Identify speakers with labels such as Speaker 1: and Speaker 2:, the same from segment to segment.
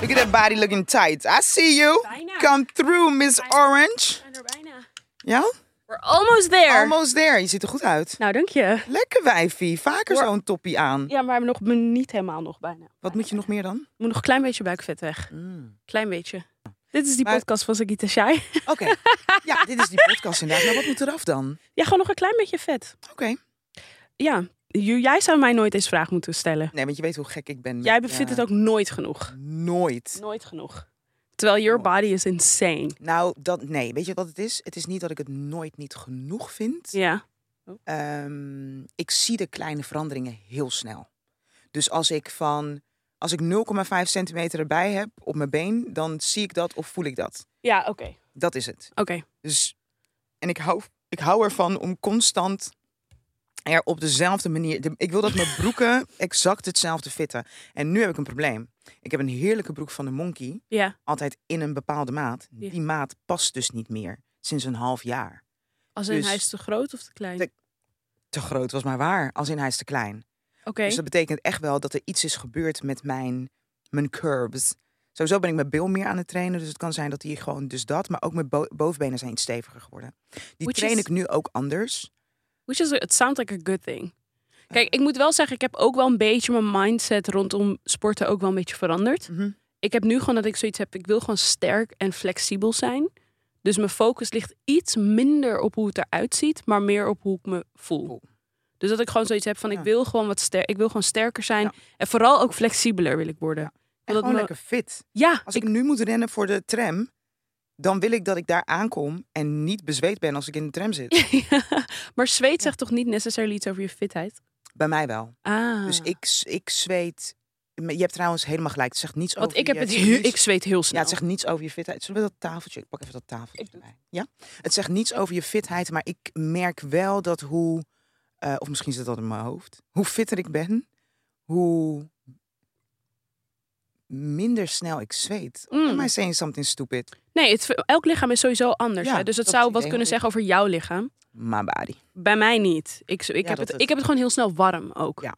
Speaker 1: Look at that body looking tight. I see you.
Speaker 2: Bijna.
Speaker 1: Come through, Miss Orange.
Speaker 2: zijn er bijna.
Speaker 1: Ja?
Speaker 2: We're almost there.
Speaker 1: Almost there. Je ziet er goed uit.
Speaker 2: Nou, dank je.
Speaker 1: Lekker wijfie. Vaker
Speaker 2: Hoor.
Speaker 1: zo'n toppie aan.
Speaker 2: Ja, maar nog, niet helemaal nog bijna.
Speaker 1: Wat moet je nog meer dan?
Speaker 2: moet nog een klein beetje buikvet weg. Klein beetje. Dit is die
Speaker 1: Maar-
Speaker 2: podcast van Sagita Shai.
Speaker 1: Oké. ja, dit is die podcast inderdaad. Maar wat moet eraf dan?
Speaker 2: Ja, gewoon nog een klein beetje vet.
Speaker 1: Oké.
Speaker 2: Ja, J- jij zou mij nooit eens vraag moeten stellen.
Speaker 1: Nee, want je weet hoe gek ik ben. met-
Speaker 2: Jij vindt
Speaker 1: ja,
Speaker 2: het ook nooit genoeg.
Speaker 1: Nooit.
Speaker 2: Nooit genoeg. Oh. Terwijl your body is insane.
Speaker 1: Nou, dat, nee. Weet je wat het is? Het is niet dat ik het nooit niet genoeg vind.
Speaker 2: Ja.
Speaker 1: Ehm, ik zie de kleine veranderingen heel snel. Dus als ik van als ik 0,5 centimeter erbij heb op mijn been, dan zie ik dat of voel ik dat.
Speaker 2: Ja, oké.
Speaker 1: Dat is het.
Speaker 2: Oké.
Speaker 1: Dus, en ik hou, ik hou ervan om constant er op dezelfde manier. de- ik wil dat mijn broeken exact hetzelfde fitten. En nu heb ik een probleem. Ik heb een heerlijke broek van de Monkey,
Speaker 2: Ja.
Speaker 1: altijd in een bepaalde maat.
Speaker 2: Ja.
Speaker 1: Die maat past dus niet meer sinds een half jaar.
Speaker 2: Als in
Speaker 1: Dus-
Speaker 2: hij is te groot of te klein?
Speaker 1: Te-
Speaker 2: Oké.
Speaker 1: Te groot was maar waar, als in hij is te klein. Dus dat betekent echt wel dat er iets is gebeurd met mijn, mijn curbs. Sowieso ben ik mijn bil meer aan het trainen. Dus het kan zijn dat die gewoon dus dat. Maar ook mijn bo- bovenbenen zijn iets steviger geworden. Die
Speaker 2: Which
Speaker 1: train
Speaker 2: is-
Speaker 1: ik nu ook anders.
Speaker 2: Which is, it sounds like a good thing. Kijk, ik moet wel zeggen, ik heb ook wel een beetje mijn mindset rondom sporten ook wel een beetje veranderd.
Speaker 1: Mhm.
Speaker 2: Ik heb nu gewoon dat ik zoiets heb, ik wil gewoon sterk en flexibel zijn. Dus mijn focus ligt iets minder op hoe het eruit ziet, maar meer op hoe ik me voel.
Speaker 1: Voel.
Speaker 2: Dus dat ik gewoon zoiets heb van,
Speaker 1: Ja.
Speaker 2: ik wil gewoon wat ster ik wil gewoon sterker zijn.
Speaker 1: Ja.
Speaker 2: En vooral ook flexibeler wil ik worden.
Speaker 1: Ja. En
Speaker 2: Wil dat
Speaker 1: gewoon
Speaker 2: me-
Speaker 1: lekker fit.
Speaker 2: ja,
Speaker 1: Als
Speaker 2: ik,
Speaker 1: ik... nu moet rennen voor de tram, dan wil ik dat ik daar aankom en niet bezweet ben als ik in de tram zit.
Speaker 2: maar zweet zegt toch niet necessarily iets over je fitheid?
Speaker 1: Bij mij wel.
Speaker 2: Ah.
Speaker 1: Dus ik, s- ik zweet. maar Je hebt trouwens helemaal gelijk. Het zegt niets
Speaker 2: Want
Speaker 1: over
Speaker 2: ik heb
Speaker 1: je-
Speaker 2: het
Speaker 1: zegt
Speaker 2: heel,
Speaker 1: niets-
Speaker 2: ik zweet heel snel.
Speaker 1: Ja, het zegt niets over je fitheid. Zullen we dat tafeltje? Ik pak even dat tafeltje.
Speaker 2: Ik doe
Speaker 1: erbij. Ja? Het zegt niets over je fitheid, maar ik merk wel dat hoe... eh, of misschien zit dat in mijn hoofd. Hoe fitter ik ben, hoe minder snel ik zweet.
Speaker 2: Mm.
Speaker 1: Am I saying something stupid?
Speaker 2: Nee, het, elk lichaam is sowieso anders.
Speaker 1: Ja,
Speaker 2: hè? Dus het
Speaker 1: dat
Speaker 2: zou
Speaker 1: idee had
Speaker 2: wat kunnen
Speaker 1: ik.
Speaker 2: zeggen over jouw lichaam.
Speaker 1: My body.
Speaker 2: Bij mij niet. Ik, ik,
Speaker 1: Ja,
Speaker 2: heb,
Speaker 1: dat
Speaker 2: het,
Speaker 1: het-
Speaker 2: ik heb het gewoon heel snel warm ook.
Speaker 1: Ja.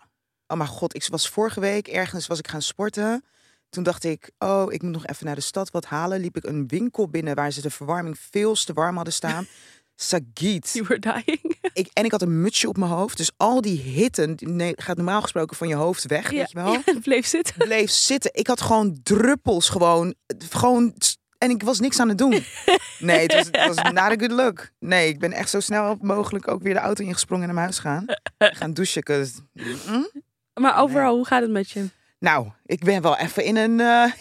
Speaker 1: Oh mijn god, ik was vorige week ergens was ik gaan sporten. Toen dacht ik, oh, ik moet nog even naar de stad wat halen. Liep ik een winkel binnen waar ze de verwarming veel te warm hadden staan. Sagiet.
Speaker 2: You were dying.
Speaker 1: ik, en ik had een mutsje op mijn hoofd. Dus al die hitte die ne- gaat normaal gesproken van je hoofd weg, weet je wel.
Speaker 2: ja, het bleef zitten.
Speaker 1: Bleef zitten. Ik had gewoon druppels gewoon. gewoon s- en ik was niks aan het doen. Nee, het was, het was not a good look. Nee, ik ben echt zo snel mogelijk ook weer de auto ingesprongen en naar mijn huis gaan. Gaan douchen. 'cause- Mm.
Speaker 2: Maar overal, hoe gaat het met je?
Speaker 1: Nou, ik ben wel even in een... eh,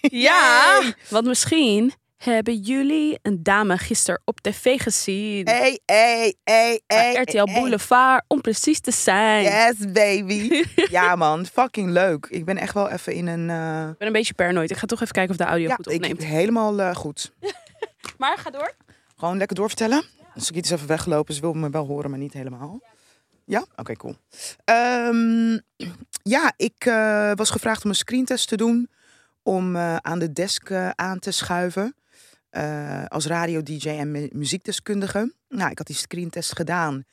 Speaker 1: Yay!
Speaker 2: Want misschien hebben jullie een dame gisteren op tv gezien.
Speaker 1: Hey, hey, hey,
Speaker 2: Bij
Speaker 1: hey.
Speaker 2: RTL Boulevard, om precies te zijn.
Speaker 1: Yes, baby. Ja, man. Fucking leuk. Ik ben echt wel even in een... eh,
Speaker 2: Ik ben een beetje paranoid. Ik ga toch even kijken of de audio goed
Speaker 1: ik
Speaker 2: opneemt.
Speaker 1: helemaal eh, goed.
Speaker 2: Maar ga door.
Speaker 1: Gewoon lekker doorvertellen. Als ik iets even weglopen, ze wil me wel horen, maar niet helemaal. Ja? Oké, cool. Ehm, ja, ik eh, was gevraagd om een screentest te doen. Om eh, aan de desk eh, aan te schuiven. eh, als radio-dj en mu- muziekdeskundige. Nou, ik had die screentest gedaan.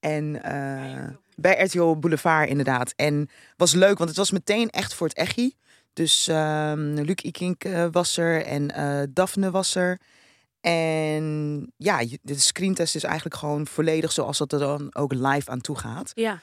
Speaker 1: En eh, bij RTL Boulevard inderdaad. En was leuk, want het was meteen echt voor het echi. Dus ehm Luc Ikink eh, was er en eh Daphne was er. En ja, je- de screentest is eigenlijk gewoon volledig zoals dat er dan ook live aan toe gaat.
Speaker 2: Ja.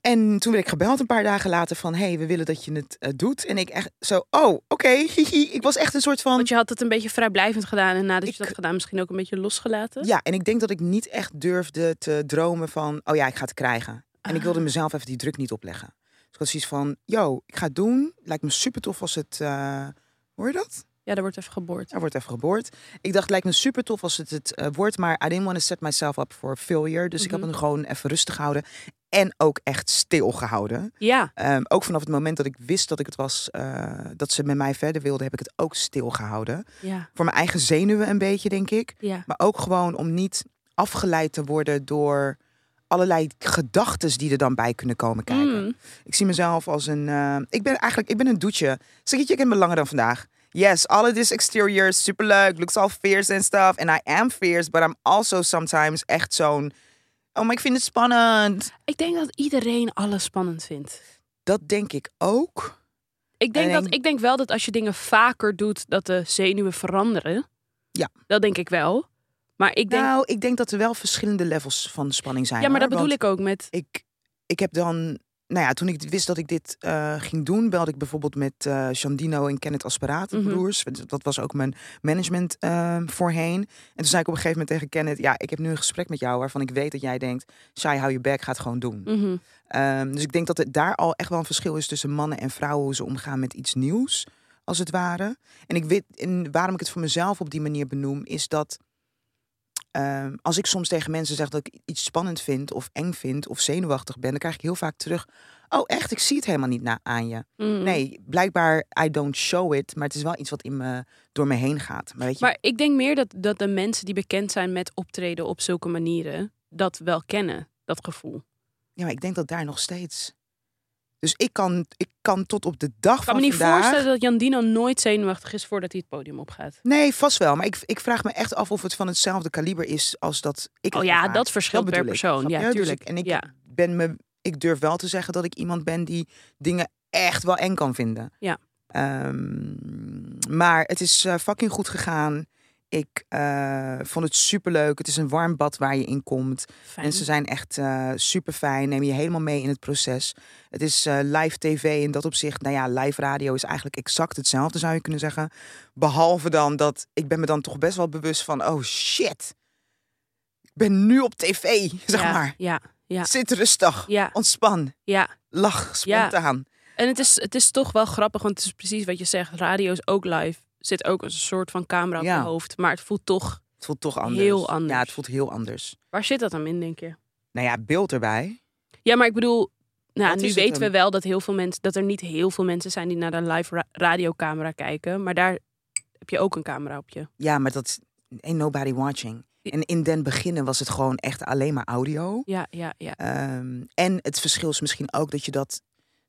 Speaker 1: En toen werd ik gebeld een paar dagen later van... hé, hey, we willen dat je het eh, doet. En ik echt zo, oh, oké, hihi. Ik was echt een soort van...
Speaker 2: Want je had het een beetje vrijblijvend gedaan. En nadat
Speaker 1: Ik-
Speaker 2: je dat had gedaan, misschien ook een beetje losgelaten.
Speaker 1: Ja, en ik denk dat ik niet echt durfde te dromen van... oh ja, ik ga het krijgen. En ik wilde mezelf even die druk niet opleggen. Dus ik had zoiets van, yo, ik ga het doen. Lijkt me super tof als het... eh, hoor je dat?
Speaker 2: Ja, er wordt even geboord.
Speaker 1: Er wordt even geboord. Ik dacht, lijkt me super tof als het het eh, wordt, maar I didn't want to set myself up for failure. Dus ik heb
Speaker 2: Mhm.
Speaker 1: hem gewoon even rustig gehouden en ook echt stil gehouden.
Speaker 2: Ja.
Speaker 1: Ehm, ook vanaf het moment dat ik wist dat ik het was, eh, dat ze met mij verder wilden, heb ik het ook stil gehouden.
Speaker 2: Ja.
Speaker 1: Voor mijn eigen zenuwen een beetje, denk ik.
Speaker 2: Ja.
Speaker 1: Maar ook gewoon om niet afgeleid te worden door allerlei gedachten die er dan bij kunnen komen kijken.
Speaker 2: Mm.
Speaker 1: Ik zie mezelf als een. eh, ik ben eigenlijk ik ben een doetje. Zeg je, ik ben langer dan vandaag. Yes, all of this exterior is superleuk. Looks all fierce and stuff. And I am fierce, but I'm also sometimes echt zo'n. Oh, maar ik vind het spannend.
Speaker 2: Ik denk dat iedereen alles spannend vindt.
Speaker 1: Dat denk ik ook.
Speaker 2: Ik denk,
Speaker 1: En
Speaker 2: dat,
Speaker 1: denk-
Speaker 2: ik denk wel dat als je dingen vaker doet, dat de zenuwen veranderen.
Speaker 1: Ja.
Speaker 2: Dat denk ik wel. Maar ik denk.
Speaker 1: Nou, ik denk dat er wel verschillende levels van spanning zijn.
Speaker 2: ja, maar dat
Speaker 1: hoor.
Speaker 2: bedoel
Speaker 1: Want
Speaker 2: ik ook met.
Speaker 1: ik. Ik heb dan, nou ja, toen ik wist dat ik dit eh, ging doen, belde ik bijvoorbeeld met eh Shandino en Kenneth Asperaat, de
Speaker 2: Mhm.
Speaker 1: broers. Dat was ook mijn management eh, voorheen. En toen zei ik op een gegeven moment tegen Kenneth, ja, ik heb nu een gesprek met jou waarvan ik weet dat jij denkt, Shai, hou je bek, ga het gewoon doen.
Speaker 2: Mhm.
Speaker 1: Ehm, dus ik denk dat het daar al echt wel een verschil is tussen mannen en vrouwen, hoe ze omgaan met iets nieuws, als het ware. En, ik weet, en waarom ik het voor mezelf op die manier benoem, is dat ehm, als ik soms tegen mensen zeg dat ik iets spannend vind, of eng vind, of zenuwachtig ben, dan krijg ik heel vaak terug: Oh, echt, ik zie het helemaal niet na aan je.
Speaker 2: Mhm.
Speaker 1: Nee, blijkbaar, I don't show it, maar het is wel iets wat in me, door me heen gaat. Maar weet je,
Speaker 2: Maar ik denk meer dat, dat de mensen die bekend zijn met optreden op zulke manieren, dat wel kennen, dat gevoel.
Speaker 1: ja, maar ik denk dat daar nog steeds. Dus ik kan, ik kan tot op de dag
Speaker 2: Ik
Speaker 1: van
Speaker 2: kan me niet
Speaker 1: vandaag.
Speaker 2: voorstellen dat Jandino nooit zenuwachtig is voordat hij het podium opgaat.
Speaker 1: Nee, vast wel. Maar ik, ik vraag me echt af of het van hetzelfde kaliber is als dat ik.
Speaker 2: Oh
Speaker 1: heb
Speaker 2: ja,
Speaker 1: ervaren.
Speaker 2: dat verschilt per
Speaker 1: bedoel ik,
Speaker 2: persoon.
Speaker 1: snap
Speaker 2: Ja,
Speaker 1: je? Dus ik-
Speaker 2: tuurlijk.
Speaker 1: en ik
Speaker 2: Ja.
Speaker 1: ben me, ik durf wel te zeggen dat ik iemand ben die dingen echt wel eng kan vinden.
Speaker 2: Ja.
Speaker 1: Ehm, maar het is eh, fucking goed gegaan. Ik eh, vond het superleuk. Het is een warm bad waar je in komt.
Speaker 2: Fijn.
Speaker 1: Mensen zijn echt super fijn. Neem je helemaal mee in het proces. Het is eh, live tv in dat opzicht. Nou ja, live radio is eigenlijk exact hetzelfde, zou je kunnen zeggen. Behalve dan dat ik ben me dan toch best wel bewust van... oh shit, ik ben nu op tv, zeg
Speaker 2: ja,
Speaker 1: maar.
Speaker 2: Ja, ja,
Speaker 1: Zit rustig,
Speaker 2: ja,
Speaker 1: ontspan,
Speaker 2: ja.
Speaker 1: lach
Speaker 2: Ja.
Speaker 1: spontaan.
Speaker 2: En het is, het is toch wel grappig, want het is precies wat je zegt. Radio is ook live. Zit ook een soort van camera op
Speaker 1: Ja.
Speaker 2: je hoofd. Maar het voelt toch...
Speaker 1: Het voelt toch anders.
Speaker 2: Heel anders.
Speaker 1: Ja, het voelt heel anders.
Speaker 2: Waar zit dat dan in, denk je?
Speaker 1: Nou ja, beeld erbij.
Speaker 2: Ja, maar ik bedoel... Nou,
Speaker 1: Dat
Speaker 2: nu
Speaker 1: is het
Speaker 2: weten we
Speaker 1: hem.
Speaker 2: wel dat, heel veel mensen, dat er niet heel veel mensen zijn die naar een live ra- radiocamera kijken. Maar daar heb je ook een camera op je.
Speaker 1: Ja, maar dat is... Ain't nobody watching. En in den beginnen was het gewoon echt alleen maar audio.
Speaker 2: Ja, ja, ja.
Speaker 1: Ehm, en het verschil is misschien ook dat je dat.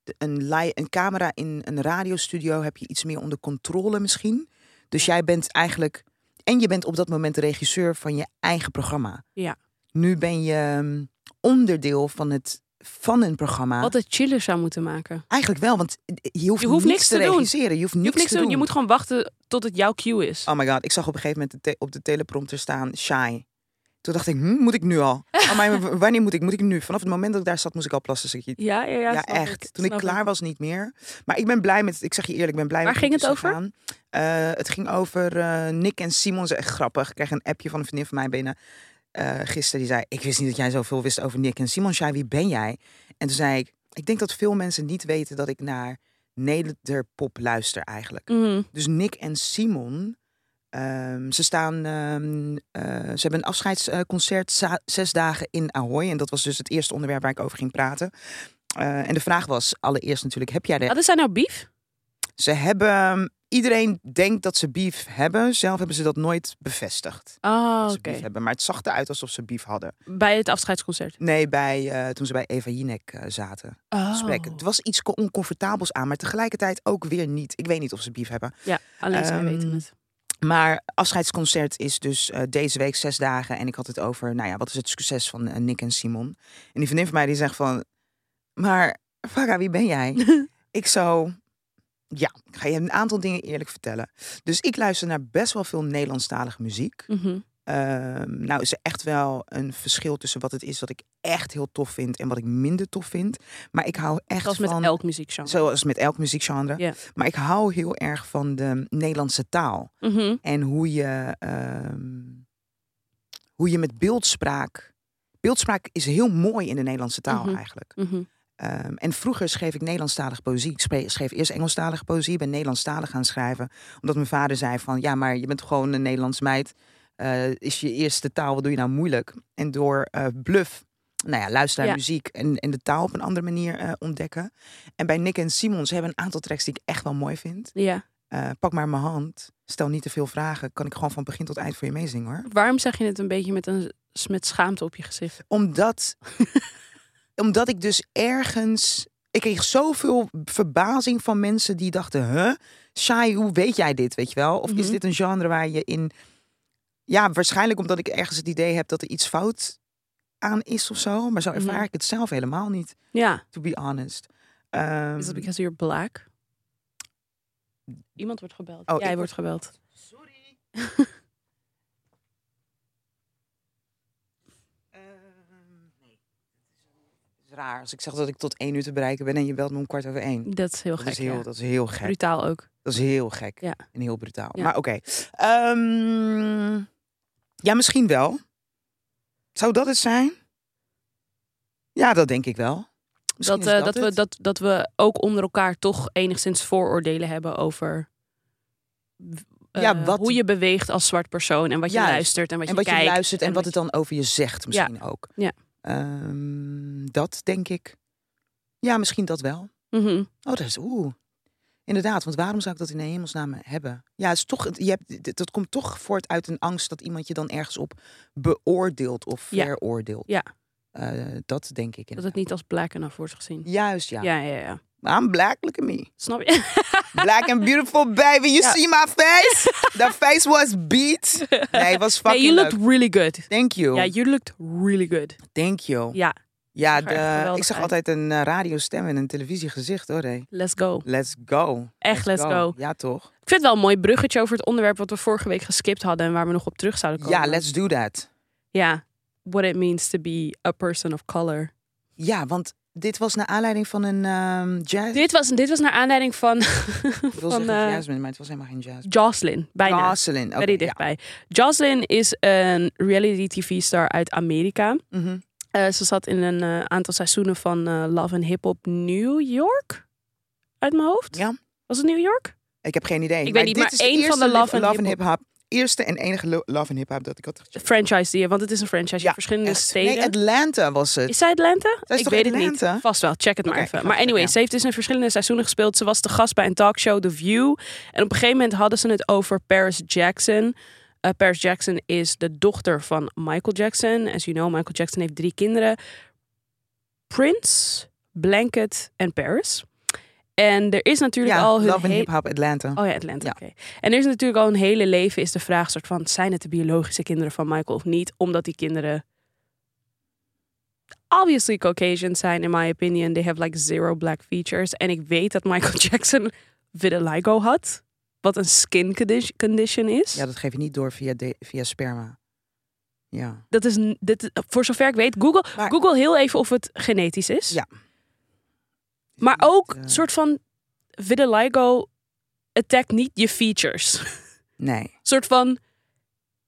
Speaker 1: de- Een, li- een camera in een radiostudio heb je iets meer onder controle misschien. Dus jij bent eigenlijk. En je bent op dat moment de regisseur van je eigen programma.
Speaker 2: Ja.
Speaker 1: Nu ben je ehm, onderdeel van, het, van een programma.
Speaker 2: Wat het chiller zou moeten maken.
Speaker 1: Eigenlijk wel, want je hoeft,
Speaker 2: Je hoeft
Speaker 1: niks
Speaker 2: niks
Speaker 1: te
Speaker 2: te doen.
Speaker 1: regisseren. Je hoeft niks,
Speaker 2: Je hoeft niks te doen. Je moet gewoon wachten tot het jouw cue is.
Speaker 1: Oh my god, ik zag op een gegeven moment de te- op de teleprompter staan shy. Toen dacht ik, hm, moet ik nu al? Oh, maar w- wanneer moet ik? Moet ik nu? Vanaf het moment dat ik daar zat, moest ik al plassen. zeg je.
Speaker 2: Ja, ja, ja.
Speaker 1: Ja,
Speaker 2: snap
Speaker 1: echt.
Speaker 2: het,
Speaker 1: Toen ik
Speaker 2: snap
Speaker 1: klaar
Speaker 2: het.
Speaker 1: was, niet meer. Maar ik ben blij met, ik zeg je eerlijk, ik ben blij
Speaker 2: Waar
Speaker 1: met
Speaker 2: ging
Speaker 1: hoe
Speaker 2: het
Speaker 1: is gegaan. Eh, het ging over eh, Nick en Simon. Ze echt grappig. Ik kreeg een appje van een vriendin van mij binnen eh gisteren. Die zei, ik wist niet dat jij zoveel wist over Nick en Simon. Shai, wie ben jij? En toen zei ik, ik denk dat veel mensen niet weten dat ik naar Nederpop luister eigenlijk.
Speaker 2: Mhm.
Speaker 1: Dus Nick en Simon, ehm, ze staan, ehm, eh, ze hebben een afscheidsconcert za- zes dagen in Ahoy. En dat was dus het eerste onderwerp waar ik over ging praten. Eh, en de vraag was allereerst natuurlijk, heb jij de...
Speaker 2: Hadden zij nou beef?
Speaker 1: Ze hebben, ehm, iedereen denkt dat ze beef hebben. Zelf hebben ze dat nooit bevestigd.
Speaker 2: Oh,
Speaker 1: dat
Speaker 2: oké.
Speaker 1: ze beef hebben. Maar het zag eruit alsof ze beef hadden.
Speaker 2: Bij het afscheidsconcert.
Speaker 1: Nee, bij, eh, toen ze bij Eva Jinek eh, zaten
Speaker 2: Oh.
Speaker 1: gesprekken. Het was iets co- oncomfortabels aan, maar tegelijkertijd ook weer niet. Ik weet niet of ze beef hebben.
Speaker 2: Ja, alleen zij
Speaker 1: Ehm,
Speaker 2: weten het.
Speaker 1: Maar afscheidsconcert is dus eh, deze week zes dagen. En ik had het over, nou ja, wat is het succes van eh, Nick en Simon? En die vriendin van mij die zegt van, maar Vaga, wie ben jij? ik zo, ja, ik ga je een aantal dingen eerlijk vertellen. Dus ik luister naar best wel veel Nederlandstalige muziek.
Speaker 2: Mhm.
Speaker 1: Ehm, nou is er echt wel een verschil tussen wat het is dat ik echt heel tof vind en wat ik minder tof vind. Maar ik hou echt
Speaker 2: Zoals
Speaker 1: van...
Speaker 2: met elk muziekgenre.
Speaker 1: Zoals met elk muziekgenre.
Speaker 2: Ja.
Speaker 1: Maar ik hou heel erg van de Nederlandse taal.
Speaker 2: Mhm.
Speaker 1: En hoe je, ehm, hoe je met beeldspraak. Beeldspraak is heel mooi in de Nederlandse taal
Speaker 2: Mhm.
Speaker 1: eigenlijk.
Speaker 2: Mhm.
Speaker 1: Ehm, en vroeger schreef ik Nederlandstalige poëzie. Ik spre- schreef eerst Engelstalige poëzie, ben Nederlandstalig gaan schrijven. Omdat mijn vader zei van, ja, maar je bent gewoon een Nederlands meid. Eh, is je eerste taal, wat doe je nou moeilijk? En door eh, bluff, nou ja, luisteren naar
Speaker 2: Ja.
Speaker 1: muziek en, en de taal op een andere manier eh, ontdekken. En bij Nick en Simons hebben een aantal tracks die ik echt wel mooi vind.
Speaker 2: Ja.
Speaker 1: Eh, pak maar mijn hand. Stel niet te veel vragen. Kan ik gewoon van begin tot eind voor je meezingen hoor.
Speaker 2: Waarom zeg je het een beetje met, een, s- met schaamte op je gezicht?
Speaker 1: Omdat, omdat ik dus ergens. Ik kreeg zoveel verbazing van mensen die dachten: Huh, saai, hoe weet jij dit? Weet je wel? Of is
Speaker 2: Mhm.
Speaker 1: dit een genre waar je in. Ja, waarschijnlijk omdat ik ergens het idee heb dat er iets fout aan is of zo. Maar zo ervaar
Speaker 2: Mhm.
Speaker 1: ik het zelf helemaal niet,
Speaker 2: Ja.
Speaker 1: to be honest. Ehm,
Speaker 2: Is dat because you're black? Iemand wordt gebeld.
Speaker 1: Oh,
Speaker 2: Jij
Speaker 1: ik
Speaker 2: wordt gebeld.
Speaker 1: Sorry. Ehm, nee. Het is raar als ik zeg dat ik tot één uur te bereiken ben en je belt me om kwart over één.
Speaker 2: Dat is heel
Speaker 1: Dat
Speaker 2: gek.
Speaker 1: is heel,
Speaker 2: ja.
Speaker 1: dat is heel gek.
Speaker 2: Brutaal ook.
Speaker 1: Dat is heel gek
Speaker 2: Ja.
Speaker 1: en heel brutaal.
Speaker 2: Ja.
Speaker 1: Maar oké. Ehm, ja, misschien wel. Zou dat het zijn? Ja, dat denk ik wel. Misschien
Speaker 2: Dat,
Speaker 1: is
Speaker 2: eh, dat, we,
Speaker 1: het.
Speaker 2: dat, dat we ook onder elkaar toch enigszins vooroordelen hebben over eh,
Speaker 1: Ja, wat-
Speaker 2: hoe je beweegt als zwart persoon en wat je
Speaker 1: Juist.
Speaker 2: luistert en wat
Speaker 1: en
Speaker 2: je
Speaker 1: wat
Speaker 2: kijkt.
Speaker 1: je luistert en, wat het
Speaker 2: je-
Speaker 1: dan over je zegt misschien ook.
Speaker 2: Ja.
Speaker 1: Ehm, dat denk ik. Ja, misschien dat wel.
Speaker 2: Mhm.
Speaker 1: Oh, dat is oeh. Inderdaad, want waarom zou ik dat in de hemelsnaam hebben? Ja, het is toch, het- je hebt, dit- dat komt toch voort uit een angst dat iemand je dan ergens op beoordeelt of
Speaker 2: Ja.
Speaker 1: veroordeelt.
Speaker 2: Ja.
Speaker 1: Eh, dat denk ik.
Speaker 2: Dat het niet als black enough wordt gezien.
Speaker 1: Juist, ja.
Speaker 2: Ja, ja, ja.
Speaker 1: I'm black, look at me.
Speaker 2: Snap je?
Speaker 1: Black and beautiful, baby. You
Speaker 2: Ja.
Speaker 1: see my face? That face was beat. Nee, was
Speaker 2: Nee,
Speaker 1: fucking
Speaker 2: you
Speaker 1: leuk.
Speaker 2: looked really good.
Speaker 1: Thank you.
Speaker 2: Ja, you looked really good.
Speaker 1: Thank you.
Speaker 2: Ja,
Speaker 1: Ja,
Speaker 2: zag er echt
Speaker 1: de-
Speaker 2: geweldig
Speaker 1: ik zag
Speaker 2: uit.
Speaker 1: altijd een eh, radiostem en een televisiegezicht hoor. hé.
Speaker 2: let's go.
Speaker 1: Let's go.
Speaker 2: Echt, let's go.
Speaker 1: Ja, toch?
Speaker 2: Ik vind het wel een mooi bruggetje over het onderwerp wat we vorige week geskipt hadden en waar we nog op terug zouden komen.
Speaker 1: Ja, let's do that.
Speaker 2: Ja, what it means to be a person of color.
Speaker 1: Ja, want dit was naar aanleiding van een ehm jazz.
Speaker 2: Dit was, dit was naar aanleiding van,
Speaker 1: ik wil
Speaker 2: van
Speaker 1: zeggen
Speaker 2: eh,
Speaker 1: Jasmine, maar het was helemaal geen jazz.
Speaker 2: Jocelyn, bijna.
Speaker 1: Jocelyn. oké,
Speaker 2: Very
Speaker 1: ja.
Speaker 2: dichtbij. Jocelyn is een reality tv-star uit Amerika.
Speaker 1: Mhm.
Speaker 2: Eh, ze zat in een eh, aantal seizoenen van eh, Love and Hip Hop New York. Uit mijn hoofd.
Speaker 1: Ja.
Speaker 2: Was het New York?
Speaker 1: Ik heb geen idee.
Speaker 2: weet niet,
Speaker 1: dit
Speaker 2: maar
Speaker 1: is de
Speaker 2: één van
Speaker 1: eerste
Speaker 2: de Love and
Speaker 1: and Hip Hop. Eerste en enige lo- Love and Hip Hop dat ik had gecheckt.
Speaker 2: Franchise die, want het is een franchise in
Speaker 1: Ja,
Speaker 2: verschillende
Speaker 1: Echt.
Speaker 2: steden.
Speaker 1: Nee, Atlanta was het.
Speaker 2: Is zij Atlanta?
Speaker 1: Zij is
Speaker 2: ik
Speaker 1: toch
Speaker 2: weet het
Speaker 1: Atlanta?
Speaker 2: niet. Vast wel, check het maar
Speaker 1: Oké, ik
Speaker 2: even.
Speaker 1: ga
Speaker 2: Maar
Speaker 1: het
Speaker 2: anyway,
Speaker 1: checken.
Speaker 2: ze heeft dus in verschillende seizoenen gespeeld. Ze was de gast bij een talkshow, The View. En op een gegeven moment hadden ze het over Paris Jackson. Eh, Paris Jackson is de dochter van Michael Jackson. As you know, Michael Jackson heeft drie kinderen. Prince, Blanket en Paris. En er is natuurlijk
Speaker 1: Ja,
Speaker 2: al hun
Speaker 1: Love and
Speaker 2: hele-
Speaker 1: Hip Hop Atlanta.
Speaker 2: Oh ja, Atlanta.
Speaker 1: Ja.
Speaker 2: Oké. En er is natuurlijk al een hele leven is de vraag soort van zijn het de biologische kinderen van Michael of niet, omdat die kinderen obviously Caucasian zijn in my opinion. They have like zero black features. En ik weet dat Michael Jackson vitiligo had, wat een skin condi- condition is.
Speaker 1: Ja, dat geef je niet door via, de- via sperma. Ja.
Speaker 2: dat is n- dit, voor zover ik weet. Google,
Speaker 1: Maar-
Speaker 2: Google heel even of het genetisch is.
Speaker 1: Ja.
Speaker 2: Maar
Speaker 1: Niet,
Speaker 2: ook
Speaker 1: eh,
Speaker 2: soort van vitiligo attackt niet je features.
Speaker 1: Nee.
Speaker 2: soort van.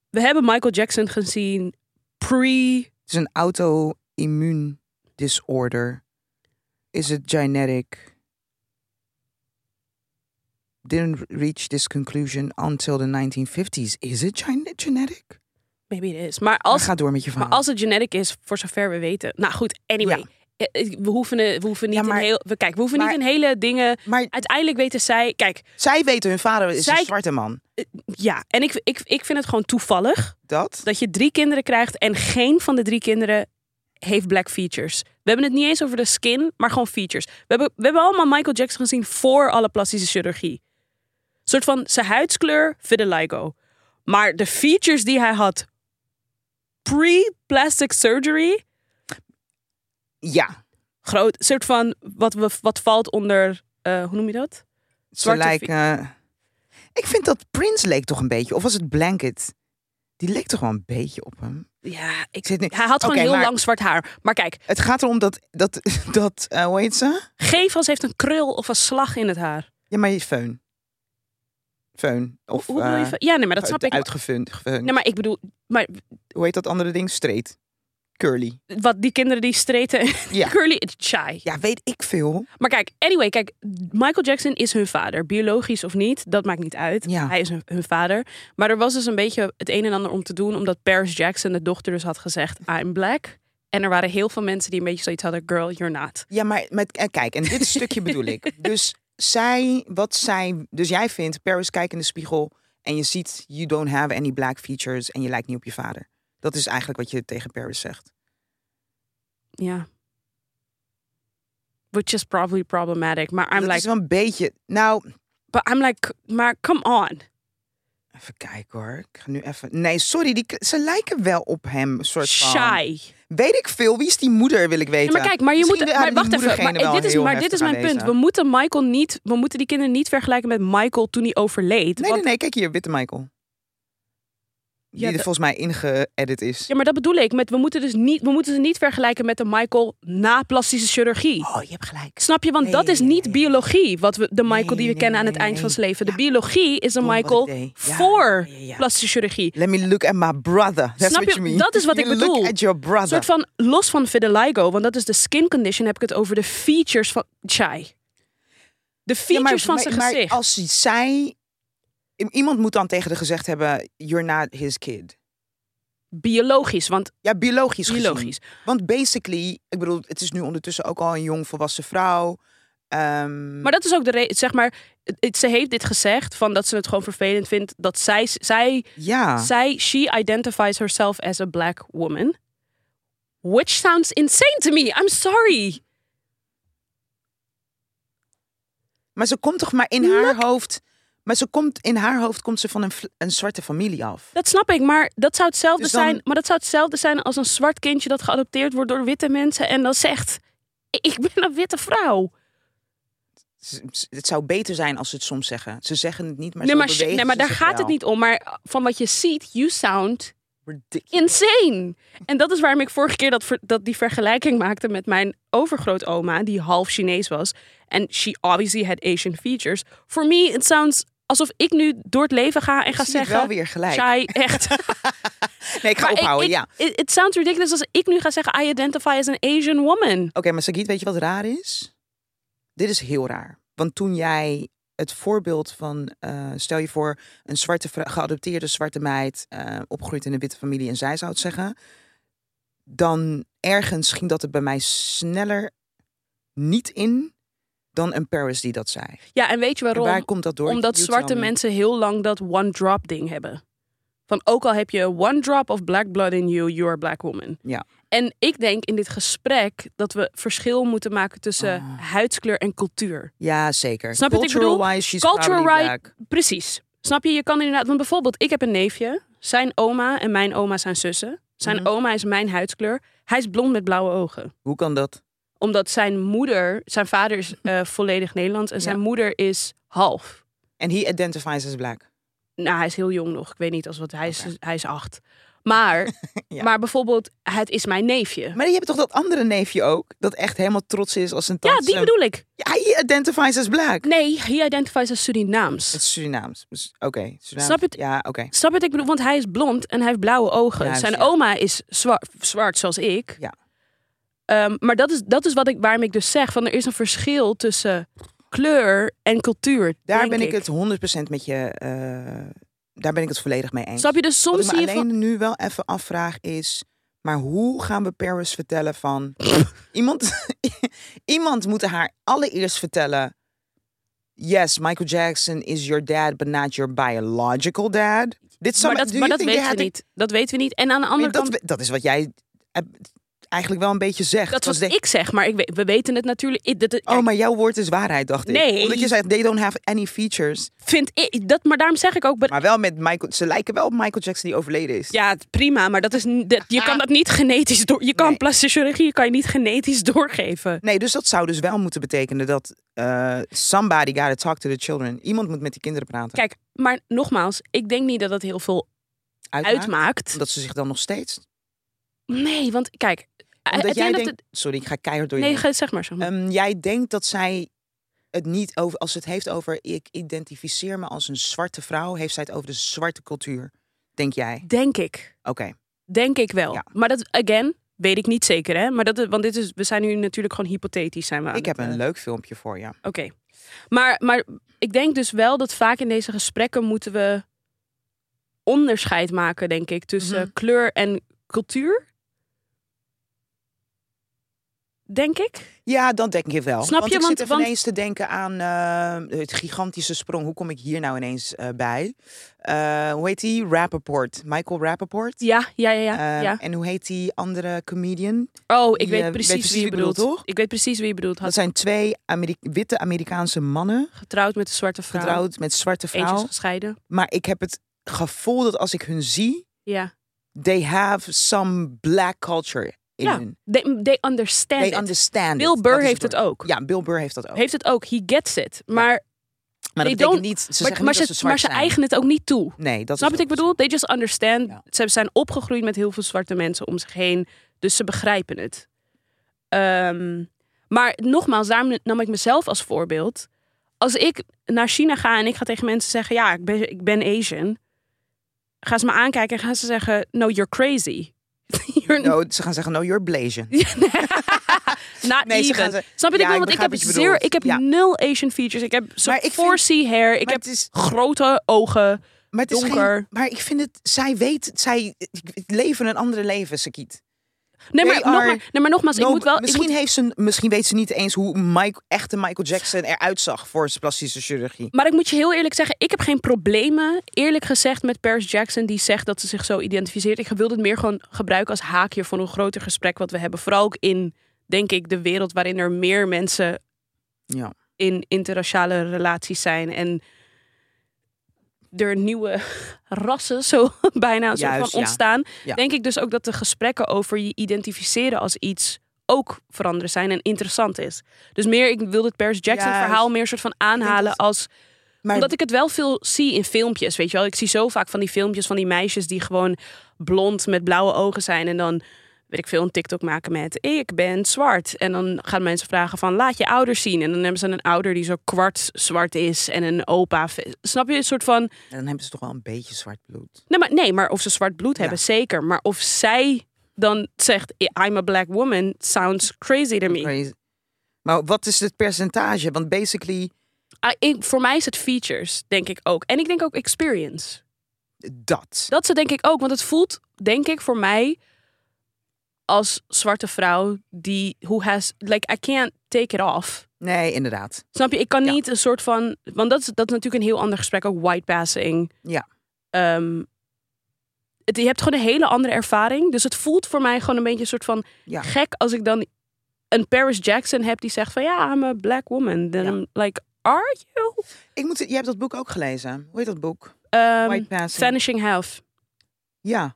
Speaker 2: We hebben Michael Jackson gezien pre.
Speaker 1: Het is een auto-immuun disorder. Is het genetic? Didn't reach this conclusion until the 1950s. Is it gene- genetic?
Speaker 2: Maybe it is. Maar
Speaker 1: Als,
Speaker 2: als,
Speaker 1: ga door met je verhaal.
Speaker 2: maar als het genetic is, voor zover we weten. Nou goed, anyway.
Speaker 1: Ja.
Speaker 2: Eh, eh, We hoeven, eh, we hoeven niet
Speaker 1: Ja, maar-
Speaker 2: een heel. We, kijk, we hoeven
Speaker 1: maar-
Speaker 2: niet een hele dingen.
Speaker 1: maar
Speaker 2: Uiteindelijk weten zij. Kijk,
Speaker 1: zij weten hun vader is
Speaker 2: Zij-
Speaker 1: een zwarte man.
Speaker 2: ja. En ik, ik, ik vind het gewoon toevallig
Speaker 1: Dat?
Speaker 2: dat je drie kinderen krijgt en geen van de drie kinderen heeft black features. We hebben het niet eens over de skin, maar gewoon features. We hebben, we hebben allemaal Michael Jackson gezien voor alle plastische chirurgie. Een soort van zijn huidskleur, vitiligo. Maar de features die hij had pre-plastic surgery,
Speaker 1: Ja.
Speaker 2: groot, soort van wat, we, wat valt onder, eh, hoe noem je dat?
Speaker 1: Ze
Speaker 2: Zwarte
Speaker 1: lijken... eh, ik vind dat Prince leek toch een beetje... Of was het Blanket? Die leek toch wel een beetje op hem?
Speaker 2: Ja, ik,
Speaker 1: Ik zit nu...
Speaker 2: hij had gewoon
Speaker 1: Oké,
Speaker 2: heel
Speaker 1: maar-
Speaker 2: lang zwart haar. Maar kijk,
Speaker 1: Het gaat erom dat... dat, dat eh, hoe heet ze?
Speaker 2: Gevels heeft een krul of een slag in het haar.
Speaker 1: Ja, maar je feun. Feun. Of
Speaker 2: Hoe bedoel je?
Speaker 1: eh,
Speaker 2: van- Ja, nee, maar dat snap
Speaker 1: uit-
Speaker 2: ik.
Speaker 1: Uitgefeund. gefeund.
Speaker 2: Nee, maar ik bedoel, maar
Speaker 1: Hoe heet dat andere ding? Straight. Curly.
Speaker 2: wat die kinderen die streten
Speaker 1: Ja.
Speaker 2: curly shy.
Speaker 1: Ja, weet ik veel.
Speaker 2: Maar kijk, anyway, kijk, Michael Jackson is hun vader, biologisch of niet, dat maakt niet uit.
Speaker 1: Ja.
Speaker 2: Hij is hun, hun vader. Maar er was dus een beetje het een en ander om te doen, omdat Paris Jackson de dochter dus had gezegd, I'm black. En er waren heel veel mensen die een beetje zoiets hadden, girl, you're not.
Speaker 1: Ja, maar met, eh, kijk, en dit stukje bedoel ik. Dus zij, wat zij... Dus jij vindt, Paris, kijk in de spiegel... en je ziet, you don't have any black features... en je lijkt niet op je vader. Dat is eigenlijk wat je tegen Paris zegt.
Speaker 2: Ja. Which is probably problematic. Maar I'm
Speaker 1: dat
Speaker 2: like,
Speaker 1: is wel een beetje... Nou,
Speaker 2: but I'm like, maar come on.
Speaker 1: even kijken hoor. Ik ga nu even... Nee, sorry, die, ze lijken wel op hem, soort van...
Speaker 2: Shy.
Speaker 1: Weet ik veel. Wie is die moeder, wil ik
Speaker 2: Ja,
Speaker 1: weten.
Speaker 2: maar kijk, maar je
Speaker 1: Misschien
Speaker 2: moet.
Speaker 1: waren
Speaker 2: Maar
Speaker 1: die
Speaker 2: wacht even.
Speaker 1: moedergenen
Speaker 2: Maar
Speaker 1: wel
Speaker 2: dit is,
Speaker 1: heel
Speaker 2: maar dit is
Speaker 1: heftig
Speaker 2: mijn punt.
Speaker 1: aanwezig.
Speaker 2: We moeten Michael niet. We moeten die kinderen niet vergelijken met Michael toen hij overleed.
Speaker 1: Nee,
Speaker 2: want-
Speaker 1: nee, nee. Kijk hier, Witte Michael. Die
Speaker 2: Ja,
Speaker 1: er
Speaker 2: dat-
Speaker 1: volgens mij ingeëdit is.
Speaker 2: Ja, maar dat bedoel ik. Met, we, moeten dus niet, we moeten ze niet vergelijken met de Michael na plastische chirurgie.
Speaker 1: Oh, je hebt gelijk.
Speaker 2: Snap je? Want
Speaker 1: Nee,
Speaker 2: dat is
Speaker 1: nee,
Speaker 2: niet
Speaker 1: nee.
Speaker 2: biologie, wat we, de Michael
Speaker 1: Nee,
Speaker 2: die we
Speaker 1: nee,
Speaker 2: kennen aan
Speaker 1: nee,
Speaker 2: het
Speaker 1: nee,
Speaker 2: eind van
Speaker 1: nee.
Speaker 2: zijn leven.
Speaker 1: Ja.
Speaker 2: De biologie is de
Speaker 1: Dom wat
Speaker 2: Michael
Speaker 1: ik deed. Ja,
Speaker 2: voor
Speaker 1: ja, ja, ja.
Speaker 2: plastische chirurgie.
Speaker 1: Let me look at my brother. That's
Speaker 2: Snap
Speaker 1: what
Speaker 2: je?
Speaker 1: you mean.
Speaker 2: Dat is wat ik
Speaker 1: You
Speaker 2: bedoel.
Speaker 1: Look at your brother.
Speaker 2: Een soort van, los van vitiligo, want dat is de skin condition, heb ik het over de features van Chai. De features
Speaker 1: Ja, maar-
Speaker 2: van
Speaker 1: maar-
Speaker 2: zijn
Speaker 1: maar
Speaker 2: gezicht.
Speaker 1: als zij... Iemand moet dan tegen haar gezegd hebben... You're not his kid.
Speaker 2: Biologisch, want
Speaker 1: Ja, biologisch gezien.
Speaker 2: biologisch.
Speaker 1: Want basically... Ik bedoel, het is nu ondertussen ook al een jong volwassen vrouw. Ehm,
Speaker 2: Maar dat is ook de reden, zeg maar, het- het- ze heeft dit gezegd, van dat ze het gewoon vervelend vindt, dat zij, zij
Speaker 1: ja.
Speaker 2: Zij, she identifies herself as a black woman. Which sounds insane to me. I'm sorry.
Speaker 1: Maar ze komt toch maar in haar hoofd... Maar ze komt, in haar hoofd komt ze van een, vl- een zwarte familie af.
Speaker 2: Dat snap ik, maar dat zou hetzelfde
Speaker 1: Dus dan-
Speaker 2: zijn. Maar dat zou hetzelfde zijn als een zwart kindje dat geadopteerd wordt door witte mensen en dan zegt: "Ik- Ik ben een witte vrouw.
Speaker 1: Z- z- Het zou beter zijn als ze het soms zeggen. Ze zeggen het niet, maar
Speaker 2: nee,
Speaker 1: zo
Speaker 2: maar, sh-
Speaker 1: bewegen
Speaker 2: nee, maar
Speaker 1: ze dus
Speaker 2: daar
Speaker 1: zich
Speaker 2: gaat
Speaker 1: wel.
Speaker 2: het niet om. Maar van wat je ziet, you sound
Speaker 1: Ridiculous.
Speaker 2: insane. En dat is waarom ik vorige keer dat, ver- dat die vergelijking maakte met mijn overgrootoma, die half Chinees was. En she obviously had Asian features. For me, it sounds alsof ik nu door het leven ga en ga
Speaker 1: Zie je het
Speaker 2: zeggen.
Speaker 1: wel weer gelijk.
Speaker 2: Shai, echt.
Speaker 1: Nee, ik ga
Speaker 2: Maar ik-
Speaker 1: ophouden,
Speaker 2: ik-
Speaker 1: ja. Oké,
Speaker 2: It, it sounds ridiculous als ik nu ga zeggen: I identify as an Asian woman.
Speaker 1: maar Sagit, weet je wat raar is? Dit is heel raar. Want toen jij het voorbeeld van, eh, stel je voor, een zwarte vrou- geadopteerde zwarte meid eh, opgroeit in een witte familie en zij zou het zeggen, dan ergens ging dat het bij mij sneller niet in dan een Paris die dat zei.
Speaker 2: Ja, en weet je
Speaker 1: En
Speaker 2: waarom?
Speaker 1: waar komt dat door?
Speaker 2: Omdat
Speaker 1: You
Speaker 2: zwarte
Speaker 1: tell me.
Speaker 2: mensen heel lang dat one drop ding hebben. Van ook al heb je one drop of black blood in you, you are a black woman.
Speaker 1: Ja.
Speaker 2: En ik denk in dit gesprek dat we verschil moeten maken tussen
Speaker 1: Ah.
Speaker 2: huidskleur en cultuur.
Speaker 1: Ja, zeker.
Speaker 2: Snap je wat ik bedoel?
Speaker 1: Wise, she's
Speaker 2: Cultural
Speaker 1: probably
Speaker 2: right-
Speaker 1: black.
Speaker 2: Precies. Snap je? Je kan inderdaad, want bijvoorbeeld ik heb een neefje. Zijn oma en mijn oma zijn zussen. Zijn
Speaker 1: Mhm.
Speaker 2: oma is mijn huidskleur. Hij is blond met blauwe ogen
Speaker 1: Hoe kan dat?
Speaker 2: omdat zijn moeder, zijn vader is eh, volledig Nederlands en zijn
Speaker 1: Ja.
Speaker 2: moeder is half.
Speaker 1: En he identifies as black.
Speaker 2: Nou, hij is heel jong nog. Ik weet niet als wat hij is.
Speaker 1: Oké.
Speaker 2: Hij is acht. Maar,
Speaker 1: Ja.
Speaker 2: maar bijvoorbeeld, het is mijn neefje.
Speaker 1: Maar je hebt toch dat andere neefje ook? Dat echt helemaal trots is eh, als een
Speaker 2: Ja,
Speaker 1: tante.
Speaker 2: die bedoel ik.
Speaker 1: Ja, Hij identifies as black.
Speaker 2: Nee, he identifies als Surinaams.
Speaker 1: Het is Surinaams. Dus, Oké, Surinaams.
Speaker 2: Snap je het?
Speaker 1: Ja, oké.
Speaker 2: Snap je wat ik bedoel? Want hij is blond en hij heeft blauwe ogen.
Speaker 1: Juist,
Speaker 2: zijn
Speaker 1: ja.
Speaker 2: oma is zwa- zwart, zoals ik.
Speaker 1: Ja.
Speaker 2: Ehm, maar dat is, dat is wat ik, waarom ik dus zeg: van er is een verschil tussen kleur en cultuur.
Speaker 1: Daar
Speaker 2: denk
Speaker 1: ben ik, het 100% met je... eh, daar ben ik het volledig mee eens.
Speaker 2: Snap je? Dus
Speaker 1: Wat
Speaker 2: soms
Speaker 1: ik
Speaker 2: zie
Speaker 1: me
Speaker 2: je
Speaker 1: alleen nu wel even afvraag is... Maar hoe gaan we Paris vertellen van... iemand, iemand moet haar allereerst vertellen... Yes, Michael Jackson is your dad, but not your biological dad. Dit zou
Speaker 2: maar dat,
Speaker 1: do
Speaker 2: maar
Speaker 1: you
Speaker 2: dat
Speaker 1: think they
Speaker 2: weten
Speaker 1: had
Speaker 2: we
Speaker 1: to
Speaker 2: niet. Dat weten we niet. En aan de
Speaker 1: Nee,
Speaker 2: andere
Speaker 1: dat,
Speaker 2: kant,
Speaker 1: we- dat is wat jij eh, eigenlijk wel een beetje zegt.
Speaker 2: dat
Speaker 1: was
Speaker 2: is wat ik zeg. Maar ik weet, we weten het natuurlijk. Ik- dat, dat-
Speaker 1: Oh, maar jouw woord is waarheid, dacht ik.
Speaker 2: Nee.
Speaker 1: Omdat je zei, they don't have any features.
Speaker 2: vind ik, dat, maar daarom zeg ik ook... but-
Speaker 1: Maar wel met Michael... Ze lijken wel op Michael Jackson die overleden is.
Speaker 2: ja, het- prima. Maar dat is, n- dat, je kan dat niet genetisch door... Je kan
Speaker 1: Ah. Nee.
Speaker 2: plastische chirurgie kan je niet genetisch doorgeven.
Speaker 1: Nee, dus dat zou dus wel moeten betekenen dat... eh, somebody gotta talk to the children. Iemand moet met die kinderen praten.
Speaker 2: Kijk, maar nogmaals. Ik denk niet dat dat heel veel
Speaker 1: Uitmaakt.
Speaker 2: uitmaakt.
Speaker 1: Omdat ze zich dan nog steeds...
Speaker 2: Nee, want kijk... eh,
Speaker 1: Omdat
Speaker 2: het
Speaker 1: jij
Speaker 2: dat
Speaker 1: denkt...
Speaker 2: het-
Speaker 1: Sorry, ik ga keihard door je
Speaker 2: nee,
Speaker 1: heen.
Speaker 2: ga- zeg maar zo.
Speaker 1: Ehm, jij denkt dat zij het niet over... Als ze het heeft over... Ik identificeer me als een zwarte vrouw... heeft zij het over de zwarte cultuur. Denk jij?
Speaker 2: Denk ik.
Speaker 1: Oké.
Speaker 2: Denk ik wel.
Speaker 1: Ehm. Ja.
Speaker 2: Maar dat, again, weet ik niet zeker, hè? Maar dat, eh, want dit is, we zijn nu natuurlijk gewoon hypothetisch. Zijn we aan
Speaker 1: Ik heb
Speaker 2: het,
Speaker 1: een
Speaker 2: eh,
Speaker 1: leuk filmpje voor je.
Speaker 2: Oké. Maar, maar ik denk dus wel dat vaak in deze gesprekken moeten we onderscheid maken, denk ik, tussen
Speaker 1: Mhm.
Speaker 2: kleur en cultuur. Denk ik.
Speaker 1: Ja, dat denk ik wel.
Speaker 2: Snap
Speaker 1: want
Speaker 2: je?
Speaker 1: Ik
Speaker 2: Want-
Speaker 1: zit even
Speaker 2: want-
Speaker 1: ineens te denken aan eh, het gigantische sprong. Hoe kom ik hier nou ineens eh, bij? Eh, hoe heet die? Rappaport. Michael Rappaport.
Speaker 2: Ja, ja, ja, ja.
Speaker 1: Eh,
Speaker 2: ja.
Speaker 1: En hoe heet die andere comedian?
Speaker 2: Oh, ik
Speaker 1: je Dus
Speaker 2: weet
Speaker 1: eh, weet
Speaker 2: precies,
Speaker 1: precies
Speaker 2: wie je
Speaker 1: wie ik bedoel,
Speaker 2: bedoelt.
Speaker 1: toch?
Speaker 2: Ik weet precies wie je bedoelt.
Speaker 1: Dat
Speaker 2: Had
Speaker 1: zijn twee Ameri- witte Amerikaanse mannen,
Speaker 2: getrouwd met een zwarte vrouw.
Speaker 1: getrouwd met zwarte
Speaker 2: Eentje is
Speaker 1: vrouw.
Speaker 2: gescheiden.
Speaker 1: Maar ik heb het gevoel dat als ik hun zie,
Speaker 2: Ja.
Speaker 1: they have some black culture in
Speaker 2: Ja,
Speaker 1: hun.
Speaker 2: they, they understand
Speaker 1: They
Speaker 2: it.
Speaker 1: understand
Speaker 2: Bill
Speaker 1: it.
Speaker 2: Burr
Speaker 1: Dat is
Speaker 2: heeft het
Speaker 1: woord.
Speaker 2: ook.
Speaker 1: Ja, Bill Burr heeft dat ook.
Speaker 2: Heeft het ook, he gets it. Maar,
Speaker 1: maar dat
Speaker 2: they
Speaker 1: betekent
Speaker 2: don't-
Speaker 1: niet, ze
Speaker 2: maar,
Speaker 1: zeggen
Speaker 2: maar
Speaker 1: niet dat ze
Speaker 2: ze,
Speaker 1: zwart
Speaker 2: maar ze
Speaker 1: zijn.
Speaker 2: eigenen het ook niet toe.
Speaker 1: Nee, dat
Speaker 2: Snap
Speaker 1: is
Speaker 2: je wat ik
Speaker 1: ook
Speaker 2: bedoel? They just understand.
Speaker 1: Ja.
Speaker 2: Ze zijn opgegroeid met heel veel zwarte mensen om zich heen. Dus ze begrijpen het. Ehm, maar nogmaals, daarom nam ik mezelf als voorbeeld. Als ik naar China ga en ik ga tegen mensen zeggen... ja, ik ben, ik ben Asian. Gaan ze me aankijken en gaan ze zeggen... no, you're crazy. you're
Speaker 1: zo. No, ze gaan zeggen, no, you're Blasian.
Speaker 2: not
Speaker 1: Nee, ze
Speaker 2: even.
Speaker 1: gaan ze-
Speaker 2: Snap je wat ik
Speaker 1: Ja,
Speaker 2: bedoel?
Speaker 1: ik
Speaker 2: Want ik
Speaker 1: begrijp
Speaker 2: heb,
Speaker 1: wat je bedoelt.
Speaker 2: zeer, ik heb
Speaker 1: Ja.
Speaker 2: nul Asian features. Ik heb zo'n
Speaker 1: Maar ik vind-
Speaker 2: 4C hair. Ik
Speaker 1: maar
Speaker 2: heb
Speaker 1: het is-
Speaker 2: grote ogen.
Speaker 1: Maar het is
Speaker 2: donker.
Speaker 1: geen... Maar ik vind het... Zij weet... Zij leven een andere leven, Sakiet.
Speaker 2: Nee, maar,
Speaker 1: They
Speaker 2: nogma-
Speaker 1: are-
Speaker 2: nee, maar nogmaals,
Speaker 1: No,
Speaker 2: ik moet wel... ik
Speaker 1: misschien,
Speaker 2: moet-
Speaker 1: heeft ze, misschien weet ze niet eens hoe Mike, echte Michael Jackson eruit zag voor zijn plastische chirurgie.
Speaker 2: Maar ik moet je heel eerlijk zeggen, ik heb geen problemen, eerlijk gezegd, met Paris Jackson die zegt dat ze zich zo identificeert. Ik wil dit meer gewoon gebruiken als haakje voor een groter gesprek wat we hebben. Vooral ook in, denk ik, de wereld waarin er meer mensen
Speaker 1: Ja.
Speaker 2: in interraciale relaties zijn. En er nieuwe rassen zo bijna een soort
Speaker 1: Juist,
Speaker 2: van
Speaker 1: ja.
Speaker 2: ontstaan.
Speaker 1: Ja.
Speaker 2: Denk ik dus ook dat de gesprekken over je identificeren als iets ook veranderen zijn en interessant is. Dus meer, ik wil het Paris Jackson
Speaker 1: Juist.
Speaker 2: verhaal meer een soort van aanhalen
Speaker 1: dat-
Speaker 2: als
Speaker 1: Maar
Speaker 2: omdat ik het wel veel zie in filmpjes, weet je wel. Ik zie zo vaak van die filmpjes van die meisjes die gewoon blond met blauwe ogen zijn. En dan, weet ik veel, een TikTok maken met ik ben zwart. En dan gaan mensen vragen van laat je ouders zien. En dan hebben ze een ouder die zo kwart zwart is en een opa. Snap je? Een soort van,
Speaker 1: En dan hebben ze toch wel een beetje zwart bloed.
Speaker 2: nee maar, nee, maar of ze zwart bloed hebben, zeker. Maar of zij dan zegt I'm a black woman sounds crazy to me.
Speaker 1: Crazy. Maar wat is het percentage? Want basically,
Speaker 2: Ah, ik, voor mij is het features, denk ik ook. En ik denk ook experience.
Speaker 1: dat.
Speaker 2: Dat ze denk ik ook, want het voelt denk ik voor mij als zwarte vrouw die who has like I can't take it off.
Speaker 1: Nee, inderdaad.
Speaker 2: Snap je? Ik kan
Speaker 1: Ja.
Speaker 2: niet een soort van, want dat is dat is natuurlijk een heel ander gesprek ook white passing.
Speaker 1: Ja.
Speaker 2: Ehm, het, je hebt gewoon een hele andere ervaring, dus het voelt voor mij gewoon een beetje een soort van
Speaker 1: Ja.
Speaker 2: gek als ik dan een Paris Jackson heb die zegt van ja, I'm a black woman. Then
Speaker 1: Ja.
Speaker 2: I'm like are you?
Speaker 1: Ik moet, je hebt dat boek ook gelezen. Hoe heet dat boek?
Speaker 2: Ehm,
Speaker 1: White Passing.
Speaker 2: Vanishing Half.
Speaker 1: Ja,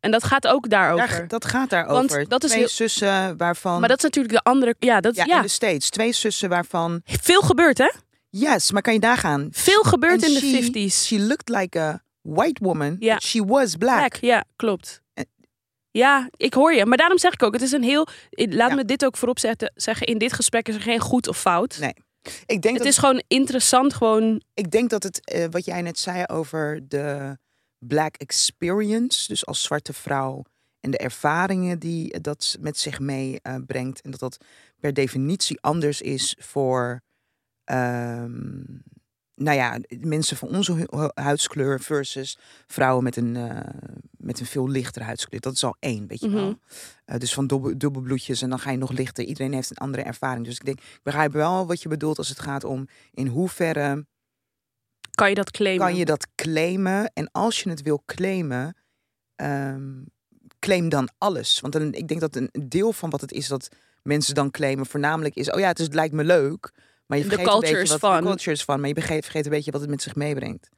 Speaker 2: En dat gaat ook daarover.
Speaker 1: daar, dat gaat daarover.
Speaker 2: Want dat is
Speaker 1: twee
Speaker 2: heel-
Speaker 1: zussen waarvan...
Speaker 2: Maar dat is natuurlijk de andere. Ja, dat,
Speaker 1: ja, dus-
Speaker 2: ja,
Speaker 1: in de States. Twee zussen waarvan...
Speaker 2: veel gebeurt, hè?
Speaker 1: Yes, maar kan je daar gaan?
Speaker 2: Veel gebeurt
Speaker 1: And
Speaker 2: in
Speaker 1: she-
Speaker 2: de 50s.
Speaker 1: She looked like a white woman.
Speaker 2: Ja.
Speaker 1: but She was black.
Speaker 2: Black, ja, klopt.
Speaker 1: En-
Speaker 2: Ja, ik hoor je. Maar daarom zeg ik ook, het is een heel. ik- Laat
Speaker 1: Ja.
Speaker 2: me dit ook voorop zetten, zeggen. In dit gesprek is er geen goed of fout.
Speaker 1: Nee, Ik denk
Speaker 2: het
Speaker 1: dat
Speaker 2: is gewoon interessant, gewoon.
Speaker 1: ik denk dat het, eh, wat jij net zei over de black experience, dus als zwarte vrouw en de ervaringen die eh, dat s- met zich meebrengt, brengt en dat dat per definitie anders is voor, ehm, nou ja, mensen van onze hu- hu- huidskleur versus vrouwen met een, eh, met een veel lichtere huidskleur. Dat is al één, weet je wel.
Speaker 2: Mhm.
Speaker 1: Eh, dus van dubbel, dubbelbloedjes en dan ga je nog lichter. Iedereen heeft een andere ervaring. Dus ik denk, ik begrijp wel wat je bedoelt als het gaat om in hoeverre
Speaker 2: Kan je dat claimen?
Speaker 1: kan je dat claimen? En als je het wil claimen, ehm, claim dan alles. Want dan, ik denk dat een deel van wat het is dat mensen dan claimen, voornamelijk is: oh ja, het, is, het lijkt me leuk. Maar je
Speaker 2: De
Speaker 1: vergeet een beetje
Speaker 2: cultures
Speaker 1: wat
Speaker 2: van.
Speaker 1: de cultures van. Maar je vergeet, vergeet een beetje wat het met zich meebrengt.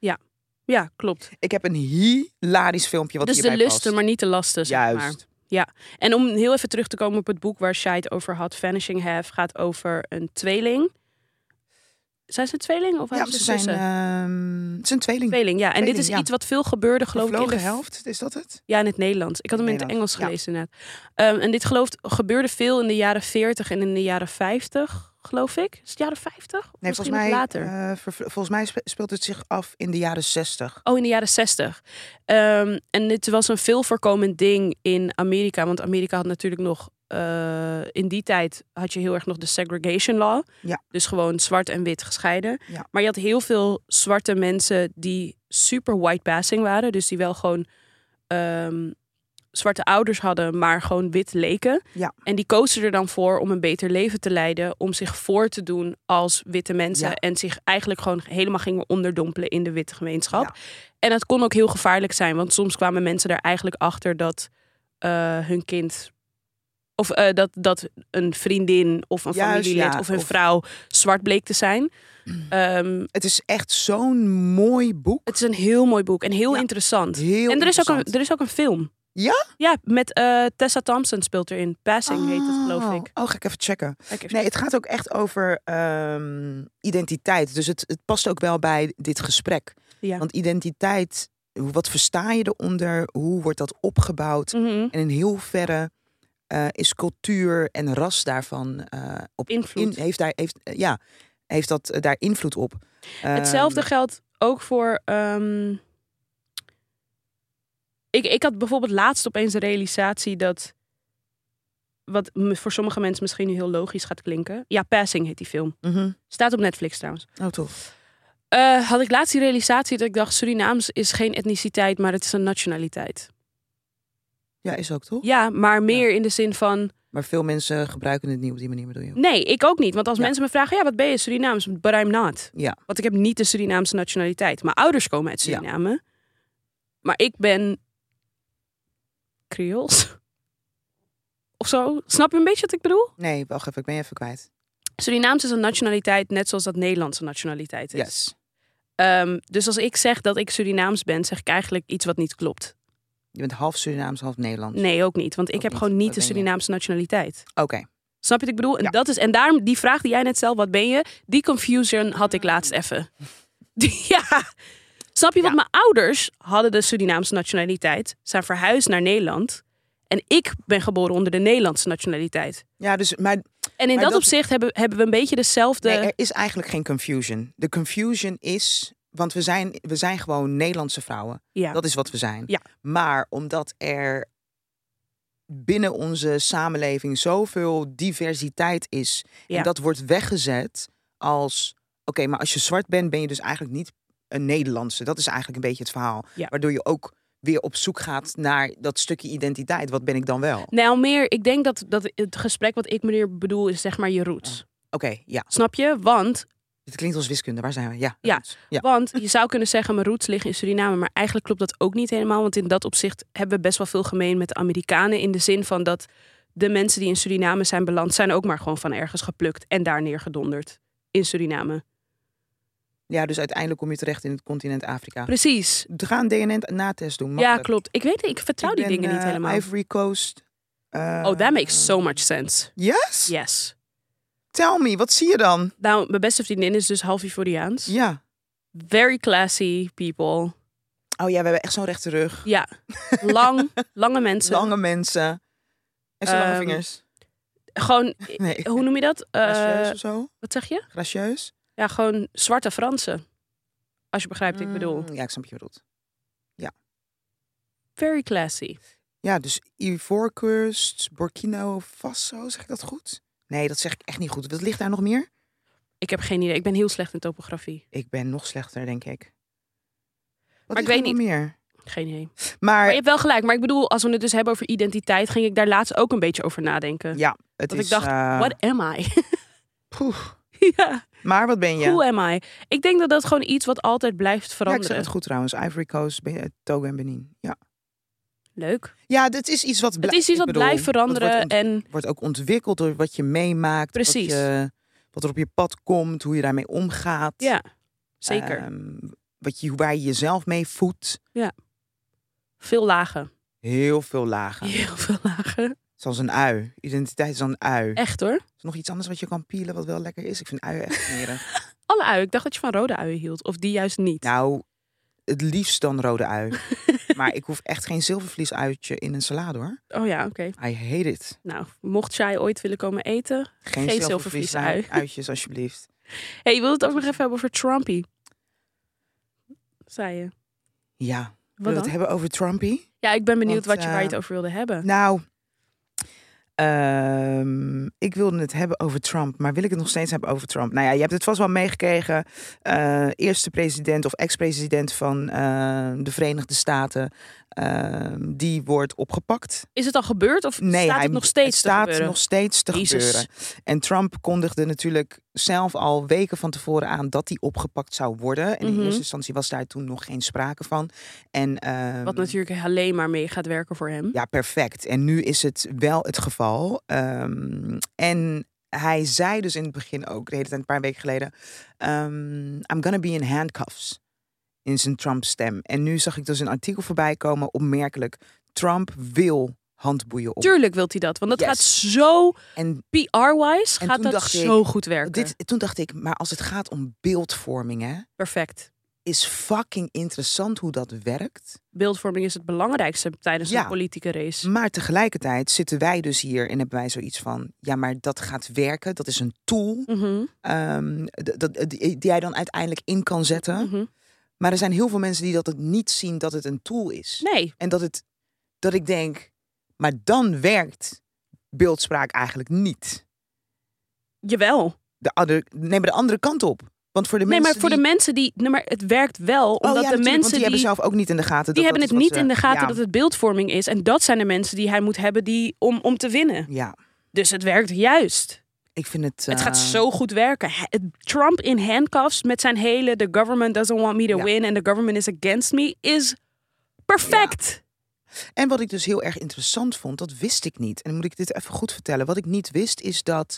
Speaker 2: Ja, klopt.
Speaker 1: Ik heb een hilarisch filmpje wat
Speaker 2: dus de
Speaker 1: hierbij
Speaker 2: lusten,
Speaker 1: past.
Speaker 2: maar niet de lasten. zeg
Speaker 1: Juist.
Speaker 2: maar. En om heel even terug te komen op het boek waar Shai het over had, Vanishing Half gaat over een tweeling. Zijn ze een tweeling of
Speaker 1: Ja,
Speaker 2: hadden
Speaker 1: ze
Speaker 2: ze
Speaker 1: zijn,
Speaker 2: zussen?
Speaker 1: ehm, het zijn tweeling.
Speaker 2: Tweeling, ja. En
Speaker 1: Tweeling,
Speaker 2: dit is
Speaker 1: ja.
Speaker 2: iets wat veel gebeurde, geloof ik, in
Speaker 1: Gevlogen
Speaker 2: de
Speaker 1: helft, is dat het?
Speaker 2: Ja, in het Nederlands. Ik had
Speaker 1: In
Speaker 2: hem in het
Speaker 1: Nederlands, ja.
Speaker 2: Engels gelezen inderdaad. Ehm, en dit geloof, gebeurde veel in de jaren 40 en in de jaren 50, geloof ik. Is het jaren 50? Of
Speaker 1: Nee,
Speaker 2: Misschien
Speaker 1: volgens mij,
Speaker 2: nog later.
Speaker 1: eh, ver- volgens mij spe- speelt het zich af in de jaren zestig.
Speaker 2: Oh, in de jaren 60. Ehm, en dit was een veel voorkomend ding in Amerika. Want Amerika had natuurlijk nog... eh, in die tijd had je heel erg nog de segregation law.
Speaker 1: Ja.
Speaker 2: Dus gewoon zwart en wit gescheiden.
Speaker 1: Ja.
Speaker 2: Maar je had heel veel zwarte mensen die super white passing waren. Dus die wel gewoon ehm, zwarte ouders hadden, maar gewoon wit leken.
Speaker 1: Ja.
Speaker 2: En die kozen er dan voor om een beter leven te leiden. Om zich voor te doen als witte mensen.
Speaker 1: Ja.
Speaker 2: En zich eigenlijk gewoon helemaal gingen onderdompelen in de witte gemeenschap.
Speaker 1: Ja.
Speaker 2: En dat kon ook heel gevaarlijk zijn. Want soms kwamen mensen er eigenlijk achter dat eh, hun kind... Of eh, dat, dat een vriendin of een
Speaker 1: Juist,
Speaker 2: familielid
Speaker 1: ja,
Speaker 2: of een
Speaker 1: of-
Speaker 2: vrouw zwart bleek te zijn. Ehm,
Speaker 1: Het is echt zo'n mooi boek.
Speaker 2: het is een heel mooi boek en heel
Speaker 1: Ja,
Speaker 2: interessant.
Speaker 1: Heel
Speaker 2: en er is, ook een,
Speaker 1: interessant.
Speaker 2: er is ook een film.
Speaker 1: Ja?
Speaker 2: Ja, met eh, Tessa Thompson speelt erin. Passing heet het, geloof
Speaker 1: Oh,
Speaker 2: ik.
Speaker 1: Oh, ga ik even checken.
Speaker 2: Kijk even.
Speaker 1: Nee, het gaat ook echt over ehm, identiteit. Dus het, het past ook wel bij dit gesprek.
Speaker 2: Ja.
Speaker 1: Want identiteit, hoe- wat versta je eronder? Hoe wordt dat opgebouwd?
Speaker 2: Mhm.
Speaker 1: En in heel verre eh, is cultuur en ras daarvan eh, op
Speaker 2: Invloed.
Speaker 1: in- heeft daar heeft eh, ja heeft dat eh, daar invloed op.
Speaker 2: Hetzelfde
Speaker 1: Ehm,
Speaker 2: geldt ook voor. ehm, ik, ik had bijvoorbeeld laatst opeens de realisatie dat. Wat me- voor sommige mensen misschien nu heel logisch gaat klinken. Ja, Passing heet die film.
Speaker 1: mhm.
Speaker 2: Staat op Netflix trouwens.
Speaker 1: Oh tof.
Speaker 2: Eh, had ik laatst die realisatie dat ik dacht: Surinaams is geen etniciteit, maar het is een nationaliteit.
Speaker 1: Ja, is ook toch?
Speaker 2: Ja, maar meer in de zin van.
Speaker 1: Maar veel mensen gebruiken het niet op die manier, bedoel je? ook?
Speaker 2: Nee, ik ook niet. Want als
Speaker 1: Ja.
Speaker 2: mensen me vragen: ja, wat ben je Surinaams? But I'm not.
Speaker 1: Ja.
Speaker 2: Want ik heb niet de Surinaamse nationaliteit. Mijn ouders komen uit
Speaker 1: Ja.
Speaker 2: Suriname. Maar ik ben Creools. Of zo. Snap je een beetje wat ik bedoel?
Speaker 1: Nee, wacht even, ik ben je even kwijt.
Speaker 2: Surinaams is een nationaliteit net zoals dat Nederlandse nationaliteit is.
Speaker 1: Yes.
Speaker 2: Ehm, dus als ik zeg dat ik Surinaams ben, zeg ik eigenlijk iets wat niet klopt.
Speaker 1: Je bent half Surinaams, half Nederlands.
Speaker 2: Nee, ook niet. Want ik
Speaker 1: Ook
Speaker 2: heb
Speaker 1: niet.
Speaker 2: gewoon niet
Speaker 1: Wat
Speaker 2: de
Speaker 1: ben je?
Speaker 2: Surinaamse nationaliteit.
Speaker 1: Oké.
Speaker 2: Snap je wat ik bedoel? En,
Speaker 1: Ja.
Speaker 2: dat is, en daarom, die vraag die jij net stelde, wat ben je? Die confusion had ik laatst even. Die- ja. Snap je? Want
Speaker 1: Mm. Ja.
Speaker 2: mijn ouders hadden de Surinaamse nationaliteit. Zijn verhuisd naar Nederland. En ik ben geboren onder de Nederlandse nationaliteit.
Speaker 1: Ja, dus maar
Speaker 2: En in
Speaker 1: Maar
Speaker 2: dat,
Speaker 1: dat-
Speaker 2: opzicht hebben, hebben we een beetje dezelfde...
Speaker 1: nee, er is eigenlijk geen confusion. De confusion is, want we zijn, we zijn gewoon Nederlandse vrouwen.
Speaker 2: ja.
Speaker 1: Dat is wat we zijn.
Speaker 2: Ja.
Speaker 1: Maar omdat er binnen onze samenleving zoveel diversiteit is.
Speaker 2: Ja.
Speaker 1: En dat wordt weggezet als... Oké, maar als je zwart bent, ben je dus eigenlijk niet een Nederlandse. Dat is eigenlijk een beetje het verhaal.
Speaker 2: Ja.
Speaker 1: Waardoor je ook weer op zoek gaat naar dat stukje identiteit. Wat ben ik dan wel? Oké,
Speaker 2: Nou, meer, ik denk dat, dat het gesprek wat ik meneer bedoel is zeg maar je roots.
Speaker 1: ja.
Speaker 2: Snap je? Want,
Speaker 1: Dit klinkt als wiskunde. Waar zijn we? Ja.
Speaker 2: Ja.
Speaker 1: goed. ja.
Speaker 2: want je zou kunnen zeggen mijn roots liggen in Suriname, maar eigenlijk klopt dat ook niet helemaal. Want in dat opzicht hebben we best wel veel gemeen met de Amerikanen. In de zin van dat de mensen die in Suriname zijn beland, zijn ook maar gewoon van ergens geplukt en daar neergedonderd. In Suriname.
Speaker 1: Ja, dus uiteindelijk kom je terecht in het continent Afrika.
Speaker 2: Precies.
Speaker 1: We gaan DNA-natest doen.
Speaker 2: Ja,
Speaker 1: makkelijk.
Speaker 2: klopt. Ik weet het, ik vertrouw
Speaker 1: Ik
Speaker 2: die
Speaker 1: ben,
Speaker 2: dingen niet
Speaker 1: eh,
Speaker 2: helemaal.
Speaker 1: Ivory Coast. eh,
Speaker 2: Oh, that makes so much sense.
Speaker 1: Yes?
Speaker 2: Yes.
Speaker 1: Tell me, wat zie je dan?
Speaker 2: Nou, mijn beste vriendin is dus half Ivoriaans.
Speaker 1: Ja.
Speaker 2: Very classy people.
Speaker 1: Oh ja, we hebben echt zo'n rechte rug.
Speaker 2: Ja. Lang, lange mensen.
Speaker 1: Lange mensen. En zo'n lange
Speaker 2: Ehm,
Speaker 1: vingers.
Speaker 2: Gewoon,
Speaker 1: Nee.
Speaker 2: hoe noem je dat? Eh,
Speaker 1: Gracieus of zo?
Speaker 2: wat zeg je?
Speaker 1: Gracieus?
Speaker 2: Ja, gewoon zwarte Fransen. Als je begrijpt wat ik bedoel.
Speaker 1: Mm, Ja, ik snap wat je bedoelt.
Speaker 2: Very classy.
Speaker 1: Ja, dus Ivoorkust, Burkina Faso, zeg ik dat goed? Nee, dat zeg ik echt niet goed. Wat ligt daar nog meer?
Speaker 2: Ik heb geen idee. Ik ben heel slecht in topografie.
Speaker 1: Ik ben nog slechter, denk ik. Wat
Speaker 2: Maar ik
Speaker 1: ligt
Speaker 2: weet
Speaker 1: er nog meer?
Speaker 2: Geen idee. Maar
Speaker 1: Maar
Speaker 2: je hebt wel gelijk. Maar ik bedoel, als we het dus hebben over identiteit, ging ik daar laatst ook een beetje over nadenken.
Speaker 1: ja, het
Speaker 2: dat
Speaker 1: is...
Speaker 2: ik dacht,
Speaker 1: eh,
Speaker 2: What am I?
Speaker 1: poeh.
Speaker 2: ja.
Speaker 1: Maar wat ben je?
Speaker 2: Who am I? Ik denk dat dat gewoon iets wat altijd blijft
Speaker 1: Ja, ik
Speaker 2: veranderen.
Speaker 1: zeg het goed trouwens. Ivory Coast, Ben- Togo en Benin. Ja,
Speaker 2: Leuk.
Speaker 1: ja dat is iets wat
Speaker 2: Het
Speaker 1: blij-
Speaker 2: is
Speaker 1: ik
Speaker 2: iets wat
Speaker 1: bedoel,
Speaker 2: blijft
Speaker 1: dat wordt
Speaker 2: veranderen.
Speaker 1: ont-
Speaker 2: En
Speaker 1: wordt ook ontwikkeld door wat je meemaakt.
Speaker 2: Precies.
Speaker 1: Wat, je- wat er op je pad komt, hoe je daarmee omgaat.
Speaker 2: ja, zeker.
Speaker 1: Ehm, wat je, waar je jezelf mee voedt.
Speaker 2: veel lagen.
Speaker 1: Heel veel lagen.
Speaker 2: Heel veel lagen.
Speaker 1: Zoals een ui. Identiteit is dan een ui.
Speaker 2: Echt hoor.
Speaker 1: Is er nog iets anders wat je kan pielen wat wel lekker is? Ik vind uien echt smerig.
Speaker 2: Alle uien. Ik dacht dat je van rode uien hield. Of die juist niet.
Speaker 1: nou, het liefst dan rode ui. maar ik hoef echt geen zilvervliesuitje in een salade hoor.
Speaker 2: Oh ja, oké.
Speaker 1: I hate it.
Speaker 2: Nou, mocht jij ooit willen komen eten.
Speaker 1: Geen,
Speaker 2: Geen
Speaker 1: zilvervliesui-
Speaker 2: zilvervliesui.
Speaker 1: uitjes alsjeblieft.
Speaker 2: hey, je wilde het ook nog even hebben over Trumpy. Zei je.
Speaker 1: Ja,
Speaker 2: Wat
Speaker 1: willen we het
Speaker 2: dan?
Speaker 1: hebben over Trumpy?
Speaker 2: Ja, ik ben benieuwd
Speaker 1: Want,
Speaker 2: wat je, waar je het
Speaker 1: eh,
Speaker 2: over wilde hebben.
Speaker 1: Nou, ehm, ik wilde het hebben over Trump, maar wil ik het nog steeds hebben over Trump? Nou ja, je hebt het vast wel meegekregen. Eh, eerste president of ex-president van eh, de Verenigde Staten, eh, die wordt opgepakt.
Speaker 2: Is het al gebeurd of
Speaker 1: Nee,
Speaker 2: staat
Speaker 1: hij
Speaker 2: het nog steeds
Speaker 1: het
Speaker 2: te
Speaker 1: staat
Speaker 2: gebeuren?
Speaker 1: nog steeds te
Speaker 2: Jezus.
Speaker 1: gebeuren. En Trump kondigde natuurlijk zelf al weken van tevoren aan dat hij opgepakt zou worden. En in
Speaker 2: Mhm.
Speaker 1: eerste instantie was daar toen nog geen sprake van. En, ehm,
Speaker 2: Wat natuurlijk alleen maar mee gaat werken voor hem.
Speaker 1: ja, perfect. En nu is het wel het geval. Ehm, en hij zei dus in het begin ook, de hele tijd een paar weken geleden, ehm, I'm gonna be in handcuffs. In zijn Trump-stem. En nu zag ik dus een artikel voorbij komen, opmerkelijk. Trump wil handboeien op.
Speaker 2: Tuurlijk wilt hij dat, want dat
Speaker 1: Yes.
Speaker 2: gaat zo
Speaker 1: En
Speaker 2: PR-wise
Speaker 1: En
Speaker 2: gaat
Speaker 1: toen
Speaker 2: dat
Speaker 1: dacht ik,
Speaker 2: zo goed werken.
Speaker 1: dit, toen dacht ik, maar als het gaat om beeldvorming, hè,
Speaker 2: Perfect.
Speaker 1: is fucking interessant hoe dat werkt.
Speaker 2: Beeldvorming is het belangrijkste tijdens
Speaker 1: Ja.
Speaker 2: een politieke race.
Speaker 1: Maar tegelijkertijd zitten wij dus hier en hebben wij zoiets van, ja, maar dat gaat werken, dat is een tool
Speaker 2: Mhm,
Speaker 1: ehm, d- dat, die, die jij dan uiteindelijk in kan zetten.
Speaker 2: mhm.
Speaker 1: Maar er zijn heel veel mensen die dat het niet zien dat het een tool is.
Speaker 2: Nee,
Speaker 1: En dat, het, dat ik denk, maar dan werkt beeldspraak eigenlijk niet.
Speaker 2: jawel.
Speaker 1: De andere, neem maar de andere kant op. Want voor de
Speaker 2: nee,
Speaker 1: mensen
Speaker 2: maar voor
Speaker 1: die,
Speaker 2: de mensen die. Nee, maar het werkt wel,
Speaker 1: Oh
Speaker 2: omdat
Speaker 1: ja,
Speaker 2: de
Speaker 1: natuurlijk, want
Speaker 2: mensen
Speaker 1: die,
Speaker 2: die.
Speaker 1: hebben zelf ook niet in de gaten.
Speaker 2: die
Speaker 1: dat
Speaker 2: hebben
Speaker 1: dat
Speaker 2: het
Speaker 1: is
Speaker 2: niet
Speaker 1: wat
Speaker 2: in de
Speaker 1: ze-
Speaker 2: gaten
Speaker 1: ja,
Speaker 2: dat het beeldvorming is. En dat zijn de mensen die hij moet hebben die, om, om te winnen.
Speaker 1: Ja,
Speaker 2: Dus het werkt juist.
Speaker 1: ik vind het...
Speaker 2: Het gaat
Speaker 1: eh,
Speaker 2: zo goed werken. He- Trump in handcuffs met zijn hele the government doesn't want me to
Speaker 1: Ja.
Speaker 2: win and the government is against me is perfect.
Speaker 1: En wat ik dus heel erg interessant vond, dat wist ik niet. En dan moet ik dit even goed vertellen. Wat ik niet wist is dat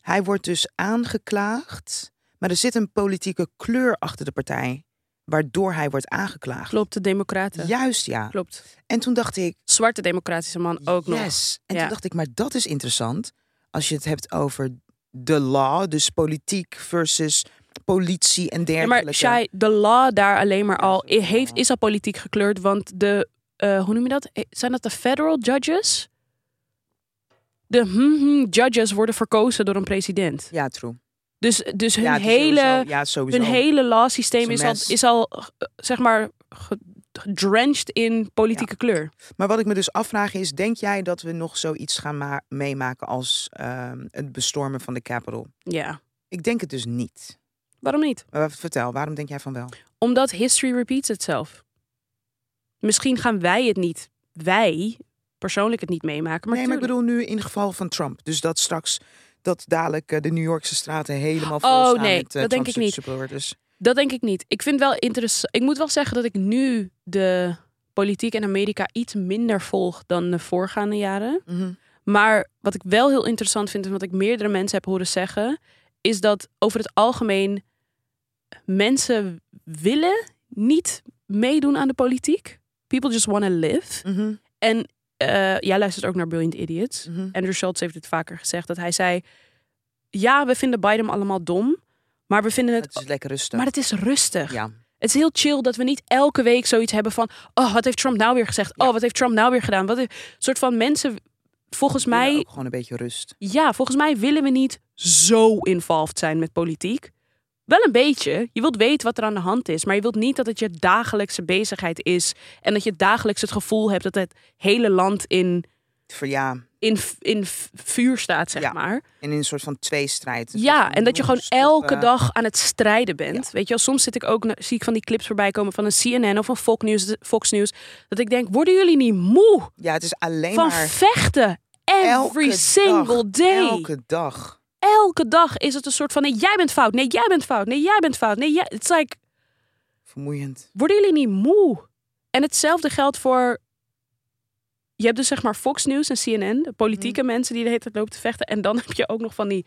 Speaker 1: hij wordt dus aangeklaagd. Maar er zit een politieke kleur achter de partij. Waardoor hij wordt aangeklaagd.
Speaker 2: Klopt, de democraten.
Speaker 1: Juist, ja.
Speaker 2: Klopt.
Speaker 1: En toen dacht ik,
Speaker 2: Zwarte democratische man ook nog.
Speaker 1: yes. En
Speaker 2: Ja.
Speaker 1: toen dacht ik, maar dat is interessant. Als je het hebt over de law, dus politiek versus politie en
Speaker 2: Ja,
Speaker 1: dergelijke.
Speaker 2: maar Shai, de law daar alleen maar al
Speaker 1: is ook
Speaker 2: heeft,
Speaker 1: wel-
Speaker 2: is al politiek gekleurd. Want de, eh, hoe noem je dat? Eh, Zijn dat de federal judges? De hmm, hmm judges worden verkozen door een president.
Speaker 1: Ja, true.
Speaker 2: Dus, dus hun
Speaker 1: ja, het is
Speaker 2: hele...
Speaker 1: Sowieso, ja, sowieso.
Speaker 2: Hun hele
Speaker 1: Is
Speaker 2: law-systeem
Speaker 1: een
Speaker 2: is al,
Speaker 1: mes.
Speaker 2: is al eh, zeg maar ge- gedrenched in politieke kleur.
Speaker 1: Maar wat ik me dus afvraag is, denk jij dat we nog zoiets gaan ma- meemaken als ehm, het bestormen van de Capitol?
Speaker 2: Ja,
Speaker 1: Ik denk het dus niet.
Speaker 2: waarom niet?
Speaker 1: Maar vertel, waarom denk jij van wel?
Speaker 2: Omdat history repeats itself. Misschien gaan wij het niet, wij persoonlijk het niet meemaken. Maar
Speaker 1: nee, maar ik
Speaker 2: tuurlijk.
Speaker 1: bedoel nu in geval van Trump. Dus dat straks, dat dadelijk eh, de New Yorkse straten helemaal vol
Speaker 2: Oh,
Speaker 1: staan
Speaker 2: nee,
Speaker 1: met eh,
Speaker 2: dat denk
Speaker 1: Trump's
Speaker 2: ik niet.
Speaker 1: supporters.
Speaker 2: dat denk ik niet. Ik vind wel interessant. Ik moet wel zeggen dat ik nu de politiek in Amerika iets minder volg dan de voorgaande jaren.
Speaker 1: Mhm.
Speaker 2: Maar wat ik wel heel interessant vind en wat ik meerdere mensen heb horen zeggen, is dat over het algemeen mensen willen niet meedoen aan de politiek. People just want to live.
Speaker 1: Mhm.
Speaker 2: En eh, jij luistert ook naar Brilliant Idiots.
Speaker 1: Mhm.
Speaker 2: Andrew Schultz heeft dit vaker gezegd, dat hij zei, ja, we vinden Biden allemaal dom, maar we vinden het...
Speaker 1: Het is lekker rustig.
Speaker 2: Maar het is rustig.
Speaker 1: ja.
Speaker 2: Het is heel chill dat we niet elke week zoiets hebben van... oh, wat heeft Trump nou weer gezegd?
Speaker 1: Ja.
Speaker 2: Oh, wat heeft Trump nou weer gedaan? Wat een soort van mensen... Volgens
Speaker 1: We willen
Speaker 2: mij
Speaker 1: ook gewoon een beetje rust.
Speaker 2: ja, volgens mij willen we niet zo involved zijn met politiek. Wel een beetje. Je wilt weten wat er aan de hand is, maar je wilt niet dat het je dagelijkse bezigheid is en dat je dagelijks het gevoel hebt dat het hele land in,
Speaker 1: Voor ja.
Speaker 2: in, in vuur staat, zeg
Speaker 1: Ja.
Speaker 2: maar.
Speaker 1: En in een soort van tweestrijd. Een soort
Speaker 2: Ja,
Speaker 1: van
Speaker 2: en dat je gewoon
Speaker 1: non-stop,
Speaker 2: elke
Speaker 1: eh,
Speaker 2: dag aan het strijden bent. Weet je wel, soms zit ik ook, na- zie ik van die clips voorbij komen van een CNN of van Fox News, Fox News dat ik denk, worden jullie niet moe
Speaker 1: Ja, het is alleen
Speaker 2: van
Speaker 1: maar
Speaker 2: vechten? Every
Speaker 1: elke dag,
Speaker 2: single day.
Speaker 1: Elke dag.
Speaker 2: elke dag is het een soort van: nee, jij bent fout. Nee, jij bent fout. Nee, jij bent fout. Nee, jij. Het is like,
Speaker 1: Vermoeiend.
Speaker 2: worden jullie niet moe? En hetzelfde geldt voor. Je hebt dus zeg maar Fox News en CNN, de politieke
Speaker 1: Mhm.
Speaker 2: mensen die de hele tijd lopen te vechten. En dan heb je ook nog van die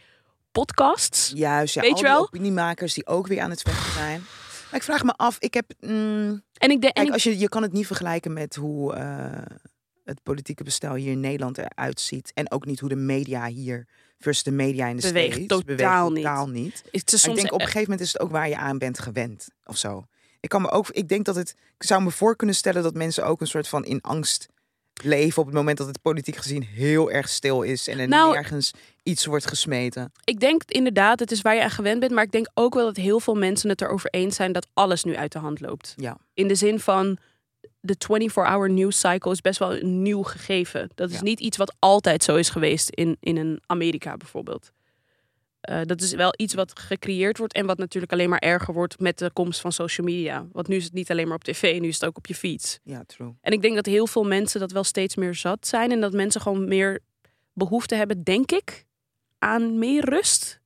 Speaker 2: podcasts.
Speaker 1: Juist, ja,
Speaker 2: Weet
Speaker 1: al
Speaker 2: je
Speaker 1: die
Speaker 2: wel?
Speaker 1: opiniemakers die ook weer aan het vechten zijn. Maar ik vraag me af, ik heb... mm,
Speaker 2: En ik denk. en
Speaker 1: kijk,
Speaker 2: ik-
Speaker 1: als je, je kan het niet vergelijken met hoe eh, het politieke bestel hier in Nederland eruit ziet. En ook niet hoe de media hier versus de media in de
Speaker 2: Beweegt
Speaker 1: States
Speaker 2: totaal niet.
Speaker 1: totaal niet.
Speaker 2: het is
Speaker 1: Maar
Speaker 2: soms, e-
Speaker 1: ik denk op een gegeven moment is het ook waar je aan bent gewend of zo. Ik kan me ook, ik denk dat het, ik zou me voor kunnen stellen dat mensen ook een soort van in angst leven op het moment dat het politiek gezien heel erg stil is en er
Speaker 2: Nou-
Speaker 1: nergens iets wordt gesmeten.
Speaker 2: ik denk inderdaad, het is waar je aan gewend bent. Maar ik denk ook wel dat heel veel mensen het erover eens zijn dat alles nu uit de hand loopt.
Speaker 1: Ja.
Speaker 2: In de zin van de 24-hour news cycle is best wel een nieuw gegeven. Dat is
Speaker 1: Ja.
Speaker 2: niet iets wat altijd zo is geweest in, in een Amerika bijvoorbeeld. Eh, dat is wel iets wat gecreëerd wordt en wat natuurlijk alleen maar erger wordt met de komst van social media. Want nu is het niet alleen maar op tv, nu is het ook op je fiets.
Speaker 1: Ja, true.
Speaker 2: En ik denk dat heel veel mensen dat wel steeds meer zat zijn en dat mensen gewoon meer behoefte hebben, denk ik, aan meer rust.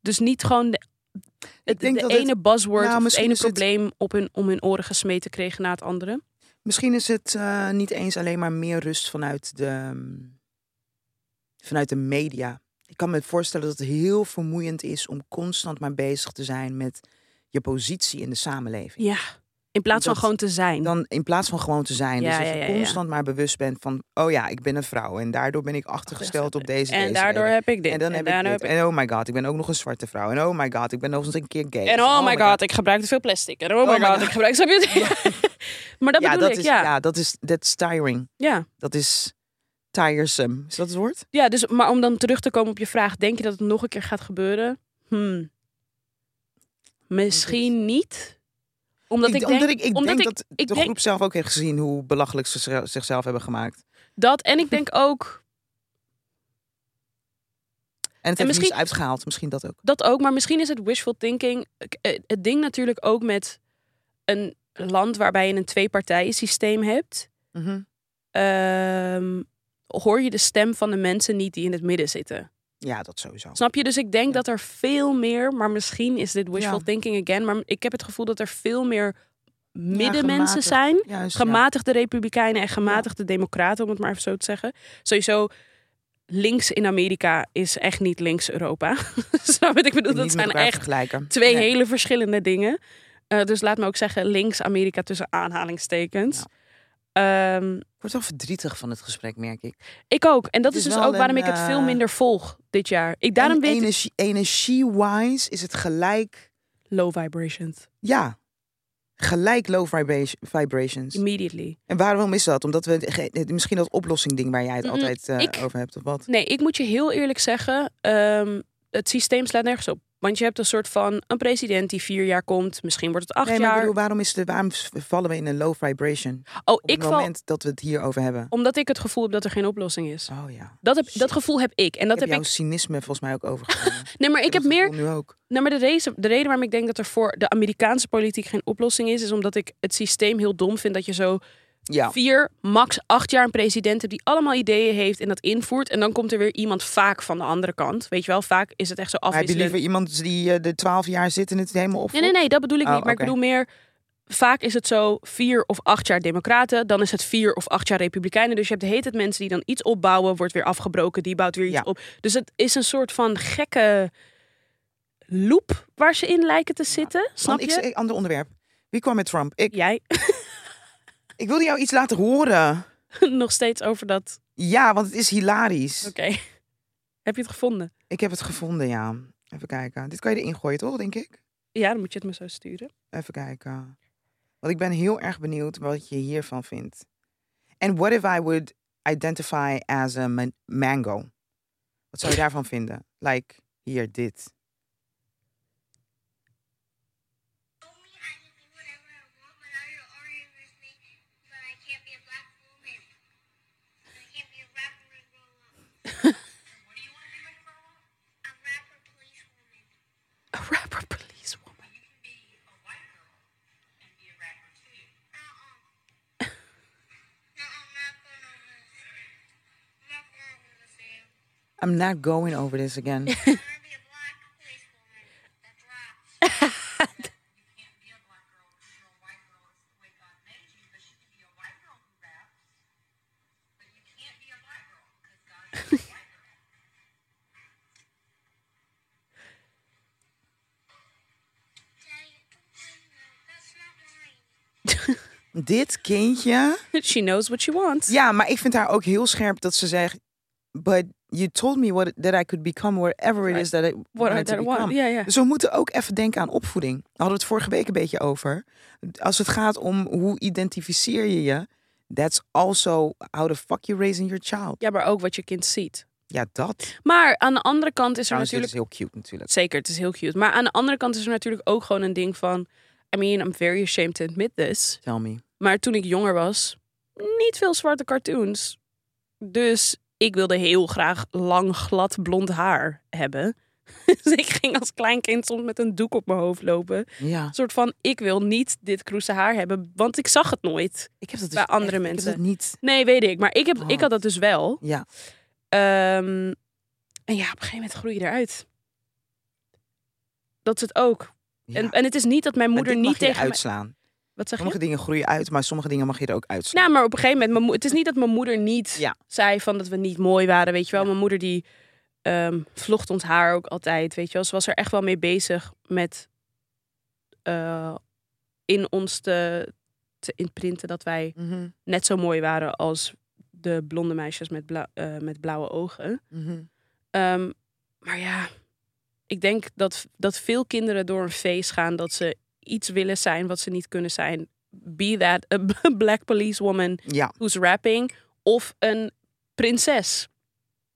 Speaker 2: Dus niet gewoon de, het,
Speaker 1: denk
Speaker 2: de
Speaker 1: dat het-
Speaker 2: ene buzzword
Speaker 1: Nou,
Speaker 2: of het
Speaker 1: misschien
Speaker 2: ene
Speaker 1: is het-
Speaker 2: probleem op hun, om hun oren gesmeten kregen na het andere.
Speaker 1: Misschien is het eh, niet eens alleen maar meer rust vanuit de, mm, vanuit de media. Ik kan me voorstellen dat het heel vermoeiend is om constant maar bezig te zijn met je positie in de samenleving.
Speaker 2: Ja, In plaats van
Speaker 1: Dat-
Speaker 2: gewoon te zijn.
Speaker 1: Dan in plaats van gewoon te zijn.
Speaker 2: Ja,
Speaker 1: dus dat
Speaker 2: ja, ja,
Speaker 1: je
Speaker 2: ja.
Speaker 1: constant maar bewust bent van... Oh ja, ik ben een vrouw. En daardoor ben ik achtergesteld op deze,
Speaker 2: en
Speaker 1: deze
Speaker 2: daardoor heb ik dit.
Speaker 1: En dan heb ik
Speaker 2: daardoor
Speaker 1: dit. En oh my god, ik ben ook nog een zwarte vrouw. En oh my god, ik ben nog eens een keer gay.
Speaker 2: En oh, my god, ik gebruik te veel plastic. En oh, my god, ik gebruik... Snap je? maar dat
Speaker 1: ja,
Speaker 2: bedoel
Speaker 1: dat
Speaker 2: ik,
Speaker 1: is,
Speaker 2: ja. ja.
Speaker 1: ja, dat is that's tiring.
Speaker 2: ja.
Speaker 1: Dat is tiresome. Is dat het woord?
Speaker 2: dus, maar om dan terug te komen op je vraag. Denk je dat het nog een keer gaat gebeuren? Hmm. Misschien niet. Omdat ik,
Speaker 1: ik,
Speaker 2: denk...
Speaker 1: omdat ik, ik
Speaker 2: omdat
Speaker 1: denk
Speaker 2: ik-
Speaker 1: dat
Speaker 2: ik
Speaker 1: de
Speaker 2: denk-
Speaker 1: groep zelf ook heeft gezien hoe belachelijk ze zichzelf- zichzelf hebben gemaakt.
Speaker 2: Dat en ik denk ook...
Speaker 1: En het heeft misschien...
Speaker 2: misschien-
Speaker 1: niets uitgehaald. Misschien dat ook.
Speaker 2: Dat ook, maar misschien is het wishful thinking. K- eh, Het ding natuurlijk ook met een land waarbij je een tweepartijen systeem hebt. ehm, hoor je de stem van de mensen niet die in het midden zitten.
Speaker 1: Ja, dat sowieso.
Speaker 2: Snap je? Dus ik denk
Speaker 1: Ja.
Speaker 2: dat er veel meer, maar misschien is dit wishful
Speaker 1: Ja.
Speaker 2: thinking again, maar ik heb het gevoel dat er veel meer middenmensen
Speaker 1: gematigd.
Speaker 2: zijn
Speaker 1: Juist, ja.
Speaker 2: gematigde republikeinen en gematigde democraten, om het maar even zo te zeggen. Sowieso, links in Amerika is echt niet links Europa. Snap je wat ik bedoel?
Speaker 1: Niet
Speaker 2: Dat
Speaker 1: met
Speaker 2: zijn
Speaker 1: elkaar
Speaker 2: echt
Speaker 1: vergelijken.
Speaker 2: twee
Speaker 1: Nee.
Speaker 2: hele verschillende dingen. Eh, dus laat me ook zeggen, links Amerika tussen aanhalingstekens. Ehm,
Speaker 1: Ik word wel verdrietig van het gesprek, merk ik.
Speaker 2: ik ook. En dat
Speaker 1: Het
Speaker 2: is,
Speaker 1: is
Speaker 2: dus
Speaker 1: wel
Speaker 2: ook waarom
Speaker 1: een,
Speaker 2: ik het veel
Speaker 1: eh,
Speaker 2: minder volg dit jaar. Ik daarom
Speaker 1: En
Speaker 2: weet ik-
Speaker 1: energie, energie-wise is het gelijk...
Speaker 2: low vibrations.
Speaker 1: Ja, gelijk low vibra- vibrations.
Speaker 2: Immediately.
Speaker 1: En waarom is dat? Omdat we het- ge- het- misschien dat oplossingding waar jij het
Speaker 2: Mm,
Speaker 1: altijd eh,
Speaker 2: ik-
Speaker 1: over hebt, of wat?
Speaker 2: Nee, ik moet je heel eerlijk zeggen, ehm, het systeem slaat nergens op. Want je hebt een soort van een president die vier jaar komt, misschien wordt het acht
Speaker 1: nee, maar ik
Speaker 2: jaar.
Speaker 1: bedoel, waarom, is de, waarom v- vallen we in een low vibration
Speaker 2: Oh,
Speaker 1: op
Speaker 2: ik
Speaker 1: het
Speaker 2: val
Speaker 1: moment dat we het hierover hebben?
Speaker 2: omdat ik het gevoel heb dat er geen oplossing is.
Speaker 1: Oh ja.
Speaker 2: Dat, heb,
Speaker 1: shit.
Speaker 2: dat gevoel heb ik. En dat
Speaker 1: ik heb
Speaker 2: heb,
Speaker 1: jouw
Speaker 2: ik.
Speaker 1: cynisme volgens mij ook overgenomen.
Speaker 2: Nee, maar ik heb
Speaker 1: dat
Speaker 2: meer.
Speaker 1: gevoel Nu ook.
Speaker 2: Nou, maar de reden, de reden waarom ik denk dat er voor de Amerikaanse politiek geen oplossing is, is omdat ik het systeem heel dom vind dat je zo
Speaker 1: Ja.
Speaker 2: vier, max acht jaar een president hebt die allemaal ideeën heeft en dat invoert. En dan komt er weer iemand vaak van de andere kant. Weet je wel, vaak is het echt zo
Speaker 1: Maar heb je
Speaker 2: afwisselend.
Speaker 1: liever iemand die eh, de 12 jaar zit en het helemaal op?
Speaker 2: Nee, nee, nee, dat bedoel ik
Speaker 1: Oh,
Speaker 2: niet. Maar
Speaker 1: oké.
Speaker 2: ik bedoel meer, vaak is het zo vier of acht jaar democraten. Dan is het vier of acht jaar republikeinen. Dus je hebt de hele tijd mensen die dan iets opbouwen, wordt weer afgebroken. Die bouwt weer iets
Speaker 1: Ja.
Speaker 2: op. Dus het is een soort van gekke loop waar ze in lijken te zitten. Snap
Speaker 1: Want
Speaker 2: je?
Speaker 1: Ik, ik- ander onderwerp. Wie kwam met Trump? Ik,
Speaker 2: Jij
Speaker 1: ik wilde jou iets laten horen.
Speaker 2: nog steeds over dat.
Speaker 1: Ja, want het is hilarisch.
Speaker 2: Oké. Heb je het gevonden?
Speaker 1: Ik heb het gevonden, ja. Even kijken. Dit kan je erin gooien, toch, denk ik?
Speaker 2: Ja, dan moet je het me zo sturen.
Speaker 1: Even kijken. Want ik ben heel erg benieuwd wat je hiervan vindt. And what if I would identify as a man- mango? Wat zou je daarvan vinden? Like, hier, dit.
Speaker 2: A rapper police woman.
Speaker 1: I'm not going over this again. dit kindje.
Speaker 2: She knows what she wants.
Speaker 1: Ja, maar ik vind haar ook heel scherp dat ze zegt... But you told me what, that I could become whatever it is that I
Speaker 2: What I
Speaker 1: wanted to
Speaker 2: don't want.
Speaker 1: become.
Speaker 2: Ja, ja.
Speaker 1: Dus we moeten ook even denken aan opvoeding. Daar hadden we het vorige week een beetje over. Als het gaat om hoe identificeer je je. That's also how the fuck you raising your child.
Speaker 2: Ja, maar ook wat je kind ziet.
Speaker 1: Ja, dat.
Speaker 2: Maar aan de andere kant is er
Speaker 1: Trouwens, dit
Speaker 2: natuurlijk
Speaker 1: is heel cute natuurlijk.
Speaker 2: Zeker, het is heel cute. Maar aan de andere kant is er natuurlijk ook gewoon een ding van... I mean, I'm very ashamed to admit this.
Speaker 1: Tell me.
Speaker 2: Maar toen ik jonger was, niet veel zwarte cartoons. Dus ik wilde heel graag lang, glad, blond haar hebben. Dus ik ging als klein kind soms met een doek op mijn hoofd lopen. Een
Speaker 1: Ja.
Speaker 2: soort van, ik wil niet dit kroese haar hebben, want ik zag het nooit.
Speaker 1: Ik heb dat dus
Speaker 2: Bij andere
Speaker 1: echt-
Speaker 2: mensen.
Speaker 1: Ik heb dat niet.
Speaker 2: Nee, weet ik. Maar ik, heb, ik had dat dus wel.
Speaker 1: Ja.
Speaker 2: Ehm, en ja, op een gegeven moment groei je eruit. Dat is het ook.
Speaker 1: ja.
Speaker 2: En, en het is niet dat mijn
Speaker 1: Maar
Speaker 2: moeder
Speaker 1: dit
Speaker 2: niet
Speaker 1: mag je
Speaker 2: tegen mij...
Speaker 1: uitslaan.
Speaker 2: Wat zeg
Speaker 1: Sommige
Speaker 2: je?
Speaker 1: dingen groeien uit, maar sommige dingen mag je er ook uitslaan.
Speaker 2: Nou, maar op een gegeven moment... Mijn moe- het is niet dat mijn moeder niet
Speaker 1: Ja.
Speaker 2: zei van dat we niet mooi waren, weet je wel.
Speaker 1: Ja.
Speaker 2: Mijn moeder die ehm, vlocht ons haar ook altijd, weet je wel. Ze was er echt wel mee bezig met eh, in ons te, te imprinten dat wij
Speaker 1: Mhm,
Speaker 2: net zo mooi waren als de blonde meisjes met, blau- eh, met blauwe ogen.
Speaker 1: mhm.
Speaker 2: Ehm, maar ja, ik denk dat, dat veel kinderen door een feest gaan dat ze iets willen zijn wat ze niet kunnen zijn. Be that a b- black policewoman
Speaker 1: Ja,
Speaker 2: who's rapping of een prinses.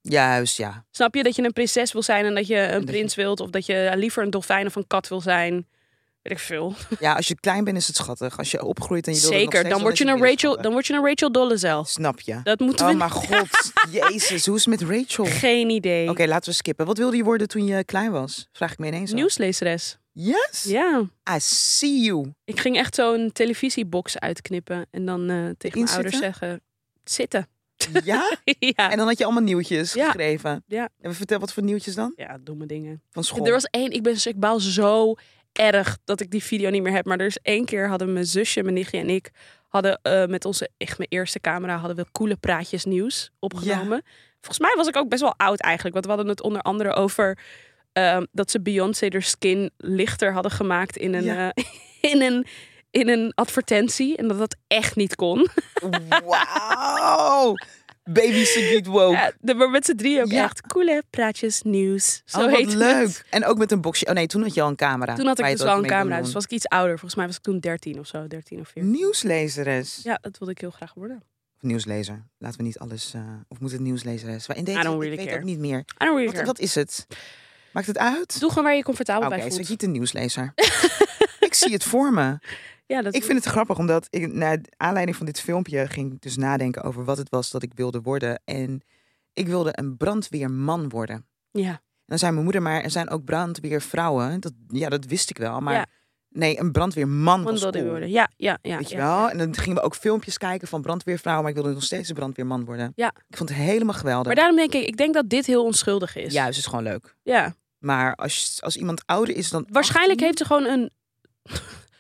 Speaker 1: juist, ja.
Speaker 2: Snap je dat je een prinses wil zijn en dat je een
Speaker 1: je-
Speaker 2: prins wilt of dat je liever een dolfijn of een kat wil zijn? Weet ik veel.
Speaker 1: Ja, als je klein bent is het schattig. Als je opgroeit en je wil het nog
Speaker 2: Zeker,
Speaker 1: steeds,
Speaker 2: dan word je
Speaker 1: is het
Speaker 2: een
Speaker 1: weer
Speaker 2: Rachel,
Speaker 1: schattig.
Speaker 2: dan word je een Rachel Dolezal.
Speaker 1: Snap je.
Speaker 2: Dat moeten we
Speaker 1: Oh mijn god, jezus, hoe is het met Rachel? Oké,
Speaker 2: geen idee.
Speaker 1: laten we skippen. Wat wilde je worden toen je klein was? Vraag ik me ineens af.
Speaker 2: Nieuwslezeres.
Speaker 1: Yes,
Speaker 2: Ja.
Speaker 1: I see you.
Speaker 2: Ik ging echt zo'n televisiebox uitknippen en dan eh, tegen mijn
Speaker 1: zitten?
Speaker 2: ouders zeggen: zitten.
Speaker 1: Ja?
Speaker 2: ja.
Speaker 1: En dan had je allemaal nieuwtjes
Speaker 2: Ja.
Speaker 1: geschreven.
Speaker 2: Ja.
Speaker 1: En vertel wat voor nieuwtjes dan?
Speaker 2: ja, domme dingen.
Speaker 1: Van school.
Speaker 2: Er was één, ik ben dus, ik baal zo erg dat ik die video niet meer heb. Maar er is één keer hadden mijn zusje, mijn nichtje en ik hadden eh, met onze, echt mijn eerste camera, hadden we coole praatjes nieuws opgenomen. Volgens mij was ik ook best wel oud eigenlijk, want we hadden het onder andere over ehm, dat ze Beyoncé haar skin lichter hadden gemaakt in een,
Speaker 1: Ja.
Speaker 2: eh, in een, in een advertentie en dat dat echt niet kon.
Speaker 1: Wauw! Baby Sigrid woke.
Speaker 2: Ja, de- maar met z'n drie ook
Speaker 1: Ja.
Speaker 2: echt coole praatjes, nieuws. Zo
Speaker 1: oh, wat
Speaker 2: heet het.
Speaker 1: leuk. En ook met een boxje. Oh nee, toen had je al een camera.
Speaker 2: Toen had ik
Speaker 1: waar je
Speaker 2: dus
Speaker 1: het ook
Speaker 2: wel een
Speaker 1: mee kon
Speaker 2: camera, dus
Speaker 1: doen.
Speaker 2: was ik iets ouder. Volgens mij was ik toen 13 of zo, 13 of
Speaker 1: Mm.
Speaker 2: 14.
Speaker 1: Nieuwslezeres.
Speaker 2: Ja, dat wilde ik heel graag worden.
Speaker 1: Of nieuwslezer. Laten we niet alles... eh, of moet het nieuwslezeres? Maar In deze,
Speaker 2: I don't really
Speaker 1: ik weet
Speaker 2: care.
Speaker 1: ook niet meer.
Speaker 2: I don't really
Speaker 1: Wat,
Speaker 2: care.
Speaker 1: wat is het? Maakt het uit?
Speaker 2: Doe gewoon waar je je comfortabel
Speaker 1: Oké,
Speaker 2: bij
Speaker 1: zit
Speaker 2: voelt.
Speaker 1: niet een nieuwslezer. ik zie het voor me.
Speaker 2: Ja, dat
Speaker 1: Ik vind het grappig, omdat ik naar aanleiding van dit filmpje ging ik dus nadenken over wat het was dat ik wilde worden. En ik wilde een brandweerman worden.
Speaker 2: Ja,
Speaker 1: En dan zei mijn moeder, maar er zijn ook brandweervrouwen. Dat, ja, dat wist ik wel, maar
Speaker 2: Ja.
Speaker 1: nee, een brandweerman
Speaker 2: want
Speaker 1: was
Speaker 2: dat
Speaker 1: cool.
Speaker 2: worden. Ja, ja, ja.
Speaker 1: Weet je
Speaker 2: ja.
Speaker 1: wel? En dan gingen we ook filmpjes kijken van brandweervrouwen, maar ik wilde nog steeds een brandweerman worden.
Speaker 2: Ja.
Speaker 1: Ik vond het helemaal geweldig.
Speaker 2: Maar daarom denk ik, ik denk dat dit heel onschuldig is.
Speaker 1: Juist, is gewoon leuk.
Speaker 2: ja.
Speaker 1: Maar als, als iemand ouder is dan
Speaker 2: Waarschijnlijk
Speaker 1: 18,
Speaker 2: heeft ze gewoon een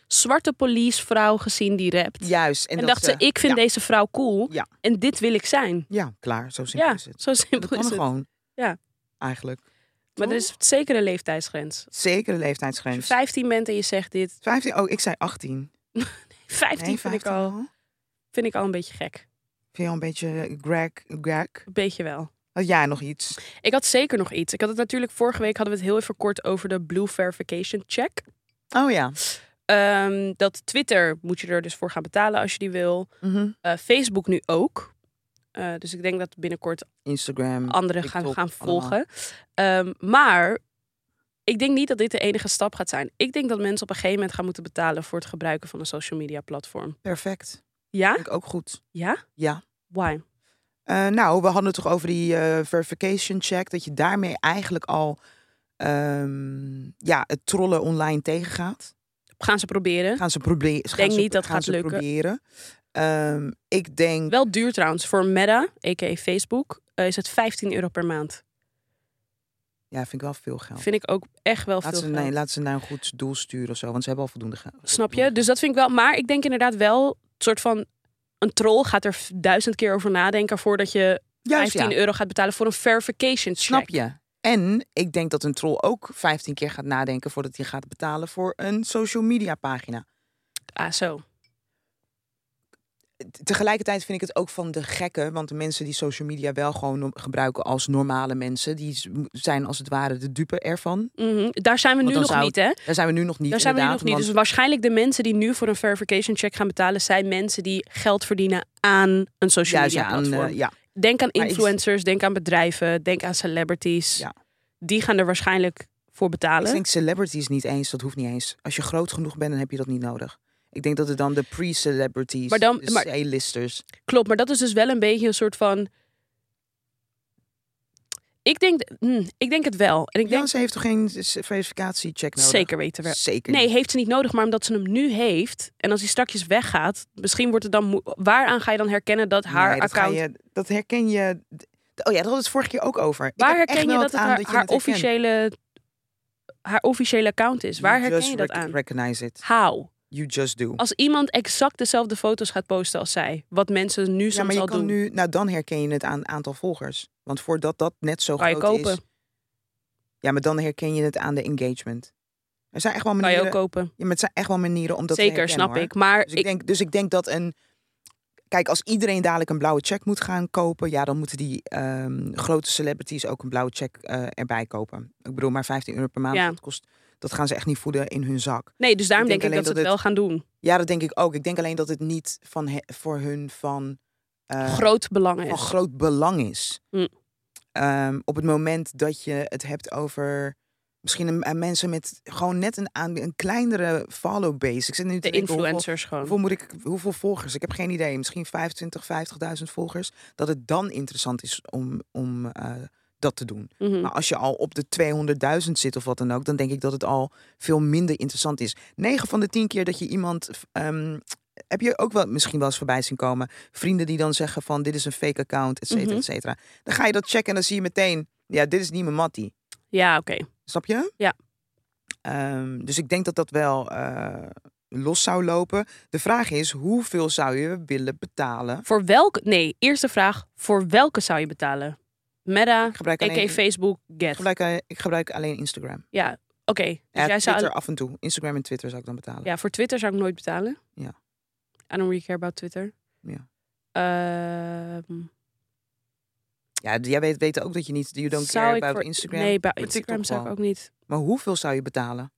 Speaker 2: zwarte policevrouw gezien die rapt.
Speaker 1: Juist. En,
Speaker 2: en
Speaker 1: dat eh,
Speaker 2: dacht ze, ik vind
Speaker 1: ja,
Speaker 2: deze vrouw cool.
Speaker 1: Ja.
Speaker 2: En dit wil ik zijn.
Speaker 1: Ja, klaar. Zo simpel
Speaker 2: Ja,
Speaker 1: is het.
Speaker 2: zo simpel
Speaker 1: Dat
Speaker 2: is
Speaker 1: kan
Speaker 2: het.
Speaker 1: gewoon.
Speaker 2: Ja.
Speaker 1: Eigenlijk.
Speaker 2: Maar er is zeker een leeftijdsgrens.
Speaker 1: Zeker een
Speaker 2: Als je
Speaker 1: leeftijdsgrens.
Speaker 2: 15 bent en je zegt dit.
Speaker 1: 15, oh, ik zei 18.
Speaker 2: 15,
Speaker 1: nee,
Speaker 2: vind, ik
Speaker 1: 15
Speaker 2: al, vind ik al een beetje gek.
Speaker 1: Vind je al een beetje Greg? Greg?
Speaker 2: Een beetje wel.
Speaker 1: Had jij nog iets?
Speaker 2: Ik had zeker nog iets. Ik had het natuurlijk vorige week hadden we het heel even kort over de Blue Verification Check.
Speaker 1: Oh ja.
Speaker 2: Ehm, dat Twitter moet je er dus voor gaan betalen als je die wil.
Speaker 1: Mhm.
Speaker 2: Eh, Facebook nu ook. Eh, dus ik denk dat binnenkort
Speaker 1: Instagram.
Speaker 2: anderen gaan,
Speaker 1: TikTok,
Speaker 2: gaan
Speaker 1: Hm, allemaal.
Speaker 2: volgen. Ehm, maar ik denk niet dat dit de enige stap gaat zijn. Ik denk dat mensen op een gegeven moment gaan moeten betalen voor het gebruiken van een social media platform.
Speaker 1: Perfect.
Speaker 2: Ja?
Speaker 1: Vind ik ook goed.
Speaker 2: Ja?
Speaker 1: Ja.
Speaker 2: Why?
Speaker 1: Eh, nou, we hadden het toch over die eh, verification check. Dat je daarmee eigenlijk al ehm, ja, het trollen online tegengaat.
Speaker 2: Gaan ze proberen?
Speaker 1: Gaan ze proberen.
Speaker 2: Denk niet dat
Speaker 1: gaan
Speaker 2: gaat
Speaker 1: ze
Speaker 2: lukken.
Speaker 1: proberen. Ehm, ik denk.
Speaker 2: Wel duur trouwens. Voor Meta, a.k.a. Facebook, eh, is het 15 euro per maand.
Speaker 1: Ja, vind ik wel veel geld.
Speaker 2: Vind ik ook echt wel
Speaker 1: Oh. Laat
Speaker 2: veel
Speaker 1: ze,
Speaker 2: geld.
Speaker 1: nee, laat ze naar een goed doel sturen of zo. Want ze hebben al voldoende geld.
Speaker 2: Snap je? Dus dat vind ik wel. Maar ik denk inderdaad wel, een soort van... Een troll gaat er f- duizend keer over nadenken voordat je
Speaker 1: Juist,
Speaker 2: 15
Speaker 1: ja.
Speaker 2: euro gaat betalen voor een verification check.
Speaker 1: Snap je? En ik denk dat een troll ook 15 keer gaat nadenken voordat hij gaat betalen voor een social media pagina.
Speaker 2: Ah, zo.
Speaker 1: T- Tegelijkertijd vind ik het ook van de gekken, want de mensen die social media wel gewoon no- gebruiken als normale mensen, die z- m- zijn als het ware de dupe ervan.
Speaker 2: Mhm. Daar zijn we
Speaker 1: Want
Speaker 2: nu
Speaker 1: dan
Speaker 2: nog
Speaker 1: zou
Speaker 2: niet, hè?
Speaker 1: Daar zijn we nu nog niet.
Speaker 2: Daar zijn we nu nog
Speaker 1: inderdaad,
Speaker 2: niet. Dus
Speaker 1: want-
Speaker 2: waarschijnlijk de mensen die nu voor een verification check gaan betalen... zijn mensen die geld verdienen aan dus een social
Speaker 1: juist,
Speaker 2: media
Speaker 1: ja,
Speaker 2: platform.
Speaker 1: aan, eh, ja,
Speaker 2: Denk aan
Speaker 1: Maar ik-
Speaker 2: influencers, denk aan bedrijven, denk aan celebrities.
Speaker 1: Ja.
Speaker 2: Die gaan er waarschijnlijk voor
Speaker 1: ik
Speaker 2: betalen.
Speaker 1: denk celebrities niet eens, dat hoeft niet eens. Als je groot genoeg bent, dan heb je dat niet nodig. Ik denk dat het dan de pre-celebrities,
Speaker 2: Maar dan-
Speaker 1: de
Speaker 2: maar-
Speaker 1: C-listers.
Speaker 2: Klopt, maar dat is dus wel een beetje een soort van. Ik denk, hm, ik denk het wel. En ik
Speaker 1: Ja,
Speaker 2: denk
Speaker 1: ze heeft toch geen s- verificatiecheck nodig?
Speaker 2: zeker weten we.
Speaker 1: Zeker.
Speaker 2: Nee,
Speaker 1: niet.
Speaker 2: heeft ze niet nodig, maar omdat ze hem nu heeft. En als hij strakjes weggaat, misschien wordt het dan. moe- Waaraan ga je dan herkennen dat haar
Speaker 1: Nee, dat ga
Speaker 2: account.
Speaker 1: je- dat herken je. Oh ja, daar hadden we het vorige keer ook over. Ik
Speaker 2: Waar
Speaker 1: heb echt
Speaker 2: herken je
Speaker 1: wel
Speaker 2: dat het
Speaker 1: aan
Speaker 2: haar,
Speaker 1: je
Speaker 2: haar
Speaker 1: het herkent.
Speaker 2: officiële, haar officiële account is? Waar
Speaker 1: You
Speaker 2: herken
Speaker 1: just
Speaker 2: je dat
Speaker 1: rec-
Speaker 2: aan?
Speaker 1: Recognize it.
Speaker 2: How?
Speaker 1: You just do.
Speaker 2: als iemand exact dezelfde foto's gaat posten als zij, wat mensen nu
Speaker 1: ja,
Speaker 2: soms
Speaker 1: maar je
Speaker 2: al
Speaker 1: kan
Speaker 2: doen,
Speaker 1: nu, nou dan herken je het aan het aantal volgers. Want voordat dat net zo
Speaker 2: kan je
Speaker 1: groot
Speaker 2: kopen.
Speaker 1: is. Ja, maar dan herken je het aan de engagement. Er zijn echt wel
Speaker 2: Kan je
Speaker 1: manieren.
Speaker 2: ook kopen.
Speaker 1: Ja, maar het zijn echt wel manieren om dat te
Speaker 2: Zeker,
Speaker 1: herkennen,
Speaker 2: snap
Speaker 1: hoor.
Speaker 2: ik. Maar
Speaker 1: Dus ik, denk, dus ik denk dat een. Kijk, als iedereen dadelijk een blauwe check moet gaan kopen, ja, dan moeten die ehm, grote celebrities ook een blauwe check eh, erbij kopen. Ik bedoel, maar 15 euro per maand,
Speaker 2: Ja.
Speaker 1: dat, kost, dat gaan ze echt niet voeden in hun zak.
Speaker 2: nee, dus daarom
Speaker 1: ik
Speaker 2: denk,
Speaker 1: denk
Speaker 2: ik dat, ze
Speaker 1: alleen
Speaker 2: het wel gaan doen.
Speaker 1: Ja, dat denk ik ook. Ik denk alleen dat het niet van he- voor hun van, eh,
Speaker 2: Groot belang
Speaker 1: van
Speaker 2: is.
Speaker 1: groot belang is.
Speaker 2: Oh, Mm.
Speaker 1: Ehm, op het moment dat je het hebt over misschien een- eh, mensen met gewoon net een, aan, een kleinere follow base. Ik zit nu te
Speaker 2: De
Speaker 1: denken hoeveel-
Speaker 2: influencers gewoon.
Speaker 1: Hoeveel, moet ik, hoeveel volgers? Ik heb geen idee. Misschien 25, 50.000 volgers. Dat het dan interessant is om, om eh, dat te doen.
Speaker 2: Mhm.
Speaker 1: Maar Nou, als je al op de 200.000 zit of wat dan ook, dan denk ik dat het al veel minder interessant is. 9 van de 10 keer dat je iemand. ehm, heb je ook wel misschien wel eens voorbij zien komen. Vrienden die dan zeggen van dit is een fake account, et cetera,
Speaker 2: Mhm.
Speaker 1: et cetera. Dan ga je dat checken en dan zie je meteen, ja, dit is niet mijn mattie.
Speaker 2: Ja, oké.
Speaker 1: Snap je?
Speaker 2: Ja.
Speaker 1: Ehm, dus ik denk dat dat wel eh, los zou lopen. De vraag is, hoeveel zou je willen betalen?
Speaker 2: Voor welke... Nee, eerste vraag. Voor welke zou je betalen? Meta,
Speaker 1: Ik gebruik alleen,
Speaker 2: a.k.a. Facebook,
Speaker 1: ik
Speaker 2: Get.
Speaker 1: gebruik, eh, ik gebruik alleen Instagram.
Speaker 2: Ja, oké. Dus
Speaker 1: Ja,
Speaker 2: jij
Speaker 1: Twitter
Speaker 2: zou...
Speaker 1: af en toe. Instagram en Twitter zou ik dan betalen.
Speaker 2: Ja, voor Twitter zou ik nooit betalen.
Speaker 1: Ja.
Speaker 2: I don't really care about Twitter.
Speaker 1: Ja.
Speaker 2: Ehm,
Speaker 1: Ja, d- jij weet, weet ook dat je niet, you don't
Speaker 2: zou
Speaker 1: care
Speaker 2: ik
Speaker 1: about
Speaker 2: voor-
Speaker 1: Instagram.
Speaker 2: Nee, bij
Speaker 1: maar
Speaker 2: Instagram
Speaker 1: TikTok
Speaker 2: zou ik
Speaker 1: wel.
Speaker 2: ook niet.
Speaker 1: Maar hoeveel zou je betalen?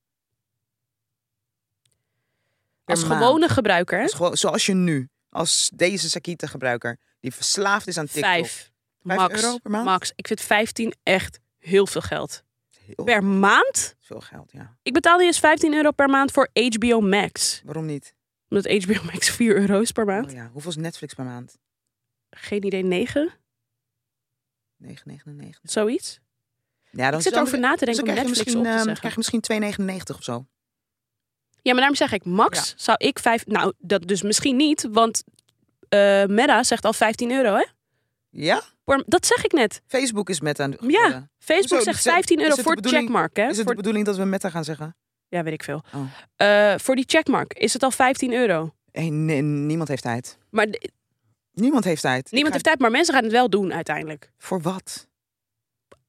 Speaker 1: Per
Speaker 2: Als
Speaker 1: maand.
Speaker 2: gewone gebruiker, hè?
Speaker 1: Als gewoon- zoals je nu, als deze Sakita gebruiker, die verslaafd is aan TikTok.
Speaker 2: Vijf.
Speaker 1: Vijf
Speaker 2: Max.
Speaker 1: euro per maand?
Speaker 2: Max. Ik vind 15 echt heel veel geld.
Speaker 1: Heel
Speaker 2: Per maand?
Speaker 1: veel geld, ja.
Speaker 2: Ik betaal niet eens 15 euro per maand voor HBO Max.
Speaker 1: Waarom niet?
Speaker 2: Omdat HBO Max 4 euro is per maand.
Speaker 1: Oh, ja. Hoeveel is Netflix per maand?
Speaker 2: Geen idee, 9?
Speaker 1: 9,99.
Speaker 2: Zoiets?
Speaker 1: Ja,
Speaker 2: Ik zit
Speaker 1: zou-
Speaker 2: erover na te denken
Speaker 1: dan
Speaker 2: om
Speaker 1: krijg je
Speaker 2: Netflix
Speaker 1: misschien,
Speaker 2: op te
Speaker 1: ehm,
Speaker 2: zeggen.
Speaker 1: krijg je misschien 2,99 of zo.
Speaker 2: Ja, maar daarom zeg ik, max zou ik 5... Nou, dat dus misschien niet, want eh Meta zegt al 15 euro, hè?
Speaker 1: Ja?
Speaker 2: Voor- Dat zeg ik net.
Speaker 1: Facebook is meta. aan
Speaker 2: Ja. Facebook
Speaker 1: Hoezo?
Speaker 2: zegt
Speaker 1: Is het-
Speaker 2: 15
Speaker 1: is
Speaker 2: euro
Speaker 1: het de
Speaker 2: voor
Speaker 1: bedoeling-
Speaker 2: checkmark, hè?
Speaker 1: Is het
Speaker 2: Voor-
Speaker 1: de bedoeling dat we meta gaan zeggen?
Speaker 2: Ja, weet ik veel.
Speaker 1: Oh.
Speaker 2: Eh, voor die checkmark is het al 15 euro.
Speaker 1: Hé, nee, niemand heeft tijd.
Speaker 2: Maar d-
Speaker 1: Niemand heeft tijd. Ik
Speaker 2: niemand
Speaker 1: ga-
Speaker 2: heeft tijd, maar mensen gaan het wel doen uiteindelijk.
Speaker 1: Voor wat?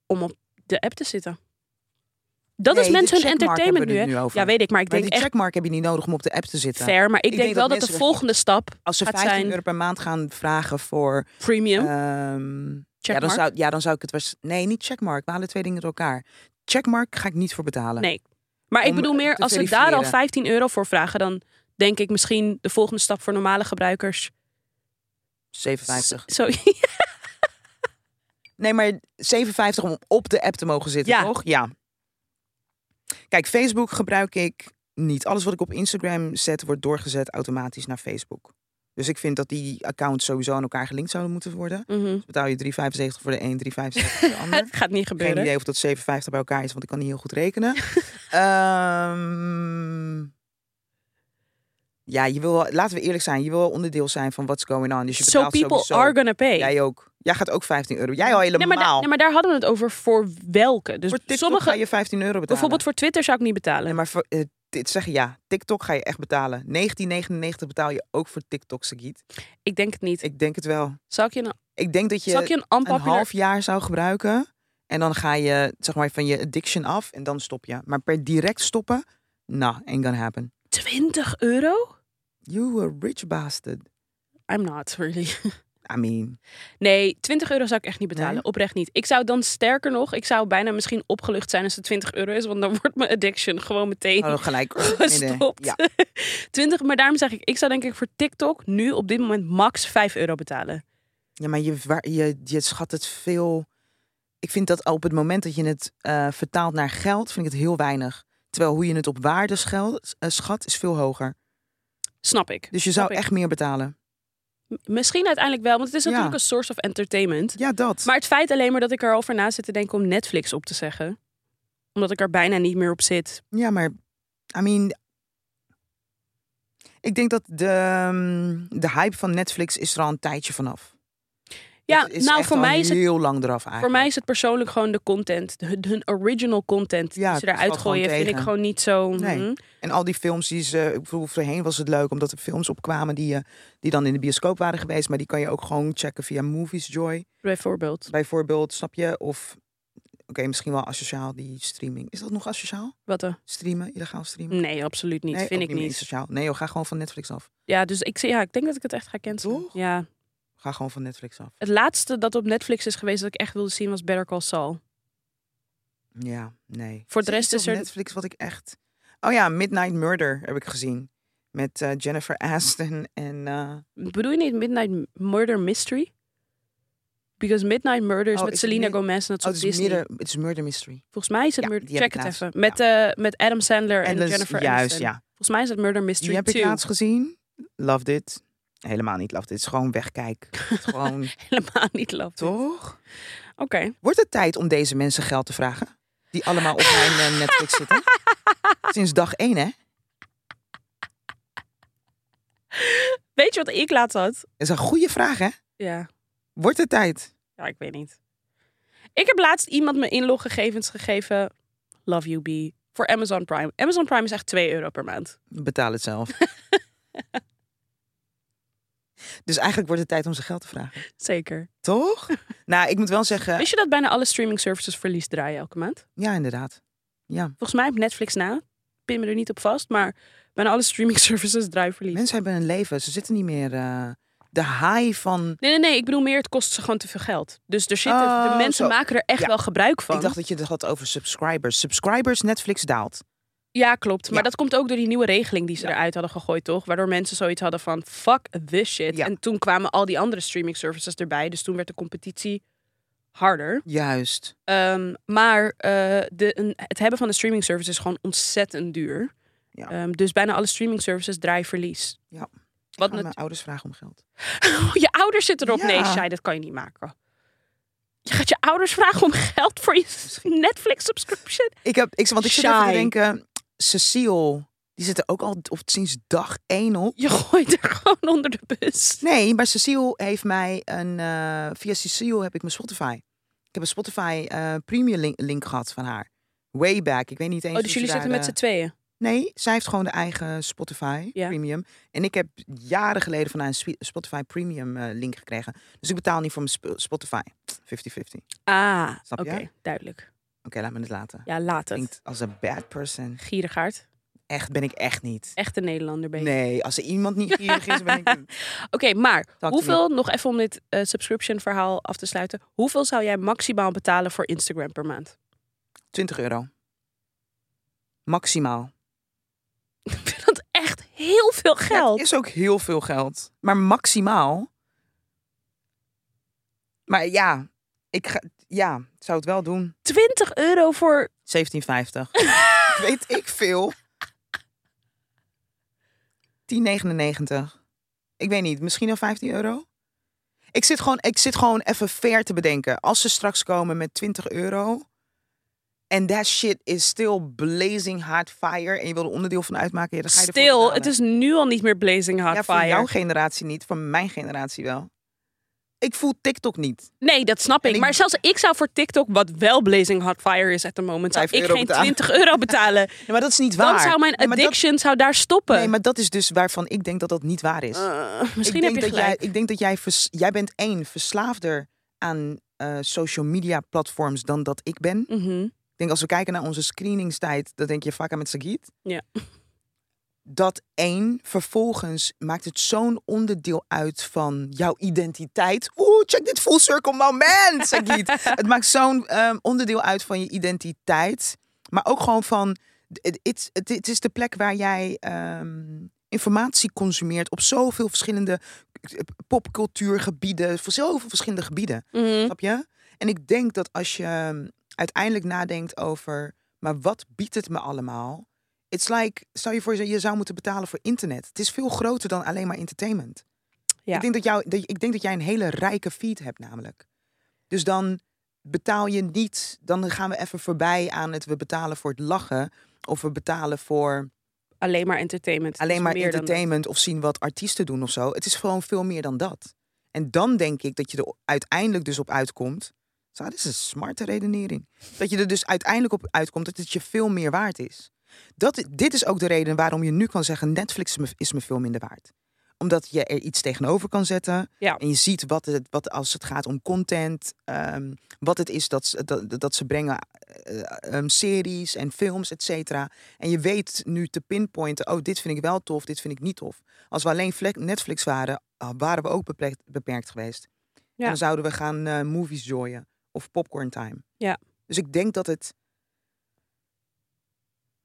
Speaker 2: Om op de app te zitten. Dat
Speaker 1: Nee,
Speaker 2: is
Speaker 1: de
Speaker 2: mensen hun
Speaker 1: checkmark
Speaker 2: entertainment nu,
Speaker 1: hebben we het
Speaker 2: hè?
Speaker 1: nu over.
Speaker 2: Ja, weet ik, maar ik
Speaker 1: maar
Speaker 2: denk
Speaker 1: die
Speaker 2: echt
Speaker 1: checkmark heb je niet nodig om op de app te zitten.
Speaker 2: fair. Maar ik, denk,
Speaker 1: denk
Speaker 2: wel
Speaker 1: dat
Speaker 2: dat de
Speaker 1: mensen-
Speaker 2: volgende stap,
Speaker 1: Als ze
Speaker 2: gaat
Speaker 1: 15
Speaker 2: zijn-
Speaker 1: euro per maand gaan vragen voor...
Speaker 2: premium,
Speaker 1: ehm, ja, dan
Speaker 2: checkmark...
Speaker 1: zou, ja, dan zou ik het... Was, nee, niet checkmark. We halen twee dingen door elkaar. Checkmark ga ik niet voor betalen.
Speaker 2: Nee. maar ik
Speaker 1: om
Speaker 2: bedoel meer,
Speaker 1: te
Speaker 2: als ze daar al
Speaker 1: verifiëren.
Speaker 2: 15 euro voor vragen... dan denk ik misschien de volgende stap voor normale gebruikers...
Speaker 1: 57.
Speaker 2: Zo,
Speaker 1: Nee, maar 57 om op de app te mogen zitten,
Speaker 2: Ja.
Speaker 1: toch? Ja. Kijk, Facebook gebruik ik niet. Alles wat ik op Instagram zet, wordt doorgezet automatisch naar Facebook. Dus ik vind dat die accounts sowieso aan elkaar gelinkt zouden moeten worden. Dus
Speaker 2: Mhm.
Speaker 1: Betaal je 3,75 voor de een, 3,75 voor de ander.
Speaker 2: Het gaat niet
Speaker 1: Hm? Geen
Speaker 2: gebeuren.
Speaker 1: idee of dat 57 bij elkaar is, want ik kan niet heel goed rekenen. Ehm, ja, je wil, wel- laten we eerlijk zijn. Je wil wel onderdeel zijn van what's going on. Dus je
Speaker 2: So
Speaker 1: betaalt
Speaker 2: people
Speaker 1: sowieso.
Speaker 2: are gonna pay.
Speaker 1: Jij ook. Jij gaat ook 15 euro. Jij al helemaal.
Speaker 2: nee, maar, da- nee, maar daar hadden we het over voor welke. Dus
Speaker 1: voor TikTok
Speaker 2: sommige,
Speaker 1: ga je 15 euro betalen.
Speaker 2: bijvoorbeeld voor Twitter zou ik niet
Speaker 1: Nee,
Speaker 2: betalen.
Speaker 1: maar voor, eh, dit zeg je ja. TikTok ga je echt betalen. 19,99 betaal je ook voor TikTok, Sagiet.
Speaker 2: Ik denk het niet.
Speaker 1: Ik denk het wel.
Speaker 2: Zou ik je een,
Speaker 1: Ik denk dat je,
Speaker 2: zou ik je een
Speaker 1: een
Speaker 2: unpopular...
Speaker 1: half jaar zou gebruiken. En dan ga je zeg maar van je addiction af en dan stop je. Maar per direct stoppen, nou, ain't gonna happen.
Speaker 2: 20 euro?
Speaker 1: You a rich bastard.
Speaker 2: I'm not, really.
Speaker 1: I mean,
Speaker 2: Nee, 20 euro zou ik echt niet betalen.
Speaker 1: Nee?
Speaker 2: Oprecht niet. Ik zou dan sterker nog, ik zou bijna misschien opgelucht zijn als het 20 euro is. Want dan wordt mijn addiction gewoon meteen
Speaker 1: hadden we gelijk.
Speaker 2: gestopt.
Speaker 1: Ja,
Speaker 2: 20, maar daarom zeg ik, ik zou denk ik voor TikTok nu op dit moment max 5 euro betalen.
Speaker 1: Ja, maar je, waar- je, je schat het veel. Ik vind dat op het moment dat je het eh, vertaalt naar geld, vind ik het heel weinig. Terwijl hoe je het op waarde schel- eh, schat, is veel hoger.
Speaker 2: Snap ik.
Speaker 1: Dus je
Speaker 2: Snap
Speaker 1: zou
Speaker 2: ik.
Speaker 1: echt meer betalen.
Speaker 2: M- Misschien uiteindelijk wel, want het is
Speaker 1: Ja.
Speaker 2: natuurlijk een source of entertainment.
Speaker 1: Ja, dat.
Speaker 2: Maar het feit alleen maar dat ik erover na zit te denken om Netflix op te zeggen. Omdat ik er bijna niet meer op zit.
Speaker 1: Ja, maar, I mean... Ik denk dat de, ehm, de hype van Netflix is er al een tijdje vanaf.
Speaker 2: Ja,
Speaker 1: Het is
Speaker 2: nou
Speaker 1: echt
Speaker 2: voor
Speaker 1: al
Speaker 2: mij, is het,
Speaker 1: heel lang eraf eigenlijk.
Speaker 2: voor mij is het persoonlijk gewoon de content. de- hun- hun original content
Speaker 1: Ja,
Speaker 2: die ze
Speaker 1: het
Speaker 2: eruit
Speaker 1: valt gewoon
Speaker 2: gooien vind ik
Speaker 1: tegen.
Speaker 2: gewoon niet zo...
Speaker 1: Nee.
Speaker 2: mhm.
Speaker 1: En al die films die ze... Ik bedoel, voorheen was het leuk omdat er films opkwamen die, eh, die dan in de bioscoop waren geweest. Maar die kan je ook gewoon checken via Movies Joy.
Speaker 2: Bijvoorbeeld.
Speaker 1: bijvoorbeeld, snap je? Of misschien wel asociaal, die streaming. Is dat nog asociaal?
Speaker 2: Wat dan?
Speaker 1: Streamen, illegaal streamen?
Speaker 2: Nee, absoluut niet.
Speaker 1: Nee,
Speaker 2: Vind
Speaker 1: ook
Speaker 2: ik
Speaker 1: meer
Speaker 2: niet.
Speaker 1: asociaal. Nee, joh, ga gewoon van Netflix af.
Speaker 2: Ja, dus ik, zie- ja, ik denk dat ik het echt ga cancelen.
Speaker 1: Toch?
Speaker 2: Ja.
Speaker 1: Ga gewoon van Netflix af.
Speaker 2: Het laatste dat op Netflix is geweest dat ik echt wilde zien was Better Call Saul.
Speaker 1: Ja, nee.
Speaker 2: Voor de
Speaker 1: Zit
Speaker 2: rest
Speaker 1: iets
Speaker 2: is
Speaker 1: op
Speaker 2: er-
Speaker 1: Netflix wat ik echt... Oh ja, Midnight Murder heb ik gezien. Met eh, Jennifer Aston en... eh,
Speaker 2: Bedoel je niet Midnight Murder Mystery? Because Midnight Murder is
Speaker 1: Oh,
Speaker 2: met
Speaker 1: is het
Speaker 2: Selena
Speaker 1: meer-
Speaker 2: Gomez en dat
Speaker 1: oh,
Speaker 2: soort
Speaker 1: het is,
Speaker 2: Disney.
Speaker 1: murder, het is Murder Mystery.
Speaker 2: Volgens mij is het
Speaker 1: Ja,
Speaker 2: Murder...
Speaker 1: die heb
Speaker 2: Check
Speaker 1: ik
Speaker 2: het
Speaker 1: laatst.
Speaker 2: even. Met, eh, met Adam Sandler en,
Speaker 1: dat is-
Speaker 2: Jennifer
Speaker 1: Juist,
Speaker 2: Aniston.
Speaker 1: ja.
Speaker 2: Volgens mij is het Murder
Speaker 1: Die
Speaker 2: Mystery
Speaker 1: heb
Speaker 2: 2.
Speaker 1: ik laatst gezien. Loved it. Helemaal niet loved it. Het is gewoon wegkijk. Het is gewoon,
Speaker 2: Helemaal niet love. Oké.
Speaker 1: toch? Wordt het tijd om deze mensen geld te vragen? Die allemaal op mijn eh, Netflix zitten. Sinds dag één, hè?
Speaker 2: Weet je wat ik laatst had?
Speaker 1: Dat is een goede vraag, hè?
Speaker 2: Ja.
Speaker 1: Wordt het tijd?
Speaker 2: Ja, ik weet niet. Ik heb laatst iemand mijn inloggegevens gegeven. Love you, B. Voor Amazon Prime. Amazon Prime is echt 2 euro per maand.
Speaker 1: Betaal het zelf. dus eigenlijk wordt het tijd om ze geld te vragen.
Speaker 2: Zeker.
Speaker 1: Toch? nou, ik moet wel zeggen...
Speaker 2: Wist je dat bijna alle streaming services verlies draaien elke maand?
Speaker 1: Ja, inderdaad. Ja.
Speaker 2: Volgens mij op Netflix na. Pin me er niet op vast, maar bijna alle streaming services draaien verlies.
Speaker 1: Mensen hebben een leven. Ze zitten niet meer... eh, de high van...
Speaker 2: Nee, nee, nee. Ik bedoel meer, het kost ze gewoon te veel geld. Dus er zitten, de
Speaker 1: Oh,
Speaker 2: mensen
Speaker 1: zo.
Speaker 2: maken er echt
Speaker 1: Ja.
Speaker 2: wel gebruik van.
Speaker 1: Ik dacht dat je het had over subscribers. Subscribers, Netflix daalt.
Speaker 2: Ja, klopt. Maar
Speaker 1: Ja.
Speaker 2: dat komt ook door die nieuwe regeling die ze eruit hadden gegooid, toch? Waardoor mensen zoiets hadden van, fuck this shit.
Speaker 1: Ja.
Speaker 2: En toen kwamen al die andere streaming services erbij. Dus toen werd de competitie harder.
Speaker 1: Juist.
Speaker 2: Ehm, maar eh, de, een- het hebben van een streaming service is gewoon ontzettend duur.
Speaker 1: Ja.
Speaker 2: Ehm, dus bijna alle streaming services draaien verlies.
Speaker 1: Ja.
Speaker 2: Wat
Speaker 1: Wat mijn
Speaker 2: natu-
Speaker 1: ouders vragen om geld.
Speaker 2: Oh, je ouders zitten erop.
Speaker 1: Ja.
Speaker 2: Nee, Shai, dat kan je niet maken. Je gaat je ouders vragen om geld voor je Netflix subscription.
Speaker 1: Ik heb, ik, want ik zit even te
Speaker 2: Shy.
Speaker 1: denken, Cecile, die zit er ook al op, sinds dag één op.
Speaker 2: Je gooit er gewoon onder de bus.
Speaker 1: Nee, maar Cecile heeft mij een, eh, via Cecile heb ik mijn Spotify. Ik heb een Spotify eh, premium link, link gehad van haar. Way back. Ik weet niet eens
Speaker 2: Oh,
Speaker 1: hoe
Speaker 2: dus
Speaker 1: ze
Speaker 2: jullie
Speaker 1: daar
Speaker 2: zitten met
Speaker 1: de-
Speaker 2: z'n tweeën.
Speaker 1: Nee, zij heeft gewoon de eigen Spotify
Speaker 2: Ja.
Speaker 1: Premium. En ik heb jaren geleden van haar een Swi- Spotify Premium eh, link gekregen. Dus ik betaal niet voor mijn Sp- Spotify. 50-50. Oké,
Speaker 2: Ah,
Speaker 1: Snap
Speaker 2: oké,
Speaker 1: je?
Speaker 2: duidelijk.
Speaker 1: laat me het laten.
Speaker 2: Ja, laat het.
Speaker 1: Klinkt als een bad person.
Speaker 2: Gierigaard.
Speaker 1: Echt, ben ik echt niet.
Speaker 2: Echte Nederlander ben je.
Speaker 1: Nee, als er iemand niet gierig is, ben ik...
Speaker 2: Oké, maar
Speaker 1: Dank u
Speaker 2: hoeveel, nog even om dit eh, subscription verhaal af te sluiten. Hoeveel zou jij maximaal betalen voor Instagram per maand?
Speaker 1: 20 euro. Maximaal.
Speaker 2: Ik vind dat echt heel veel
Speaker 1: Het
Speaker 2: geld.
Speaker 1: is ook heel veel geld. Maar maximaal. Maar ja, ik ga, ja, ik zou het wel doen.
Speaker 2: 20 euro voor...
Speaker 1: 17,50. Weet ik veel. 10,99. Ik weet niet, misschien al 15 euro? Ik zit, gewoon, ik zit gewoon even fair te bedenken. Als ze straks komen met 20 euro... en that shit is still blazing hard fire... en je wil er onderdeel van uitmaken... Ja, dan ga je ervoor
Speaker 2: Stil, het
Speaker 1: betalen.
Speaker 2: is nu al niet meer blazing hot
Speaker 1: Ja,
Speaker 2: fire.
Speaker 1: voor jouw generatie niet, voor mijn generatie wel. Ik voel TikTok niet.
Speaker 2: Nee, dat snap ik.
Speaker 1: ik-
Speaker 2: Maar zelfs ik zou voor TikTok, wat wel blazing hot fire is at the moment, zou
Speaker 1: Vijf
Speaker 2: ik
Speaker 1: euro
Speaker 2: geen
Speaker 1: betalen.
Speaker 2: 20 euro betalen.
Speaker 1: Ja, maar dat is niet waar.
Speaker 2: Dan zou mijn
Speaker 1: Nee, maar dat-
Speaker 2: addiction zou daar stoppen.
Speaker 1: nee, maar dat is dus waarvan ik denk dat dat niet waar is.
Speaker 2: Eh,
Speaker 1: Ik
Speaker 2: misschien
Speaker 1: denk
Speaker 2: heb je
Speaker 1: dat
Speaker 2: gelijk.
Speaker 1: Jij, ik denk dat jij, vers- jij bent één, verslaafder aan eh, social media platforms dan dat ik ben.
Speaker 2: Mhm.
Speaker 1: Ik denk als we kijken naar onze screeningstijd, dan denk je vaak aan met Sagit.
Speaker 2: Ja.
Speaker 1: Dat één, vervolgens maakt het zo'n onderdeel uit van jouw identiteit. Oeh, check dit full circle moment, Sagit. het maakt zo'n ehm, onderdeel uit van je identiteit. Maar ook gewoon van, het- het het- het is de plek waar jij ehm, informatie consumeert op zoveel verschillende eh, popcultuurgebieden, voor zoveel verschillende gebieden.
Speaker 2: Mhm.
Speaker 1: Snap je? En ik denk dat als je ehm, uiteindelijk nadenkt over, maar wat biedt het me allemaal? It's like, stel je voor, je zou moeten betalen voor internet. Het is veel groter dan alleen maar entertainment.
Speaker 2: Ja.
Speaker 1: Ik, denk dat jou, dat- ik denk dat jij een hele rijke feed hebt namelijk. Dus dan betaal je niet, dan gaan we even voorbij aan het we betalen voor het lachen. Of we betalen voor
Speaker 2: alleen maar entertainment. Het is
Speaker 1: alleen maar
Speaker 2: meer dan dat.
Speaker 1: entertainment of zien wat artiesten doen of zo. Het is gewoon veel meer dan dat. En dan denk ik dat je er uiteindelijk dus op uitkomt. Zo, dit is een smarte redenering. Dat je er dus uiteindelijk op uitkomt dat het je veel meer waard is. Dat, dit is ook de reden waarom je nu kan zeggen: Netflix is me, is me veel minder waard. Omdat je er iets tegenover kan zetten.
Speaker 2: Ja.
Speaker 1: En je ziet wat, het, wat als het gaat om content, ehm, wat het is dat ze, dat, dat ze brengen, eh, ehm, series en films, et cetera. En je weet nu te pinpointen, oh, dit vind ik wel tof, dit vind ik niet tof. Als we alleen Fle- Netflix waren, ah, waren we ook beperkt, beperkt geweest.
Speaker 2: Ja.
Speaker 1: En dan zouden we gaan eh, movies joyen of popcorn time.
Speaker 2: Ja.
Speaker 1: Dus ik denk dat het...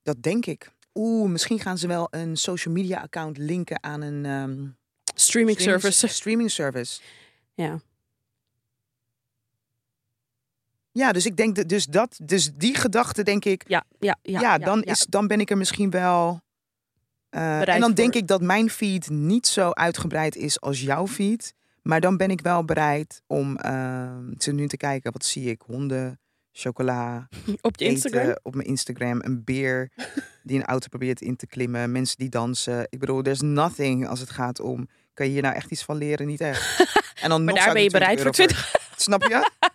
Speaker 1: Dat denk ik. Oeh, misschien gaan ze wel een social media account linken aan een... ehm,
Speaker 2: Streaming service.
Speaker 1: Streaming service.
Speaker 2: Ja.
Speaker 1: Ja, dus ik denk dat, dus dat, dus die gedachte denk ik,
Speaker 2: Ja, ja, ja.
Speaker 1: ja, dan, Is, dan ben ik er misschien wel. eh, en dan
Speaker 2: voor.
Speaker 1: denk ik dat mijn feed niet zo uitgebreid is als jouw feed. Maar dan ben ik wel bereid om ehm, te nu te kijken, wat zie ik? Honden, chocola,
Speaker 2: Op je Instagram.
Speaker 1: eten op mijn Instagram, een beer die een auto probeert in te klimmen, mensen die dansen. Ik bedoel, there's nothing als het gaat om, kan je hier nou echt iets van leren? Niet echt. En dan
Speaker 2: Maar
Speaker 1: nog zou
Speaker 2: daar ben
Speaker 1: ik
Speaker 2: je
Speaker 1: er
Speaker 2: bereid voor
Speaker 1: 20 euro eh, Snap je?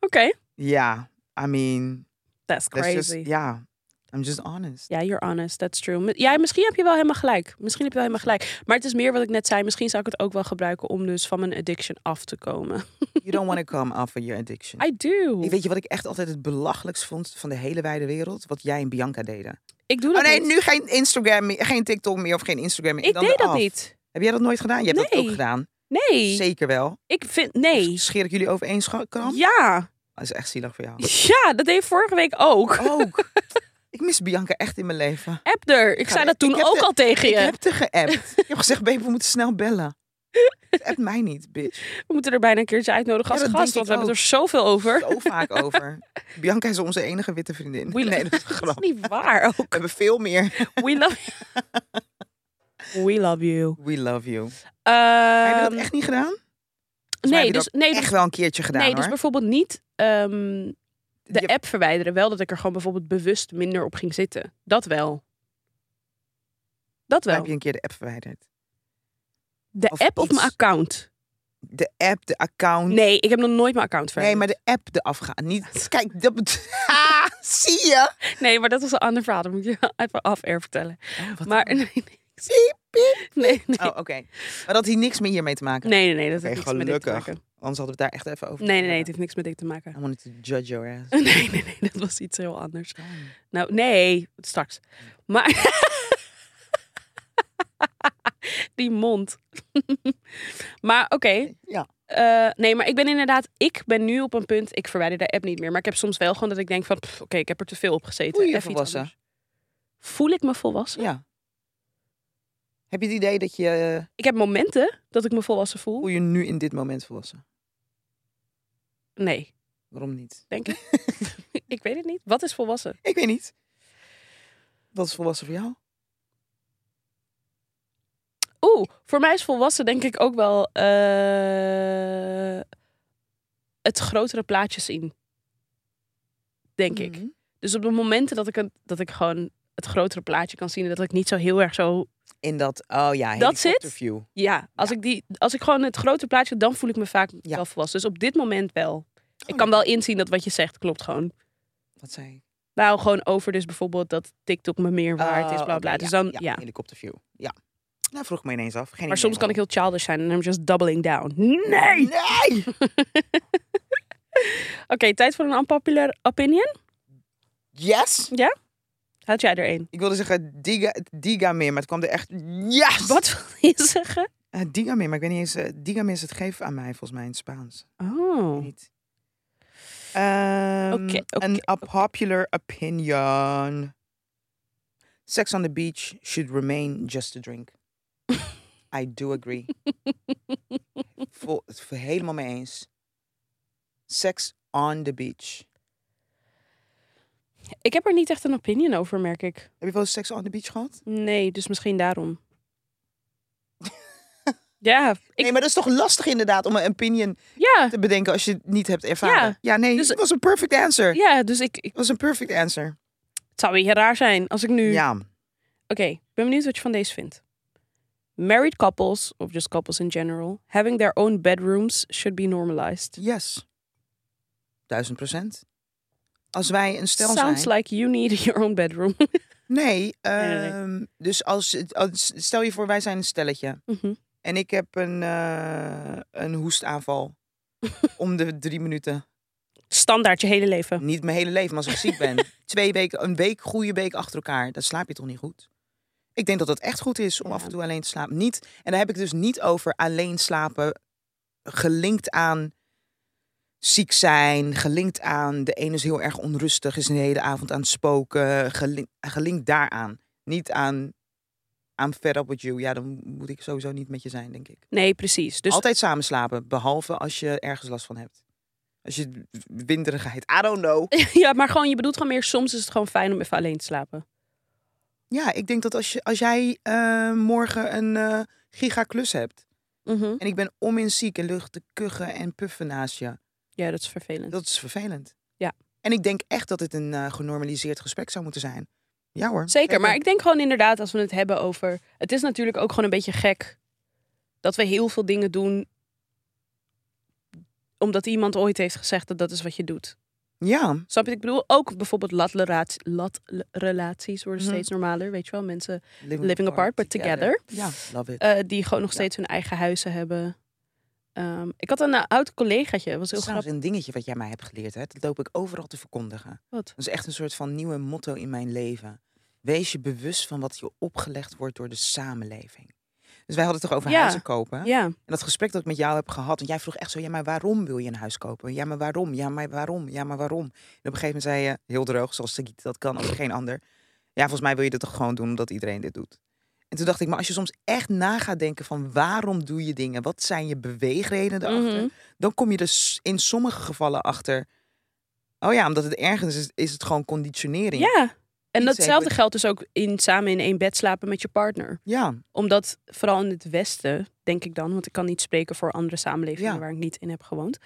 Speaker 2: Oké.
Speaker 1: Ja, I mean,
Speaker 2: That's
Speaker 1: that's
Speaker 2: crazy.
Speaker 1: just, ja, I'm just honest.
Speaker 2: Ja, you're honest. That's true. Mi- Ja, misschien heb je wel helemaal gelijk. Misschien heb je wel helemaal gelijk. Maar het is meer wat ik net zei. Misschien zou ik het ook wel gebruiken om dus van mijn addiction af te komen.
Speaker 1: You don't want to come off of your addiction.
Speaker 2: I do.
Speaker 1: Ik
Speaker 2: Ik,
Speaker 1: weet je wat ik echt altijd het belachelijkst vond van de hele wijde wereld? Wat jij en Bianca deden.
Speaker 2: doe dat
Speaker 1: Oh nee,
Speaker 2: niet.
Speaker 1: nu geen Instagram meer, geen TikTok meer of geen Instagram meer.
Speaker 2: ik
Speaker 1: dan
Speaker 2: deed dat
Speaker 1: eraf.
Speaker 2: niet.
Speaker 1: Heb jij dat nooit gedaan? Je hebt dat ook
Speaker 2: Nee.
Speaker 1: gedaan.
Speaker 2: Nee.
Speaker 1: Zeker wel.
Speaker 2: Ik vind... Nee.
Speaker 1: Scheer ik jullie over één scha- kam?
Speaker 2: Ja.
Speaker 1: Dat is echt zielig voor jou.
Speaker 2: Ja, dat deed ik vorige week ook.
Speaker 1: Oh. Ook. ik mis Bianca echt in mijn leven.
Speaker 2: Ebder. Ik
Speaker 1: Ja,
Speaker 2: zei
Speaker 1: ik-
Speaker 2: dat
Speaker 1: ik
Speaker 2: toen
Speaker 1: heb
Speaker 2: ook
Speaker 1: de-
Speaker 2: al tegen
Speaker 1: Ik
Speaker 2: je.
Speaker 1: heb te geappt. Ik heb gezegd, baby, we moeten snel bellen. App mij niet, bitch.
Speaker 2: We moeten er bijna een keertje uitnodigen
Speaker 1: Ja,
Speaker 2: als
Speaker 1: dat
Speaker 2: gast.
Speaker 1: denk
Speaker 2: Want
Speaker 1: ik
Speaker 2: we hebben
Speaker 1: ook.
Speaker 2: er zoveel over.
Speaker 1: Zo vaak over. Bianca is onze enige witte vriendin.
Speaker 2: We-
Speaker 1: nee, dat is een
Speaker 2: Dat
Speaker 1: grap.
Speaker 2: is niet waar.
Speaker 1: We
Speaker 2: Ook.
Speaker 1: hebben veel meer.
Speaker 2: We love We love you.
Speaker 1: We love you. heb je
Speaker 2: Ehm,
Speaker 1: dat echt niet gedaan? Volgens mij
Speaker 2: nee,
Speaker 1: heb je
Speaker 2: dus, nee, dus
Speaker 1: Echt wel een keertje gedaan
Speaker 2: nee,
Speaker 1: hoor.
Speaker 2: dus bijvoorbeeld niet ehm, de
Speaker 1: Je-
Speaker 2: app verwijderen. Wel dat ik er gewoon bijvoorbeeld bewust minder op ging zitten. Dat wel. Dat
Speaker 1: Dan
Speaker 2: wel.
Speaker 1: heb je een keer de app verwijderd.
Speaker 2: De
Speaker 1: of
Speaker 2: app op
Speaker 1: iets.
Speaker 2: mijn account.
Speaker 1: De app, de account. Nee,
Speaker 2: Nee, ik heb nog nooit mijn account verwijderd.
Speaker 1: maar de app eraf gaan. Niet, kijk, dat bet- Ha, zie je?
Speaker 2: Nee, maar, dat was een ander verhaal. Dat moet ik je even af-air vertellen. maar nee, nee,
Speaker 1: Piep, piep.
Speaker 2: nee. nee.
Speaker 1: Oh, oké. Maar dat heeft niks meer hiermee te maken.
Speaker 2: Nee, nee, nee, dat
Speaker 1: Oké,
Speaker 2: heeft niks met dit te
Speaker 1: gelukkig.
Speaker 2: maken.
Speaker 1: Anders hadden we het daar echt even over.
Speaker 2: Nee, nee, nee, het heeft niks met dit te maken.
Speaker 1: I wanted to judge your ass.
Speaker 2: Nee, nee, nee, dat was iets heel anders. Nou, nee, straks. Maar. Die mond. maar oké.
Speaker 1: Ja.
Speaker 2: eh, nee, maar ik ben inderdaad. Ik ben nu op een punt. Ik verwijder de app niet meer. Maar ik heb soms wel gewoon dat ik denk: van, pff, oké, ik heb er te veel op gezeten.
Speaker 1: Voel je je
Speaker 2: Even iets
Speaker 1: volwassen?
Speaker 2: anders. Voel ik me volwassen?
Speaker 1: Ja. Heb je het idee dat je... eh,
Speaker 2: Ik heb momenten dat ik me volwassen voel.
Speaker 1: Hoe je nu in dit moment volwassen?
Speaker 2: Nee,
Speaker 1: Waarom niet?
Speaker 2: denk ik. ik weet het niet. Wat is volwassen?
Speaker 1: Ik weet niet. Wat is volwassen voor jou?
Speaker 2: Oeh, voor mij is volwassen denk ik ook wel eh, het grotere plaatje zien. Denk ik.
Speaker 1: Mhm.
Speaker 2: Dus op de momenten dat ik, het, dat ik gewoon het grotere plaatje kan zien. en Dat ik niet zo heel erg zo.
Speaker 1: In dat, oh ja,
Speaker 2: Dat zit?
Speaker 1: helikopterview.
Speaker 2: Ja, als, Ik, die, als ik gewoon het grotere plaatje. dan voel ik me vaak
Speaker 1: Ja. Oh,
Speaker 2: wel volwassen. Dus op dit moment wel. ik kan wel inzien dat wat je zegt klopt gewoon.
Speaker 1: Wat zei ik?
Speaker 2: Nou, gewoon over dus bijvoorbeeld dat TikTok me meer waard is,
Speaker 1: Oh,
Speaker 2: bla
Speaker 1: oké,
Speaker 2: bla.
Speaker 1: ja,
Speaker 2: dus dan, ja.
Speaker 1: ja. Helikopterview. Ja. Nou, vroeg ik me ineens af. Geen
Speaker 2: Maar
Speaker 1: idee
Speaker 2: soms kan ik
Speaker 1: waarom.
Speaker 2: heel childish zijn en I'm just doubling down. Nee!
Speaker 1: Nee!
Speaker 2: Oké, tijd voor een unpopular opinion.
Speaker 1: Yes!
Speaker 2: Had jij er een?
Speaker 1: Ik wilde zeggen diga, diga meer, maar het kwam er echt... Yes!
Speaker 2: Wat wil je zeggen?
Speaker 1: Eh, diga meer, maar ik weet niet eens... eh, diga meer is het geef aan mij, volgens mij, in het Spaans.
Speaker 2: Oh.
Speaker 1: Niet. Ehm,
Speaker 2: Oké, oké,
Speaker 1: An unpopular opinion. Sex on the beach should remain just a drink. I do agree. Vol, het ver- helemaal mee eens. Sex on the beach.
Speaker 2: Ik heb er niet echt een opinion over, merk ik.
Speaker 1: Heb je wel eens seks on the beach gehad?
Speaker 2: Nee, dus misschien daarom. ja, ik,
Speaker 1: Nee, maar dat is toch lastig inderdaad om een opinion
Speaker 2: ja,
Speaker 1: te bedenken als je het niet hebt ervaren. Ja, nee,
Speaker 2: dus-
Speaker 1: het was een perfect answer. Het
Speaker 2: ja, dus ik, ik-
Speaker 1: was een perfect answer.
Speaker 2: het zou weer raar zijn als ik nu...
Speaker 1: Ja.
Speaker 2: Oké, ik ben benieuwd wat je van deze vindt. Married couples, of just couples in general, having their own bedrooms should be normalized.
Speaker 1: Yes. Duizend procent. Als wij een stel
Speaker 2: Sounds
Speaker 1: zijn...
Speaker 2: like you need your own bedroom.
Speaker 1: Nee,
Speaker 2: nee, nee.
Speaker 1: ehm, dus als, als- stel je voor, wij zijn een stelletje.
Speaker 2: Mhm.
Speaker 1: En ik heb een, eh, een hoestaanval. Om de drie minuten.
Speaker 2: Standaard je hele leven.
Speaker 1: Niet mijn hele leven, maar als ik ziek ben. Twee weken, een week, goede week achter elkaar. Dan slaap je toch niet goed? Ik denk dat het echt goed is om
Speaker 2: Ja.
Speaker 1: af en toe alleen te slapen. Niet, en daar heb ik dus niet over alleen slapen. Gelinkt aan ziek zijn. Gelinkt aan de ene is heel erg onrustig. Is een hele avond aan het spoken. Gelinkt, gelinkt daaraan. Niet aan I'm fed up with you. Ja, dan moet ik sowieso niet met je zijn, denk ik.
Speaker 2: Nee, precies. Dus
Speaker 1: Altijd samen slapen. Behalve als je ergens last van hebt. Als je winderigheid. I don't know.
Speaker 2: ja, maar gewoon, je bedoelt gewoon meer, soms is het gewoon fijn om even alleen te slapen.
Speaker 1: Ja, ik denk dat als, je, als jij eh, morgen een eh gigaklus hebt en ik ben om in ziek en lucht te kuchen en puffen naast je,
Speaker 2: Ja, dat is vervelend.
Speaker 1: dat is vervelend.
Speaker 2: Hm. Ja.
Speaker 1: En ik denk echt dat het een eh, genormaliseerd gesprek zou moeten zijn. Ja hoor.
Speaker 2: Zeker, maar ik denk gewoon inderdaad, als we het hebben over. Het is natuurlijk ook gewoon een beetje gek dat we heel veel dingen doen omdat iemand ooit heeft gezegd dat dat is wat je doet.
Speaker 1: Ja,
Speaker 2: Snap je? wat Ik bedoel, ook bijvoorbeeld latrelaties latrelaties worden
Speaker 1: Mhm.
Speaker 2: steeds normaler, weet je wel? Mensen living apart, but together.
Speaker 1: Ja, love it.
Speaker 2: eh, die gewoon nog
Speaker 1: Ja.
Speaker 2: steeds hun eigen huizen hebben. Ehm, ik had een eh, oud collegaatje, dat was
Speaker 1: dat
Speaker 2: heel
Speaker 1: is
Speaker 2: grappig.
Speaker 1: trouwens een dingetje wat jij mij hebt geleerd. Hè? Dat loop ik overal te verkondigen.
Speaker 2: Wat?
Speaker 1: Dat is echt een soort van nieuwe motto in mijn leven. Wees je bewust van wat je opgelegd wordt door de samenleving. Dus wij hadden het toch over
Speaker 2: Ja.
Speaker 1: huizen kopen?
Speaker 2: Ja,
Speaker 1: En dat gesprek dat ik met jou heb gehad, want jij vroeg echt zo, ja, maar waarom wil je een huis kopen? Ja, maar waarom? Ja, maar waarom? Ja, maar waarom? En op een gegeven moment zei je, heel droog, zoals Sagiet dat kan, als geen ander. Ja, volgens mij wil je dit toch gewoon doen omdat iedereen dit doet. En toen dacht ik, maar als je soms echt na gaat denken van waarom doe je dingen? Wat zijn je beweegredenen daarachter?
Speaker 2: Mhm.
Speaker 1: Dan kom je dus in sommige gevallen achter, oh ja, omdat het ergens is, is het gewoon conditionering.
Speaker 2: ja. En
Speaker 1: Niet
Speaker 2: datzelfde
Speaker 1: zeker.
Speaker 2: geldt dus ook in samen in één bed slapen met je partner.
Speaker 1: ja.
Speaker 2: omdat vooral in het Westen, denk ik dan, want ik kan niet spreken voor andere samenlevingen
Speaker 1: Ja.
Speaker 2: waar ik niet in heb gewoond,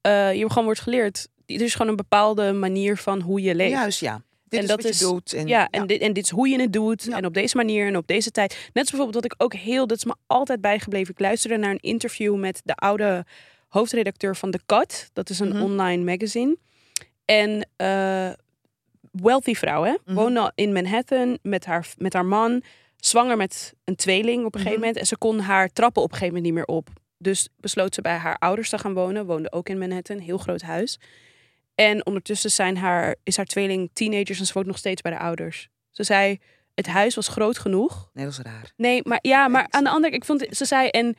Speaker 2: eh, je gewoon wordt geleerd. Er is gewoon een bepaalde manier van hoe je leeft. Ja,
Speaker 1: juist ja. Dit
Speaker 2: En
Speaker 1: is
Speaker 2: dat
Speaker 1: wat
Speaker 2: is-
Speaker 1: je doet. En,
Speaker 2: en, Dit, en dit is hoe je het doet.
Speaker 1: Ja.
Speaker 2: En op deze manier en op deze tijd. Net als bijvoorbeeld wat ik ook heel, dat is me altijd bijgebleven. Ik luisterde naar een interview met de oude hoofdredacteur van The Cut. Dat is een
Speaker 1: Mhm.
Speaker 2: online magazine. En eh, wealthy vrouw, hè?
Speaker 1: Mhm.
Speaker 2: Woonde al in Manhattan met haar, met haar man. Zwanger met een tweeling op een gegeven
Speaker 1: Mhm.
Speaker 2: moment. En ze kon haar trappen op een gegeven moment niet meer op. Dus besloot ze bij haar ouders te gaan wonen. Woonde ook in Manhattan, heel groot huis. En ondertussen zijn haar, is haar tweeling teenagers en ze woont nog steeds bij de ouders. Ze zei, het huis was groot genoeg.
Speaker 1: Nee, dat is raar.
Speaker 2: Nee, maar ja, maar
Speaker 1: ik
Speaker 2: aan de andere kant, ik vond, ze zei, en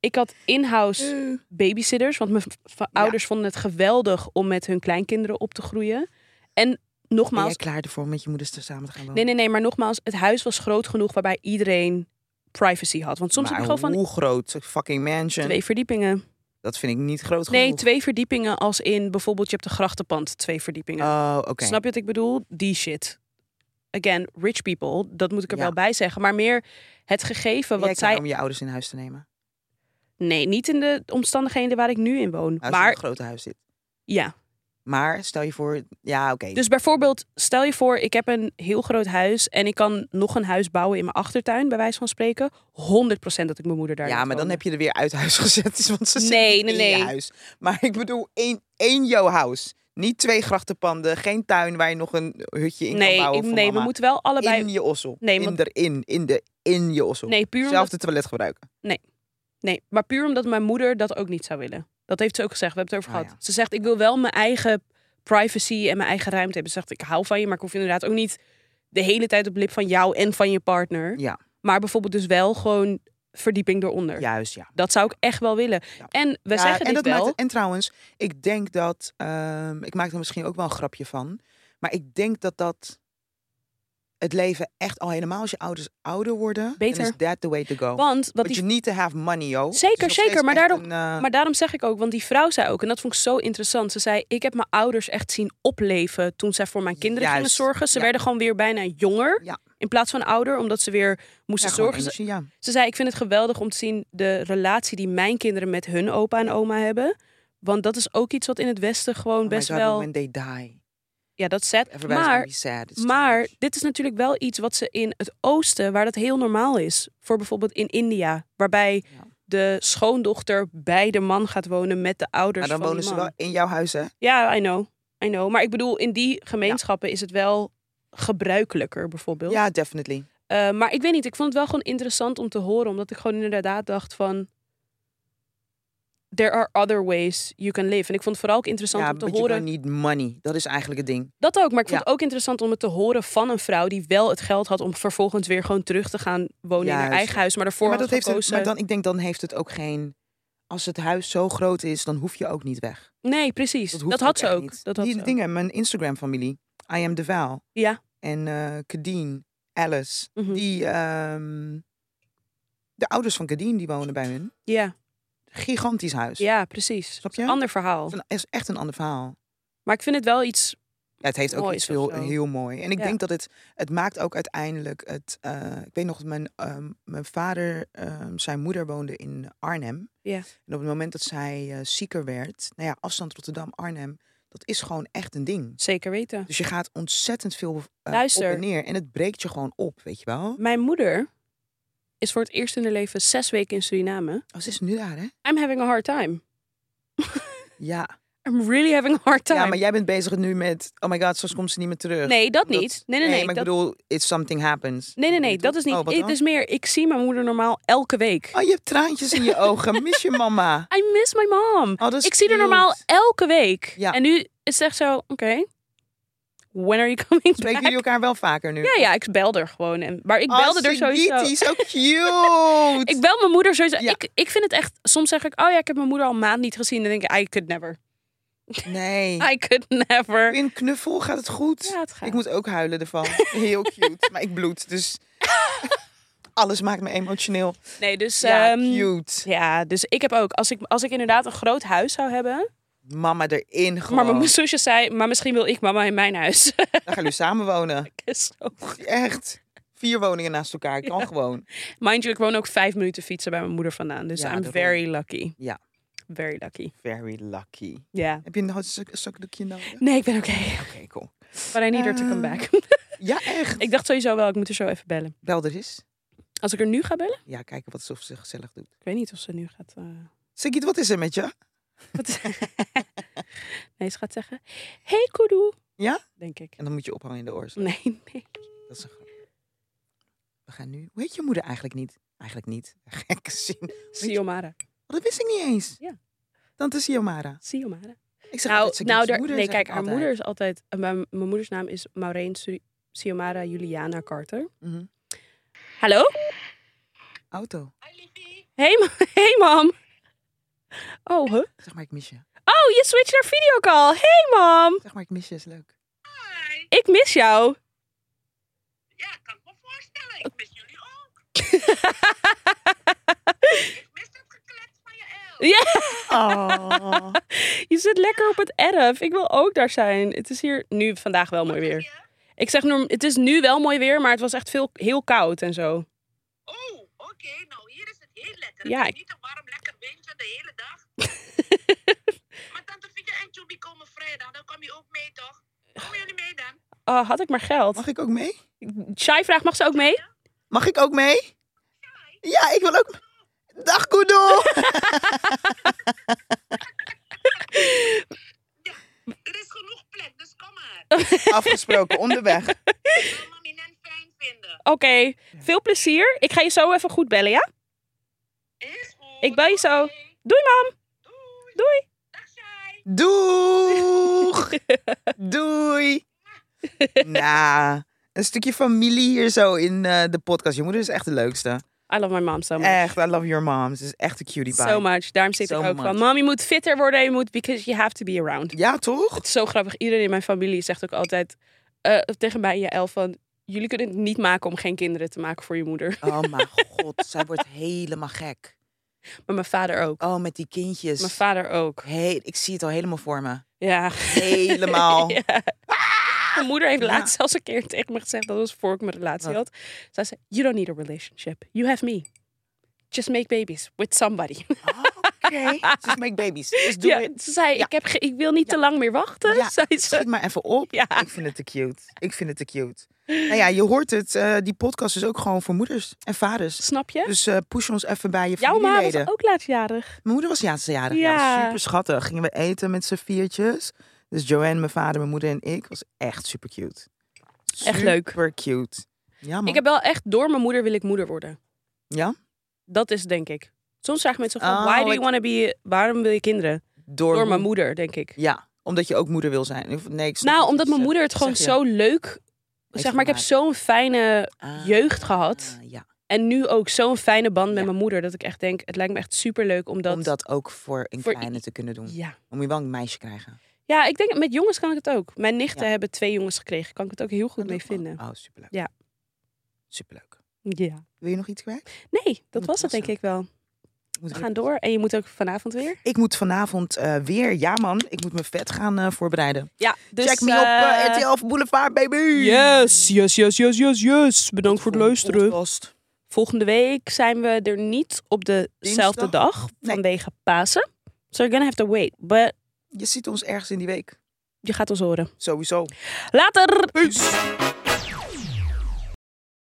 Speaker 2: ik had in-house
Speaker 1: Eh.
Speaker 2: babysitters. Want mijn v- v- ouders vonden het geweldig om met hun kleinkinderen op te groeien. En
Speaker 1: Ben jij
Speaker 2: nogmaals,
Speaker 1: klaar ervoor om met je moeders te samen te gaan wonen?
Speaker 2: nee, nee, nee, maar nogmaals, het huis was groot genoeg waarbij iedereen privacy had. Want soms
Speaker 1: maar
Speaker 2: heb je gewoon van
Speaker 1: hoe groot? Fucking mansion.
Speaker 2: twee verdiepingen.
Speaker 1: Dat vind ik niet groot genoeg.
Speaker 2: Nee, twee verdiepingen als in bijvoorbeeld je hebt een grachtenpand, twee verdiepingen.
Speaker 1: Oh, oké.
Speaker 2: Snap je wat ik bedoel? Die shit. Again, rich people, dat moet ik er
Speaker 1: Ja.
Speaker 2: wel bij zeggen. Maar meer het gegeven
Speaker 1: Ben jij
Speaker 2: wat
Speaker 1: klaar
Speaker 2: zij.
Speaker 1: om je ouders in huis te nemen?
Speaker 2: Nee, niet in de omstandigheden waar ik nu in woon.
Speaker 1: Als je in
Speaker 2: maar
Speaker 1: een groot huis zit.
Speaker 2: ja.
Speaker 1: Maar stel je voor... Ja, oké.
Speaker 2: Dus bijvoorbeeld, stel je voor, ik heb een heel groot huis en ik kan nog een huis bouwen in mijn achtertuin, bij wijze van spreken. 100% dat ik mijn moeder daar
Speaker 1: ja, maar dan heb je er weer uit huis gezet. is, Want ze zitten niet
Speaker 2: Nee, nee,
Speaker 1: in
Speaker 2: nee.
Speaker 1: je huis. Maar ik bedoel één, één jouw huis. Niet twee grachtenpanden. Geen tuin waar je nog een hutje in kan
Speaker 2: Nee,
Speaker 1: bouwen
Speaker 2: ik-
Speaker 1: voor
Speaker 2: nee we
Speaker 1: mama.
Speaker 2: moeten wel allebei.
Speaker 1: In je ossel.
Speaker 2: Nee,
Speaker 1: in
Speaker 2: want-
Speaker 1: erin. In, de, in je ossel.
Speaker 2: nee, puur omdat,
Speaker 1: Zelfde toilet gebruiken.
Speaker 2: nee, maar puur omdat mijn moeder dat ook niet zou willen. Dat heeft ze ook gezegd, we hebben het over
Speaker 1: Ah,
Speaker 2: gehad. Ze zegt, ik wil wel mijn eigen privacy en mijn eigen ruimte hebben. Ze zegt, ik hou van je, maar ik hoef inderdaad ook niet de hele tijd op lip van jou en van je partner.
Speaker 1: Ja.
Speaker 2: Maar bijvoorbeeld dus wel gewoon verdieping eronder.
Speaker 1: Juist, ja.
Speaker 2: Dat zou ik echt wel willen.
Speaker 1: Ja.
Speaker 2: En we
Speaker 1: Ja,
Speaker 2: zeggen
Speaker 1: en
Speaker 2: dit
Speaker 1: dat
Speaker 2: wel.
Speaker 1: maakt het- en trouwens, ik denk dat. ehm, ik maak er misschien ook wel een grapje van. Maar ik denk dat dat. Het leven echt al helemaal als je ouders ouder worden.
Speaker 2: Beter.
Speaker 1: Dan is that the way to go.
Speaker 2: Want wat
Speaker 1: But
Speaker 2: die
Speaker 1: you need to have money, yo. Het is
Speaker 2: Zeker,
Speaker 1: nog steeds
Speaker 2: zeker, maar
Speaker 1: echt
Speaker 2: daardoor-
Speaker 1: een, eh,
Speaker 2: Maar daarom zeg ik ook, want die vrouw zei ook, en dat vond ik zo interessant. Ze zei: Ik heb mijn ouders echt zien opleven toen zij voor mijn kinderen
Speaker 1: Juist,
Speaker 2: gingen zorgen. Ze
Speaker 1: ja.
Speaker 2: werden gewoon weer bijna jonger
Speaker 1: Ja.
Speaker 2: in plaats van ouder, omdat ze weer
Speaker 1: ja,
Speaker 2: moesten
Speaker 1: gewoon
Speaker 2: zorgen. Ze,
Speaker 1: energie, ja.
Speaker 2: ze zei: Ik vind het geweldig om te zien de relatie die mijn kinderen met hun opa en oma hebben. Want dat is ook iets wat in het Westen gewoon
Speaker 1: Oh my
Speaker 2: best
Speaker 1: God,
Speaker 2: wel.
Speaker 1: When they die.
Speaker 2: Ja, dat zet.
Speaker 1: Everybody's gonna
Speaker 2: Maar
Speaker 1: be sad. It's too
Speaker 2: maar dus
Speaker 1: much.
Speaker 2: dit is natuurlijk wel iets wat ze in het oosten, waar dat heel normaal is. Voor bijvoorbeeld in India, waarbij
Speaker 1: Ja.
Speaker 2: de schoondochter bij de man gaat wonen met de ouders
Speaker 1: Maar dan
Speaker 2: van
Speaker 1: wonen
Speaker 2: die
Speaker 1: ze
Speaker 2: man.
Speaker 1: wel in jouw huis, hè?
Speaker 2: Ja, I know. I know. Maar ik bedoel, in die gemeenschappen is het wel gebruikelijker bijvoorbeeld.
Speaker 1: Ja, definitely.
Speaker 2: Eh, maar ik weet niet, ik vond het wel gewoon interessant om te horen. Omdat ik gewoon inderdaad dacht van... There are other ways you can live. En ik vond het vooral ook interessant
Speaker 1: Ja,
Speaker 2: om te
Speaker 1: but you
Speaker 2: horen...
Speaker 1: don't need money. Dat is eigenlijk het ding.
Speaker 2: Dat ook, maar ik vond het ook interessant om het te horen van een vrouw... die wel het geld had om vervolgens weer gewoon terug te gaan wonen in haar
Speaker 1: Juist.
Speaker 2: eigen huis. Maar daarvoor
Speaker 1: maar
Speaker 2: had
Speaker 1: dat heeft het-
Speaker 2: gekozen...
Speaker 1: maar dan, ik denk dan heeft het ook geen. Als het huis zo groot is, dan hoef je ook niet weg.
Speaker 2: Nee, precies. Dat,
Speaker 1: hoeft
Speaker 2: had ze
Speaker 1: echt
Speaker 2: ook.
Speaker 1: niet.
Speaker 2: Dat had
Speaker 1: Die
Speaker 2: ze ook.
Speaker 1: dingen, mijn Instagram-familie, I am de Vaal
Speaker 2: Ja.
Speaker 1: en eh Kadien, Alice,
Speaker 2: Mhm.
Speaker 1: die ehm, de ouders van Kadien die wonen bij hun,
Speaker 2: Ja,
Speaker 1: gigantisch huis.
Speaker 2: ja, precies.
Speaker 1: Dus- Snap je?
Speaker 2: Ander verhaal.
Speaker 1: Het is een- is echt een ander verhaal.
Speaker 2: Maar ik vind het wel iets...
Speaker 1: Ja, het heeft ook
Speaker 2: Mooi
Speaker 1: iets
Speaker 2: is of
Speaker 1: heel,
Speaker 2: zo.
Speaker 1: heel mooi. En ik
Speaker 2: Ja.
Speaker 1: denk dat het, het maakt ook uiteindelijk het. eh, ik weet nog dat mijn, ehm, mijn vader, ehm, zijn moeder woonde in Arnhem.
Speaker 2: Ja.
Speaker 1: En op het moment dat zij eh, zieker werd, nou ja, afstand Rotterdam, Arnhem, dat is gewoon echt een ding.
Speaker 2: Zeker weten.
Speaker 1: Dus je gaat ontzettend veel eh,
Speaker 2: Luister.
Speaker 1: op en neer. En het breekt je gewoon op, weet je wel.
Speaker 2: Mijn moeder is voor het eerst in haar leven zes weken in Suriname.
Speaker 1: Als is nu daar, hè?
Speaker 2: I'm having a hard time.
Speaker 1: Ja.
Speaker 2: I'm really having a hard time.
Speaker 1: ja, maar jij bent bezig nu met... Oh my god, straks komt ze niet meer terug.
Speaker 2: Nee, dat
Speaker 1: Dat-
Speaker 2: niet. Nee, nee, nee.
Speaker 1: maar
Speaker 2: dat...
Speaker 1: ik bedoel, it's something happens.
Speaker 2: Nee, nee, nee,
Speaker 1: Toch?
Speaker 2: dat is niet.
Speaker 1: Oh, wat
Speaker 2: het
Speaker 1: dan?
Speaker 2: is meer, ik zie mijn moeder normaal elke week.
Speaker 1: Oh, je hebt traantjes in je ogen. Mis je mama.
Speaker 2: I miss my mom.
Speaker 1: Oh, dat is
Speaker 2: Ik zie haar
Speaker 1: cute.
Speaker 2: normaal elke week.
Speaker 1: Ja.
Speaker 2: En nu is het echt zo, oké. When are you coming
Speaker 1: Spreken
Speaker 2: back?
Speaker 1: jullie elkaar wel vaker nu?
Speaker 2: Ja, ja, ik bel er gewoon. En, maar ik
Speaker 1: Oh,
Speaker 2: belde er sowieso.
Speaker 1: Sigiti, zo cute.
Speaker 2: Ik bel mijn moeder sowieso.
Speaker 1: Ja.
Speaker 2: Ik, ik vind het echt, soms zeg ik, oh ja, ik heb mijn moeder al een maand niet gezien. Dan denk ik, I could never.
Speaker 1: Nee.
Speaker 2: I could never.
Speaker 1: In knuffel gaat het goed.
Speaker 2: Ja, het gaat.
Speaker 1: Ik moet ook huilen ervan. Heel cute. maar ik bloed, dus... Alles maakt me emotioneel.
Speaker 2: Nee, dus,
Speaker 1: Ja,
Speaker 2: ehm,
Speaker 1: cute.
Speaker 2: ja, dus ik heb ook, als ik, als ik inderdaad een groot huis zou hebben.
Speaker 1: Mama erin gewoon.
Speaker 2: Maar mijn zusje zei, maar misschien wil ik mama in mijn huis.
Speaker 1: Dan gaan jullie samen wonen.
Speaker 2: Zo.
Speaker 1: Echt. Vier woningen naast elkaar. Kan gewoon.
Speaker 2: Mind you, ik woon ook vijf minuten fietsen bij mijn moeder vandaan. Dus
Speaker 1: Ja,
Speaker 2: I'm
Speaker 1: daarom.
Speaker 2: very lucky.
Speaker 1: Ja.
Speaker 2: Very lucky.
Speaker 1: Very lucky.
Speaker 2: Ja.
Speaker 1: Heb je een hot sok- zakdoekje nodig? Oké,
Speaker 2: Nee, ik ben oké.
Speaker 1: cool.
Speaker 2: But I need her to come
Speaker 1: Eh.
Speaker 2: back.
Speaker 1: Ja, echt.
Speaker 2: ik dacht sowieso wel, ik moet er zo even bellen.
Speaker 1: Bel er eens.
Speaker 2: Als ik er nu ga bellen?
Speaker 1: Ja, kijken wat ze of ze gezellig doet.
Speaker 2: Ik weet niet of ze nu gaat... eh,
Speaker 1: Sigit, wat is er met je?
Speaker 2: wat- nee, ze gaat zeggen... Hey, kudu.
Speaker 1: Ja?
Speaker 2: Denk ik.
Speaker 1: En dan moet je ophangen in de oor.
Speaker 2: Nee, nee.
Speaker 1: Dat is een grap. We gaan nu... Hoe heet je moeder eigenlijk niet? Eigenlijk niet. Gekke zin.
Speaker 2: Siomara.
Speaker 1: Oh, dat wist ik niet eens.
Speaker 2: Ja.
Speaker 1: Tante Siomara.
Speaker 2: Siomara.
Speaker 1: Ik zeg altijd
Speaker 2: Nou,
Speaker 1: Sigit's
Speaker 2: nou daar-
Speaker 1: moeder,
Speaker 2: nee,
Speaker 1: zeg
Speaker 2: kijk,
Speaker 1: ik
Speaker 2: haar
Speaker 1: altijd.
Speaker 2: moeder is altijd... eh, Mijn, mijn moeders naam is Maureen Su- Siomara Juliana Carter.
Speaker 1: Mhm.
Speaker 2: Hallo?
Speaker 1: Auto.
Speaker 2: Hey, ma- hey mam. Oh, huh?
Speaker 1: Zeg maar, ik mis je.
Speaker 2: Oh, je switcht naar videocall. Hey mam.
Speaker 1: Zeg maar, ik mis je. Is leuk.
Speaker 2: Ik mis jou.
Speaker 3: Ja, kan ik me voorstellen. Ik mis jullie ook. Ik mis het geklets van je el.
Speaker 1: Oh.
Speaker 2: je zit lekker op het erf. Ik wil ook daar zijn. Het is hier nu vandaag wel mooi weer. Ik zeg, norm- het is nu wel mooi weer, maar het was echt veel, heel koud en zo.
Speaker 3: Oh, oké. Nou, hier is het heel lekker.
Speaker 2: Ja,
Speaker 3: het
Speaker 2: ik-
Speaker 3: is niet een warm, lekker windje de hele dag. maar tante Fietje en Tjoebie komen vrijdag. Dan kom je ook mee, toch? Komen jullie mee dan?
Speaker 2: Ah, had ik maar geld.
Speaker 1: Mag ik ook mee?
Speaker 2: Shai vraagt, mag ze ook mee?
Speaker 1: Mag ik ook mee? Ja, ik wil ook. Dag Kudo!
Speaker 3: Er is genoeg plek, dus kom maar.
Speaker 1: Afgesproken, onderweg.
Speaker 3: Ik wil mami en fijn vinden.
Speaker 2: Oké, veel plezier. Ik ga je zo even goed bellen, ja?
Speaker 3: Is goed.
Speaker 2: Ik bel je zo.
Speaker 3: Oké.
Speaker 2: Doei mam.
Speaker 3: Doei.
Speaker 2: Doei.
Speaker 3: Dag,
Speaker 1: Doeg!
Speaker 3: Shai.
Speaker 1: Doei! Nou, een stukje familie hier zo in eh, de podcast. Je moeder is echt de leukste.
Speaker 2: I love my mom so much.
Speaker 1: Echt, I love your mom. Ze is echt een cutie pie.
Speaker 2: So much. Daarom zit
Speaker 1: So
Speaker 2: ik ook
Speaker 1: much.
Speaker 2: van, mam, je moet fitter worden. Je moet, because you have to be around.
Speaker 1: Ja, toch?
Speaker 2: Het is zo grappig. Iedereen in mijn familie zegt ook altijd eh, tegen mij en Jaël van... Jullie kunnen het niet maken om geen kinderen te maken voor je moeder.
Speaker 1: Oh mijn god, zij wordt helemaal gek.
Speaker 2: Maar mijn vader ook.
Speaker 1: Oh, met die kindjes.
Speaker 2: Mijn vader ook.
Speaker 1: Hey, ik zie het al helemaal voor me.
Speaker 2: Ja.
Speaker 1: Helemaal.
Speaker 2: Ja. Mijn moeder heeft
Speaker 1: Ja.
Speaker 2: laatst zelfs een keer tegen me gezegd... dat was voor ik mijn relatie
Speaker 1: Wat?
Speaker 2: had. Zij zei, you don't need a relationship. You have me. Just make babies with somebody.
Speaker 1: Oh, Oké, just make babies. Just do
Speaker 2: Ja,
Speaker 1: it.
Speaker 2: ze zei,
Speaker 1: Ja.
Speaker 2: ik, heb ge- ik wil niet te lang meer wachten.
Speaker 1: Ja,
Speaker 2: zei ze.
Speaker 1: Schiet maar even op.
Speaker 2: Ja.
Speaker 1: Ik vind het te cute. Ik vind het te cute. Nou ja, je hoort het. eh, die podcast is ook gewoon voor moeders en vaders.
Speaker 2: Snap je?
Speaker 1: Dus eh, push ons even bij je
Speaker 2: Jouw ma was
Speaker 1: familieleden.
Speaker 2: ook laatstjarig.
Speaker 1: Mijn moeder was laatste jaren.
Speaker 2: Ja.
Speaker 1: super schattig. Gingen we eten met z'n viertjes. Dus Joanne, mijn vader, mijn moeder en ik. Was echt super cute.
Speaker 2: Echt leuk.
Speaker 1: Super cute. Ja, man.
Speaker 2: Ik heb wel echt door mijn moeder wil ik moeder worden.
Speaker 1: Ja?
Speaker 2: Dat is het, denk ik. Soms vragen mensen van,
Speaker 1: Oh,
Speaker 2: why do
Speaker 1: ik-
Speaker 2: you want to be... Waarom wil je kinderen?
Speaker 1: Door,
Speaker 2: Door
Speaker 1: moed-
Speaker 2: mijn moeder, denk ik.
Speaker 1: Ja, omdat je ook moeder wil zijn. Of- Nee, ik snap
Speaker 2: Nou,
Speaker 1: wat
Speaker 2: omdat
Speaker 1: je
Speaker 2: mijn
Speaker 1: zegt.
Speaker 2: moeder het
Speaker 1: Zeg
Speaker 2: gewoon
Speaker 1: je.
Speaker 2: zo leuk... Zeg maar, ik heb
Speaker 1: gemaakt.
Speaker 2: zo'n fijne...
Speaker 1: Ah,
Speaker 2: jeugd gehad.
Speaker 1: Ja,
Speaker 2: En nu ook zo'n fijne band met
Speaker 1: Ja.
Speaker 2: mijn moeder. Dat ik echt denk, het lijkt me echt superleuk om dat...
Speaker 1: om dat ook voor een
Speaker 2: Voor i-
Speaker 1: kleine te kunnen doen.
Speaker 2: Ja.
Speaker 1: Om je wel een meisje te krijgen.
Speaker 2: ja, ik denk, met jongens kan ik het ook. Mijn nichten
Speaker 1: Ja.
Speaker 2: hebben twee jongens gekregen. Kan ik het ook heel goed
Speaker 1: Dat
Speaker 2: mee
Speaker 1: doe ik wel.
Speaker 2: vinden.
Speaker 1: Oh, superleuk.
Speaker 2: Ja.
Speaker 1: Superleuk.
Speaker 2: Ja.
Speaker 1: Wil je nog iets kwijt?
Speaker 2: Nee, dat
Speaker 1: Moet
Speaker 2: was het denk
Speaker 1: passen.
Speaker 2: ik wel.
Speaker 1: Moet
Speaker 2: We
Speaker 1: ik-
Speaker 2: gaan door. En je moet ook vanavond weer.
Speaker 1: Ik moet vanavond eh, weer, ja man, ik moet mijn vet gaan eh, voorbereiden.
Speaker 2: Ja, dus...
Speaker 1: Check me op eh, RTL of Boulevard, baby.
Speaker 2: Yes, yes, yes, yes, yes, yes. Bedankt voor
Speaker 1: Volgende
Speaker 2: het luisteren.
Speaker 1: podcast.
Speaker 2: Volgende week zijn we er niet op dezelfde
Speaker 1: Dinsdag?
Speaker 2: dag
Speaker 1: Nee.
Speaker 2: vanwege Pasen. So you're gonna have to wait. But
Speaker 1: Je ziet ons ergens in die week.
Speaker 2: je gaat ons horen.
Speaker 1: Sowieso.
Speaker 2: Later!
Speaker 1: Peace.